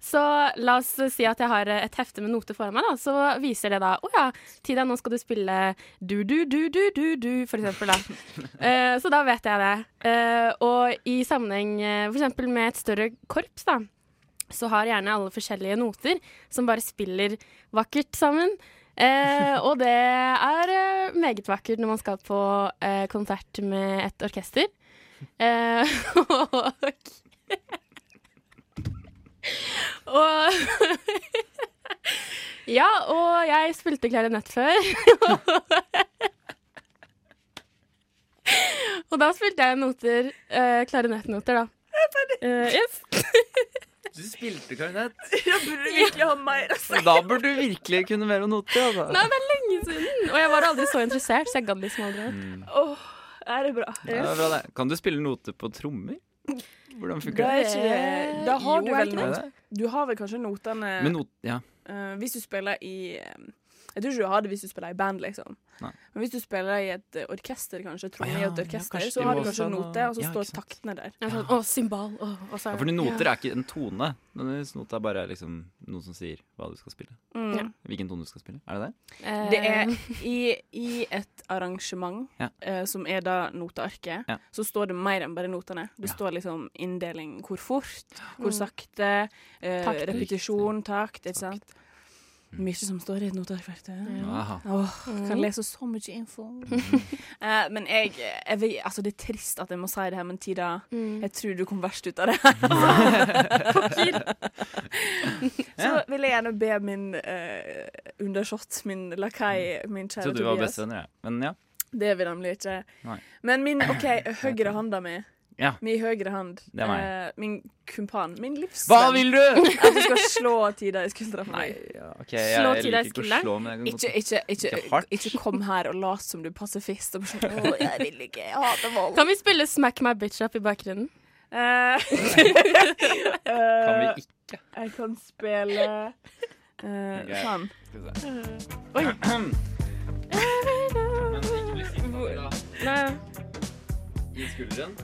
Speaker 8: Så la oss si at jeg har eh, et hefte med noter foran meg, da. Så viser det da Å ja, Tida, nå skal du spille du-du-du-du-du-du, for eksempel, da. Eh, så da vet jeg det. Eh, og i sammenheng eh, for eksempel med et større korps, da, så har gjerne alle forskjellige noter som bare spiller vakkert sammen. Eh, og det er eh, meget vakkert når man skal på eh, konsert med et orkester. Eh, og og Ja, og jeg spilte klarinett før. og da spilte jeg noter, eh, klarinettnoter, da. Eh, yes.
Speaker 7: Du spilte klarinett.
Speaker 6: Burde du virkelig ha mer?
Speaker 7: Da burde du virkelig kunne mer om noter. Altså.
Speaker 8: Nei, det er lenge siden. Og jeg var aldri så interessert, så jeg gadd liksom aldri.
Speaker 7: Mm.
Speaker 6: Åh, er det bra?
Speaker 7: Ja, det er bra, det. Kan du spille noter på trommer? Hvordan
Speaker 6: Da,
Speaker 7: funker det?
Speaker 6: er ikke det, da har
Speaker 8: Jo,
Speaker 6: du
Speaker 8: er
Speaker 6: vel
Speaker 8: ikke
Speaker 7: Er
Speaker 6: noter.
Speaker 7: det?
Speaker 6: Du har vel kanskje notene
Speaker 7: Med not ja.
Speaker 6: Eh, hvis du spiller i eh, Jeg tror ikke du har det hvis du spiller i band, liksom.
Speaker 7: Nei.
Speaker 6: Men hvis du spiller i et eh, orkester, kanskje, trommer
Speaker 7: Ah,
Speaker 6: i
Speaker 7: ja,
Speaker 6: et orkester,
Speaker 7: ja, kanskje
Speaker 6: så har du
Speaker 7: det
Speaker 6: kanskje
Speaker 7: også
Speaker 6: noter,
Speaker 7: noe-
Speaker 6: og så
Speaker 7: ja,
Speaker 6: står
Speaker 7: ikke sant.
Speaker 6: taktene der.
Speaker 8: Jeg var sånn, å, symbal. Å, og så
Speaker 7: ja,
Speaker 8: er
Speaker 7: for
Speaker 8: det-
Speaker 7: noter er ikke en tone. Men noter er bare liksom noe som sier hva du skal spille.
Speaker 6: Mm.
Speaker 7: Hvilken tone du skal spille. Er det det?
Speaker 8: Eh,
Speaker 6: Det er i, i et arrangement,
Speaker 7: Ja.
Speaker 6: eh, som er da notearket,
Speaker 7: Ja.
Speaker 6: så står det mer enn bare notene. Det
Speaker 7: Ja.
Speaker 6: står liksom inndeling hvor fort, hvor sakte, eh,
Speaker 8: Takt.
Speaker 6: repetisjon, takt, ikke sant. Mye som står i et noteark. vet du.
Speaker 7: Aha.
Speaker 6: Åh, kan lese så mye info.
Speaker 7: Mm.
Speaker 6: Eh, men jeg, jeg vil, altså det er trist at jeg må si det her, men Tida, jeg tror du kom verst ut av det her. så vil jeg gjerne be min eh, undersått, min lakai, min
Speaker 7: Mm. Jeg
Speaker 6: kjære
Speaker 7: trodde vi var
Speaker 6: Tobias
Speaker 7: bestevenner, jeg. Men ja.
Speaker 6: Det er vi nemlig ikke.
Speaker 7: Nei.
Speaker 6: Men min OK, høyre handa mi.
Speaker 7: Ja.
Speaker 6: Min høyre hand.
Speaker 7: Det er meg.
Speaker 6: eh, min kumpan. Min
Speaker 7: Hva
Speaker 6: livsvenn.
Speaker 7: vil du?!
Speaker 6: At du skal slå Tida i skuldra for
Speaker 7: Nei,
Speaker 6: meg.
Speaker 7: ja, ok,
Speaker 8: Slå
Speaker 7: jeg
Speaker 8: til
Speaker 7: liker
Speaker 8: deg
Speaker 7: ikke å
Speaker 8: skulderen.
Speaker 7: slå, men jeg kan godt
Speaker 6: Ikke, ikke, ikke,
Speaker 7: Ikke
Speaker 6: ikke,
Speaker 7: hardt.
Speaker 6: kom her og lat som du er pasifist. Og bare sånn, «Å, jeg vil ikke, jeg hater vold.
Speaker 8: Kan vi spille Smack My Bitch Up i bakgrunnen?
Speaker 6: Eh,
Speaker 7: Kan vi ikke
Speaker 6: jeg kan spille eh,
Speaker 7: Ok.
Speaker 6: Sånn.
Speaker 7: Men ikke bli sint av det, da.
Speaker 8: Nei.
Speaker 7: I skulderen.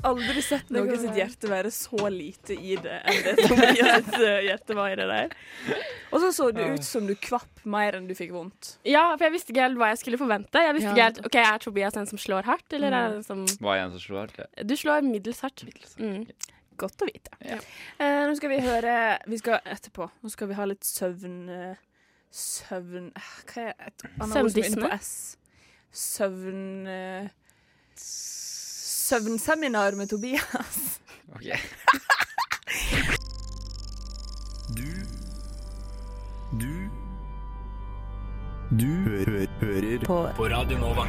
Speaker 6: Aldri sett
Speaker 8: går
Speaker 6: noe sitt
Speaker 8: bra.
Speaker 6: hjerte være så lite i det enn det Tobias sitt hjerte var i det der. Og så så det ut som du kvapp mer enn du fikk vondt.
Speaker 8: Ja, for jeg visste ikke helt hva jeg skulle forvente. Jeg visste
Speaker 6: Ja, Mm.
Speaker 8: ikke helt, ok, Er Tobias den som slår hardt, eller er det den som
Speaker 7: Var jeg en som slo hardt?
Speaker 8: Du slår middels hardt. Mm.
Speaker 6: Godt å vite. Eh, nå skal vi høre Vi skal etterpå. Nå skal vi ha litt søvn eh, Søvn eh, Hva er et annet ord som begynner på
Speaker 8: Søvndysme?
Speaker 6: S? Søvn eh, Søvnseminar med Tobias.
Speaker 7: Ok.
Speaker 12: Du Du Du hø hø hører på. Radio Nova.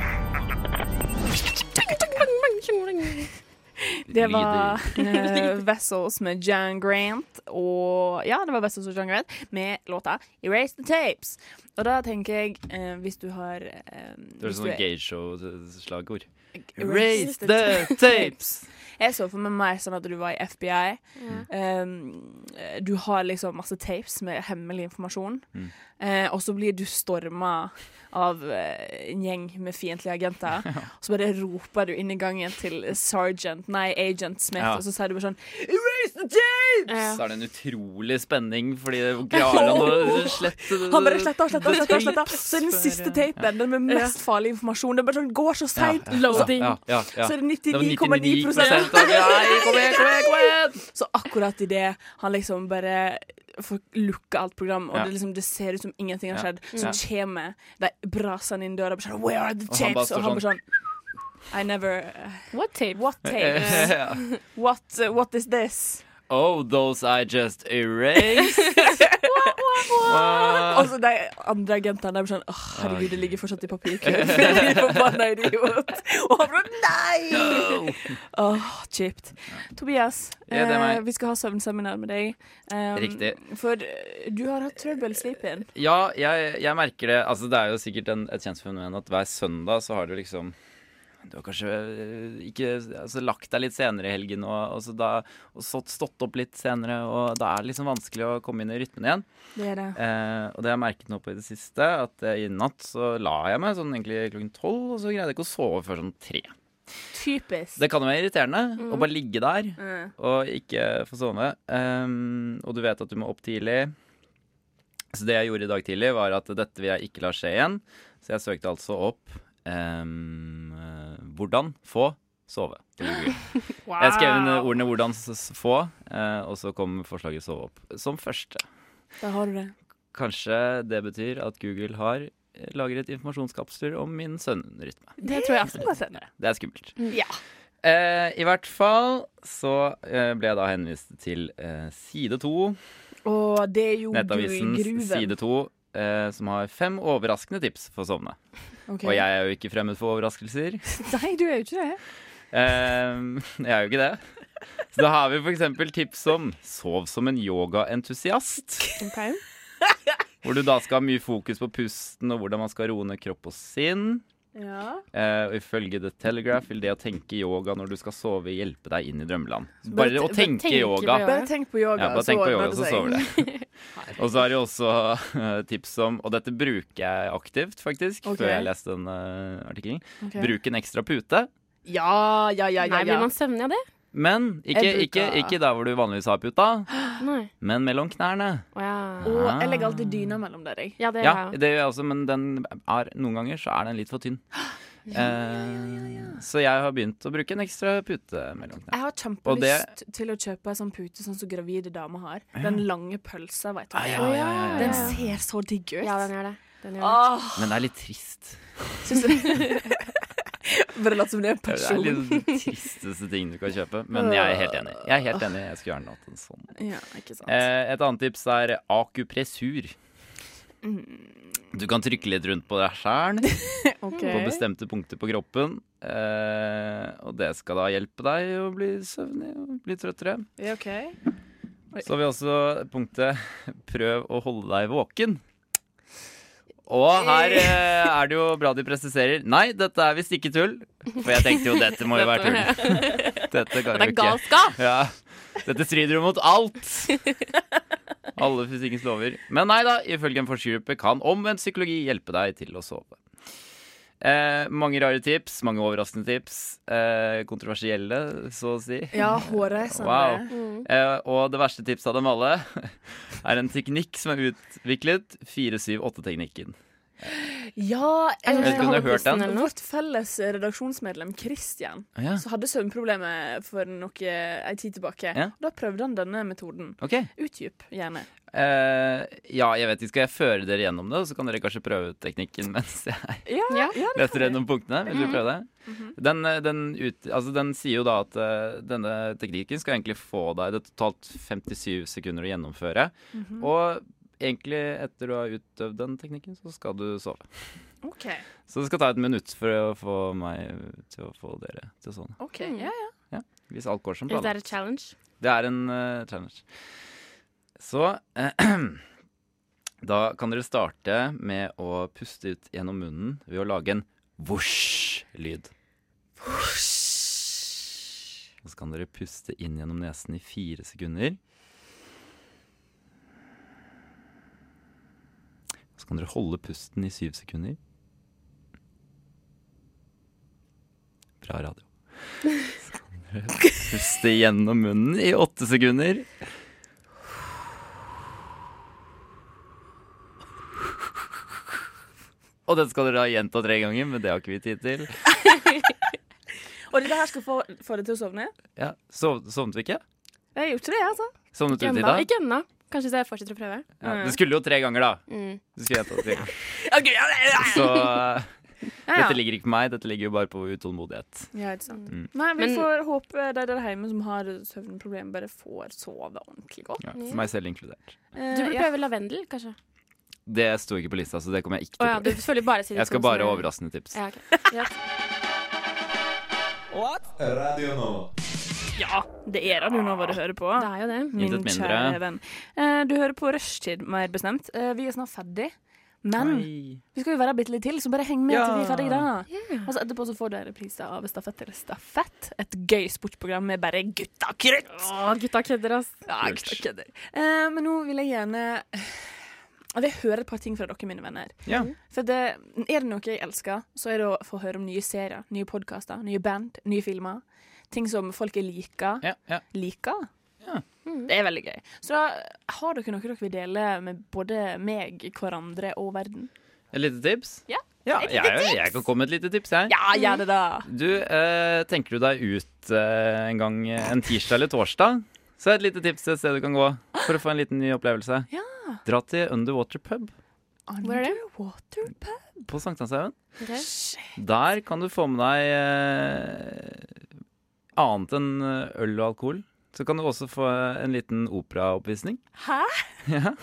Speaker 6: Det var
Speaker 8: Lyder.
Speaker 6: eh, Vessels med Jan Grant og Ja, det var Vessels og Jan Grant med låta 'Erase The Tapes'. Og da tenker jeg, eh, hvis du har eh,
Speaker 7: Det var
Speaker 6: hvis du
Speaker 7: sånn
Speaker 6: er-
Speaker 7: gayshow-slagord.
Speaker 6: Erase the tapes! Jeg så for meg mer sånn at du var i FBI. Um, du har liksom masse tapes med hemmelig informasjon.
Speaker 7: Mm.
Speaker 6: Eh, og så blir du storma av eh, en gjeng med fiendtlige agenter. Og så bare roper du inn i gangen til sergeant, nei, agent Smith,
Speaker 7: Ja.
Speaker 6: og så sier du bare sånn Erase the tapes!
Speaker 7: Så er det en utrolig spenning, fordi det går an å slette det.
Speaker 6: Han bare sletta, sletta, sletta, sletta. Så er den siste tapen den med mest farlig informasjon. Det er bare sånn, går så seint.
Speaker 7: eh, Ja, ja, ja.
Speaker 6: Så er det
Speaker 7: Det var
Speaker 6: 99,9
Speaker 7: av det. Nei, kom igjen, kom igjen, kom igjen!
Speaker 6: Så akkurat idet han liksom bare får lukka alt program, og
Speaker 7: Ja.
Speaker 6: det, liksom, det ser ut som ingenting har
Speaker 7: Ja.
Speaker 6: skjedd,
Speaker 7: Ja.
Speaker 6: så kommer de brasende inn døra og bare sånn Where are the
Speaker 7: Og han bare
Speaker 6: tapes?
Speaker 7: står
Speaker 6: Og han bare sånn I never
Speaker 8: What tape?
Speaker 6: What tapes?
Speaker 7: Ja.
Speaker 6: what, uh, what is this?
Speaker 7: Oh, those I just erased. Wow.
Speaker 6: Og så de andre agentene de er sånn Åh, herregud, det ligger fortsatt i papirkurven.
Speaker 7: Oi.
Speaker 6: De forbanna idiot. Og han bare Nei!
Speaker 7: No.
Speaker 6: Åh, kjipt. Tobias,
Speaker 7: Ja, det er meg.
Speaker 6: eh, vi skal ha søvnseminar med deg. Um,
Speaker 7: Riktig.
Speaker 6: For eh, du har hatt trøbbel sleep-in.
Speaker 7: Ja, jeg, jeg merker det. Altså, det er jo sikkert en, et kjent fenomen at hver søndag så har du liksom du har kanskje eh, ikke altså, lagt deg litt senere i helgen og, og, så da, og så stått opp litt senere, og da er det liksom vanskelig å komme inn i rytmen igjen.
Speaker 6: Det er det.
Speaker 7: Eh, og det har jeg merket nå på i det siste, at eh, i natt så la jeg meg sånn egentlig klokken tolv, og så greide jeg ikke å sove før sånn tre.
Speaker 6: Typisk.
Speaker 7: Det kan jo være irriterende
Speaker 6: Mm.
Speaker 7: å bare ligge der
Speaker 6: Mm.
Speaker 7: og ikke få sove. Ehm, og du vet at du må opp tidlig. Så det jeg gjorde i dag tidlig, var at dette vil jeg ikke la skje igjen. Så jeg søkte altså opp ehm, eh, 'Hvordan få sove'. på Google. Jeg skrev inn eh, ordene 'hvordan s- s- få', eh, og så kom forslaget 'sove opp' som første.
Speaker 6: Da har du det.
Speaker 7: Kanskje det betyr at Google har eh, lagret informasjonskapsler om min søvnrytme.
Speaker 6: Det tror jeg absolutt er senere.
Speaker 7: Det er skummelt.
Speaker 6: Ja.
Speaker 7: Eh, I hvert fall så eh, ble jeg da henvist til eh, side to.
Speaker 6: Og det er jo
Speaker 7: Nettavisens
Speaker 6: gru- gruven.
Speaker 7: side to, eh, som har fem overraskende tips for å sovne.
Speaker 6: Ok.
Speaker 7: Og jeg er jo ikke fremmed for overraskelser.
Speaker 6: Nei, du er jo ikke det.
Speaker 7: Ehm, jeg er jo ikke det. Så da har vi f.eks. tips som sov som en yogaentusiast.
Speaker 6: Okay.
Speaker 7: Hvor du da skal ha mye fokus på pusten og hvordan man skal roe ned kropp og sinn.
Speaker 6: Ja.
Speaker 7: Eh, og ifølge The Telegraph vil det å tenke yoga når du skal sove, hjelpe deg inn i drømmeland.
Speaker 6: Så bare
Speaker 7: Bare,
Speaker 6: te-
Speaker 7: å
Speaker 6: bare
Speaker 7: tenke,
Speaker 6: tenke på
Speaker 7: yoga.
Speaker 6: yoga. Bare tenk på yoga,
Speaker 7: ja, bare
Speaker 6: så
Speaker 7: tenk på
Speaker 6: ordner
Speaker 7: yoga,
Speaker 6: det
Speaker 7: så
Speaker 6: seg.
Speaker 7: sover det. og så er det jo også eh, tips om, og dette bruker jeg aktivt faktisk,
Speaker 6: Ok.
Speaker 7: før jeg leste den eh, artikkelen,
Speaker 6: Ok.
Speaker 7: bruk en ekstra pute.
Speaker 6: Ja, ja, ja, ja.
Speaker 8: Nei,
Speaker 6: ja.
Speaker 8: blir man søvnig av det?
Speaker 7: Men ikke,
Speaker 6: Jeg bruker-
Speaker 7: ikke, ikke der hvor du vanligvis har puta,
Speaker 8: Nei.
Speaker 7: men mellom knærne.
Speaker 8: Å ja.
Speaker 6: Og
Speaker 7: Ah.
Speaker 6: jeg legger alltid dyna mellom der, jeg.
Speaker 8: Ja, det
Speaker 7: Ja,
Speaker 8: gjør jeg
Speaker 7: det gjør jeg også, men den er, noen ganger så er den litt for tynn. Eh, Så jeg har begynt å bruke en ekstra pute mellom knærne.
Speaker 6: Jeg har
Speaker 7: Og det-
Speaker 6: kjempelyst til å kjøpe en sånn pute sånn som gravide damer har.
Speaker 7: Ja.
Speaker 6: Den lange pølsa, veit du.
Speaker 7: Ah, ja, ja, ja, ja,
Speaker 6: Den
Speaker 7: ja.
Speaker 6: ser så digg ut.
Speaker 8: Ja, den gjør det. Den gjør det.
Speaker 6: Åh,
Speaker 7: Men det er litt trist.
Speaker 6: syns du Bare lat som det er en
Speaker 7: Det er
Speaker 6: person.
Speaker 7: litt den tristeste ting du kan kjøpe, men jeg er helt enig. Jeg er helt enig, jeg skulle gjerne hatt en sånn.
Speaker 6: Ja, ikke sant.
Speaker 7: Eh, Et annet tips er akupressur. Du kan trykke litt rundt på deg sjæl,
Speaker 6: OK.
Speaker 7: på bestemte punkter på kroppen. eh, Og det skal da hjelpe deg å bli søvnig og bli trøttere.
Speaker 6: Ja, OK.
Speaker 7: Så har vi også punktet 'prøv å holde deg våken'. Og her eh, er det jo bra de presiserer. Nei, dette er visst ikke tull. For jeg tenkte jo dette må jo være tull. Dette kan
Speaker 8: Det
Speaker 7: jo
Speaker 8: er
Speaker 7: ikke
Speaker 8: galskap!
Speaker 7: ja. Dette strider jo mot alt. Alle fysikkens lover. Men nei da, ifølge en forskergruppe kan omvendt psykologi hjelpe deg til å sove. Eh, mange rare tips, mange overraskende tips. Eh, kontroversielle, så å si.
Speaker 6: Ja, sånn hårreisende.
Speaker 7: Wow. Eh, og det verste tipset av dem alle er en teknikk som er utviklet 4-7-8-teknikken.
Speaker 6: Ja,
Speaker 8: Jeg
Speaker 7: vet ikke om du har hørt den?
Speaker 6: Vårt felles redaksjonsmedlem Christian
Speaker 7: Å, ja.
Speaker 6: Så hadde søvnproblemer for noe ei tid tilbake.
Speaker 7: Ja.
Speaker 6: Da prøvde han denne metoden.
Speaker 7: Ok.
Speaker 6: Utdyp gjerne.
Speaker 7: Eh, ja, jeg vet ikke. Skal jeg føre dere gjennom det, og så kan dere kanskje prøve ut teknikken mens jeg
Speaker 6: Ja, ja. det
Speaker 7: leter gjennom punktene? Vil dere prøve det? Den, eh, den, ut, altså, den sier jo da at eh, denne teknikken skal egentlig få deg det er totalt 57 sekunder å gjennomføre.
Speaker 6: Mhm.
Speaker 7: Og egentlig etter du har utøvd den teknikken, så skal du sove.
Speaker 6: OK.
Speaker 7: Så det skal ta et minutt for å få meg til å få dere til å sovne.
Speaker 6: ok, ja, ja.
Speaker 7: Ja, hvis alt går som
Speaker 8: Is that
Speaker 7: planlagt.
Speaker 8: a challenge?
Speaker 7: Det er en eh, challenge. Så eh, da kan dere starte med å puste ut gjennom munnen ved å lage en vosj-lyd. Og så kan dere puste inn gjennom nesen i fire sekunder. Og så kan dere holde pusten i syv sekunder. Bra radio. Så kan dere puste gjennom munnen i åtte sekunder. Og den skal dere da gjenta tre ganger, men det har ikke vi tid til.
Speaker 6: Og det her skal få, få deg til å sovne?
Speaker 7: Ja, sov, Sovnet vi ikke?
Speaker 6: Jeg gjorde ikke det, altså.
Speaker 7: Sovnet du,
Speaker 8: Ikke
Speaker 7: Tida?
Speaker 8: ennå. Ikke ennå. Kanskje så jeg fortsetter å prøve.
Speaker 7: Ja, det skulle jo tre ganger, da.
Speaker 8: Mm.
Speaker 7: Du skulle gjenta tre ganger.
Speaker 6: Ok, ja, ja, ja.
Speaker 7: Så eh,
Speaker 6: Ja, ja.
Speaker 7: dette ligger ikke på meg, dette ligger jo bare på utålmodighet.
Speaker 6: Ja, ikke sant.
Speaker 7: Mm.
Speaker 6: Nei, vi
Speaker 8: Men-
Speaker 6: får håpe de der hjemme som har søvnproblemer, bare får sove ordentlig godt.
Speaker 7: Ja, for meg selv inkludert.
Speaker 8: Du
Speaker 6: Eh,
Speaker 8: burde prøve lavendel, kanskje.
Speaker 7: Det sto ikke på lista, så det kommer jeg ikke
Speaker 8: Å
Speaker 7: til
Speaker 8: ja,
Speaker 7: å
Speaker 8: du følger bare til de
Speaker 7: Jeg skal
Speaker 8: to
Speaker 7: bare ha
Speaker 8: som er-
Speaker 7: overraskende tips.
Speaker 8: Ja, ok. Greit.
Speaker 2: Radio Nova.
Speaker 6: Ja, det er Radio Nova du hører på. Det
Speaker 8: er jo det.
Speaker 6: Min
Speaker 7: Intet mindre.
Speaker 6: kjære venn. Eh, Du hører på Rushtid, mer bestemt. Eh, Vi er snart ferdig. Men vi skal jo være bitte litt til, så bare heng med
Speaker 11: Ja.
Speaker 6: til vi er ferdig da. Og så etterpå så får dere reprise av Stafett eller Stafett. Et gøy sportsprogram med bare gutta krutt!
Speaker 8: Å, gutta kødder, ass.
Speaker 6: Ja, gutta kødder. Eh, Men nå vil jeg gjerne Jeg vil høre et par ting fra dere, mine venner.
Speaker 7: Ja.
Speaker 6: For det, er det noe jeg elsker, så er det å få høre om nye serier, nye podkaster, nye band, nye filmer. Ting som folk jeg liker. Liker. Mm, Det er veldig gøy. Så da, har dere noe dere vil dele med både meg, hverandre og verden?
Speaker 7: Et lite tips?
Speaker 6: Ja.
Speaker 7: Ja,
Speaker 6: Et
Speaker 7: jeg,
Speaker 6: lite tips.
Speaker 7: jeg kan komme med et lite tips, jeg.
Speaker 6: Ja, gjør det, da.
Speaker 7: Du, eh, tenker du deg ut eh, en gang eh, en tirsdag eller torsdag, så er et lite tips til et sted du kan gå for å få en liten ny opplevelse. Dra til Underwater Pub
Speaker 6: Hvor er det? Underwater pub.
Speaker 7: på Sankthanshaugen.
Speaker 6: Okay.
Speaker 7: Der kan du få med deg eh, annet enn eh, øl og alkohol. Så kan du også få eh, en liten operaoppvisning.
Speaker 6: Hæ?
Speaker 7: Ja.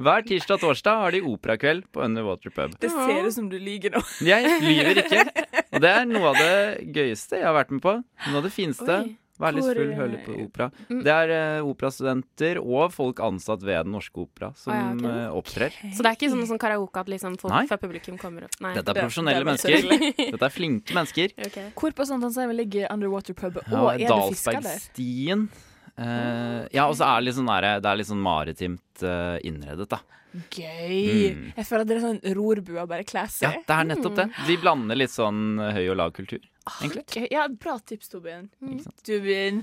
Speaker 7: Hver tirsdag og torsdag har de operakveld på Underwater Pub.
Speaker 6: Det ser ut som du lyver nå.
Speaker 7: Jeg lyver ikke. Og det er noe av det gøyeste jeg har vært med på. Noe av det fineste.
Speaker 6: Oi.
Speaker 7: Vær litt
Speaker 6: Hvor,
Speaker 7: full,
Speaker 6: eh,
Speaker 7: hør litt på opera.
Speaker 8: Mm.
Speaker 7: Det er eh, operastudenter og folk ansatt ved Den norske opera som
Speaker 8: Å, ja, ok.
Speaker 7: eh, opptrer.
Speaker 8: Så det er ikke sånn, sånn karaoke at liksom folk
Speaker 7: Nei.
Speaker 8: fra publikum kommer opp? Nei.
Speaker 7: Dette er profesjonelle
Speaker 8: det var
Speaker 7: mennesker.
Speaker 8: selvfølgelig.
Speaker 7: Dette er flinke mennesker.
Speaker 8: Ok.
Speaker 6: Hvor på Sankthanshaugen ligger Underwater pub,
Speaker 7: Ja,
Speaker 6: og er det fisker der?
Speaker 7: Dalsbergstien. Eh, ja, og så er det litt sånn, der, det er litt sånn maritimt eh, innredet, da.
Speaker 6: Gøy.
Speaker 7: Mm.
Speaker 6: Jeg føler at dere er sånn rorbua, bare kler
Speaker 7: Ja,
Speaker 6: seg.
Speaker 7: det er nettopp det.
Speaker 6: Mm.
Speaker 7: De blander litt sånn eh, høy og lav kultur. egentlig.
Speaker 6: Gøy. Ja, bra tips, Tobin. Tobin.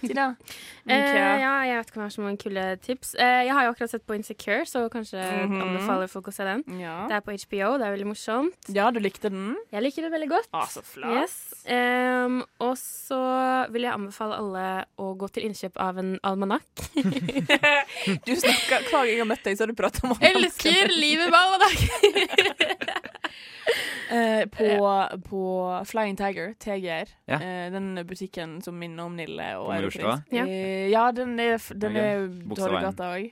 Speaker 6: Tina. Mm,
Speaker 8: Eh,
Speaker 6: Ok.
Speaker 8: ja, jeg vet ikke om jeg har så mange kule tips. Eh, jeg har jo akkurat sett på Insecure, så kanskje
Speaker 6: Mhm.
Speaker 8: anbefaler folk å se den.
Speaker 6: Ja.
Speaker 8: Det er på HBO, det er veldig morsomt.
Speaker 6: Ja, du likte den?
Speaker 8: Jeg liker det veldig godt.
Speaker 6: Ah, så flott.
Speaker 8: Yes. Ehm, og så vil jeg anbefale alle å gå til innkjøp av en almanakk.
Speaker 6: Du snakker, Hver gang jeg har møtt deg, så har du pratet om
Speaker 8: Elsker livet med almanakk!
Speaker 6: Eh, på, på Flying Tiger, TGR,
Speaker 7: Ja.
Speaker 6: eh, den butikken som minner om Nille. Og
Speaker 7: På Majorstua?
Speaker 6: Europris. Eh, ja, den er, f- den
Speaker 7: Ok.
Speaker 6: er
Speaker 7: Bogstadveien.
Speaker 6: Torgata òg.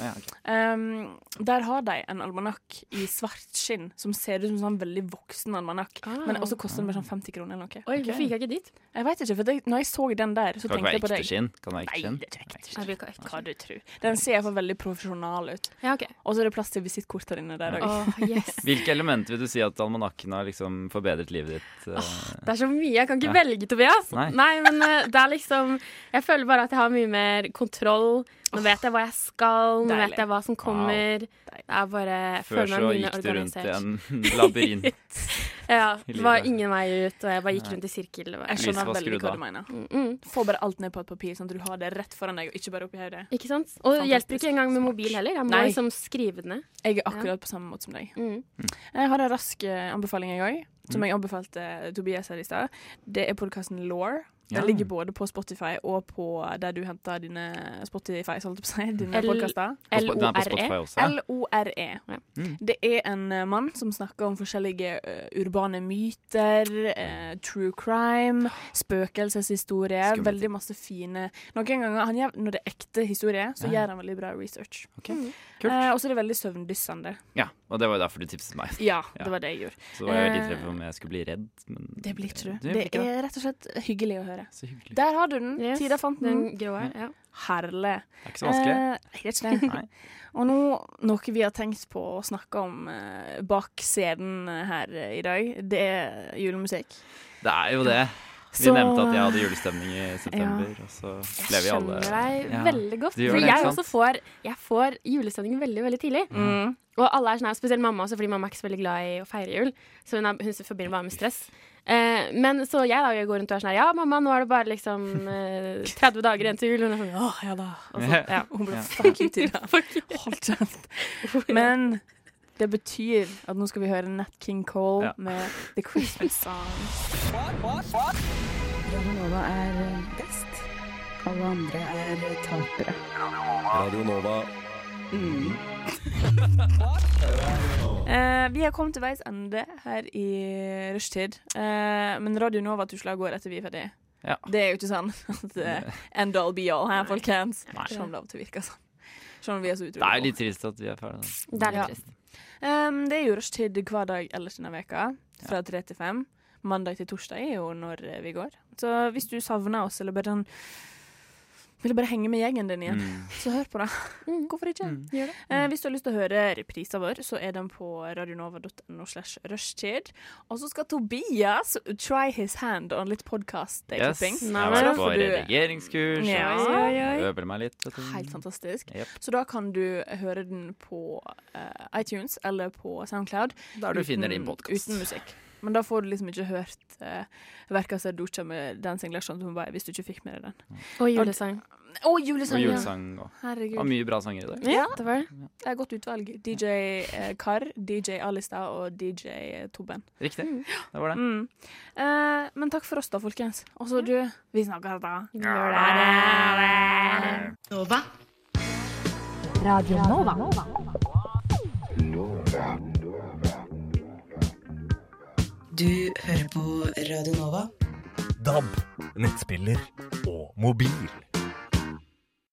Speaker 7: Ja, ok.
Speaker 6: Um, der har de en almanakk i svart skinn som ser ut som en sånn veldig voksen almanakk. Men også koster den bare sånn 50 kroner eller noe.
Speaker 8: Oi, hvorfor gikk jeg ikke dit?
Speaker 6: Jeg vet ikke, for det, når jeg så den der, så
Speaker 7: Kan ikke
Speaker 6: tenkte
Speaker 7: være
Speaker 6: jeg på
Speaker 7: ekte
Speaker 6: deg.
Speaker 7: skinn. Kan være ekte skinn.
Speaker 8: Jeg bruker ikke
Speaker 6: Hva du tror. Den ser iallfall veldig profesjonal ut.
Speaker 8: Ja, ok.
Speaker 6: Og så er det plass til visittkorter inne der òg.
Speaker 8: Åh, yes.
Speaker 7: Hvilke elementer vil du si at almanakken har liksom forbedret livet ditt? eh?
Speaker 8: Det er så mye. Jeg kan ikke
Speaker 7: Ja.
Speaker 8: velge, Tobias.
Speaker 7: Nei.
Speaker 8: Nei, men eh, det er liksom Jeg føler bare at jeg har mye mer kontroll Nå vet jeg hva jeg skal, nå
Speaker 6: Deilig.
Speaker 8: vet jeg hva som kommer. Det er bare jeg
Speaker 7: Før
Speaker 8: føler
Speaker 7: så
Speaker 8: meg
Speaker 7: gikk
Speaker 8: mindre
Speaker 7: du rundt i
Speaker 8: organisert.
Speaker 7: en labyrint.
Speaker 8: ja,
Speaker 7: i
Speaker 8: det var
Speaker 7: livet.
Speaker 8: ingen vei ut, og jeg bare gikk rundt i sirkel. Det var- liksom sånn, mm,
Speaker 6: Jeg skjønner
Speaker 7: Lyset var
Speaker 6: veldig
Speaker 7: skrudd
Speaker 6: hva
Speaker 7: av.
Speaker 6: du mener. Få bare alt ned på et papir, sånn at du har det rett foran deg, og ikke bare oppi hodet.
Speaker 8: Ikke sant? Og det
Speaker 6: Fantastisk.
Speaker 8: hjelper ikke engang med mobil heller. Jeg må
Speaker 6: Nei.
Speaker 8: liksom skrive det ned.
Speaker 6: Jeg er akkurat på samme måte som deg.
Speaker 8: Mm.
Speaker 6: Jeg har en rask eh, anbefaling, jeg òg, som
Speaker 8: Mm.
Speaker 6: jeg anbefalte eh, Tobias her i stad. Det er podkasten Law. Den
Speaker 8: Ja.
Speaker 6: ligger både på Spotify og på der du henter dine Spotify, holdt jeg på å si, dine
Speaker 8: L-
Speaker 6: podkaster.
Speaker 8: L- E. Den er
Speaker 6: E.
Speaker 8: på Spotify også, ja.
Speaker 6: L-O-R-E.
Speaker 7: Mm.
Speaker 6: E. Det er en eh, mann som snakker om forskjellige eh, urbane myter, eh, true crime, spøkelseshistorier.
Speaker 7: Skummelt.
Speaker 6: Veldig masse fine Noen ganger han gjør, når det er ekte historie, så
Speaker 7: Ja.
Speaker 6: gjør han veldig bra research.
Speaker 7: Okay.
Speaker 6: Eh, og så er det veldig søvndyssende.
Speaker 7: Ja, og det var jo derfor du tipset meg.
Speaker 6: Ja, det var det jeg gjorde.
Speaker 7: Så var jeg litt redd
Speaker 6: Eh,
Speaker 7: for om jeg skulle bli redd, men
Speaker 6: Det blir ikke du.
Speaker 7: Det blir
Speaker 6: Det
Speaker 7: ikke det.
Speaker 6: er rett og slett hyggelig å høre.
Speaker 7: Så hyggelig.
Speaker 6: Der har du den. Tida fant den.
Speaker 8: Den grå her, ja.
Speaker 6: Herlig.
Speaker 7: Det er ikke så vanskelig.
Speaker 6: Eh, det er ikke det.
Speaker 7: Nei.
Speaker 6: Og nå noe vi har tenkt på å snakke om eh, bak scenen her eh, i dag, det er julemusikk.
Speaker 7: Det er jo det. Vi
Speaker 6: Så-
Speaker 7: nevnte at jeg hadde julestemning i september, og så ble vi alle
Speaker 8: skjønner deg
Speaker 7: Ja,
Speaker 8: veldig godt.
Speaker 7: du gjør
Speaker 8: For
Speaker 7: det,
Speaker 8: jeg
Speaker 7: ikke
Speaker 8: også
Speaker 7: sant?
Speaker 8: får, jeg får julestemning veldig veldig tidlig.
Speaker 7: Mm.
Speaker 8: Og alle er sånn her, spesielt mamma også, fordi mamma er ikke så veldig glad i å feire jul. Så hun, er, hun forbinder bare med stress. Eh, men så jeg da, jeg går rundt og er sånn her Ja, mamma, nå er det bare liksom eh, 30 dager igjen til jul. Hun er sånn
Speaker 6: Ah,
Speaker 8: Åh, ja da. Og så, ja.
Speaker 6: Hun ble fuck you til det. Hold kjeft. Men det betyr at nå skal vi høre Nat King Cole
Speaker 10: Ja.
Speaker 6: med The Christmas Song.
Speaker 10: Radio Nova er best. Alle andre er tapere.
Speaker 2: Radio Nova.
Speaker 6: Eh, vi har kommet til veis ende her i rushtid. Eh, men Radio Nova tusler av gårde etter vi er ferdig.
Speaker 7: Ja.
Speaker 6: Det er jo ikke sånn at eh, end all be all her, folkens. Selv om det av og til virker sånn. Selv om vi er så
Speaker 7: Det er jo
Speaker 6: utrolige.
Speaker 7: litt trist at vi er ferdige. da.
Speaker 6: Ja. Em, Ehm, det er jo rushtid hver dag ellers denne veka fra tre til fem. Mandag til torsdag er jo når eh, vi går. Så hvis du savner oss, eller bare sånn vil du bare henge med gjengen din igjen,
Speaker 10: Mm.
Speaker 6: så hør på det. Mm, Hvorfor ikke? Eh, hvis du har lyst til å høre reprisen vår, så er den på radionova.no slash rushtid. Og så skal Tobias try his hand on litt
Speaker 7: Yes,
Speaker 6: podkast-klipping.
Speaker 7: jeg har vært på
Speaker 6: du
Speaker 7: redigeringskurs,
Speaker 6: Ja. Oi, oi, oi.
Speaker 7: og øver meg litt. vet du.
Speaker 6: Helt sånn. fantastisk.
Speaker 7: Mm. Jep.
Speaker 6: Så da kan du høre den på eh, iTunes eller på Soundcloud.
Speaker 7: Der du
Speaker 6: uten-
Speaker 7: finner din podcast.
Speaker 6: Uten musikk. Men da får du liksom ikke hørt uh, verka Seducha med Dancing Lesson som bare, hvis du ikke fikk med deg den.
Speaker 8: Og julesang.
Speaker 6: Og julesang,
Speaker 7: Og julesang
Speaker 6: Sånn, ja.
Speaker 7: og-
Speaker 6: Herregud.
Speaker 7: og mye bra sanger i dag.
Speaker 6: Ja,
Speaker 8: det var
Speaker 6: det. Det er et godt utvalg. DJ eh, Kar, DJ Alista og DJ Tobben.
Speaker 7: Riktig. Det var det.
Speaker 6: Mm. Eh, men takk for oss, da, folkens. Og så du, vi snakkes da.
Speaker 11: Nova. Radio Nova.
Speaker 13: Du hører på Radio Nova.
Speaker 14: DAB, nettspiller og mobil.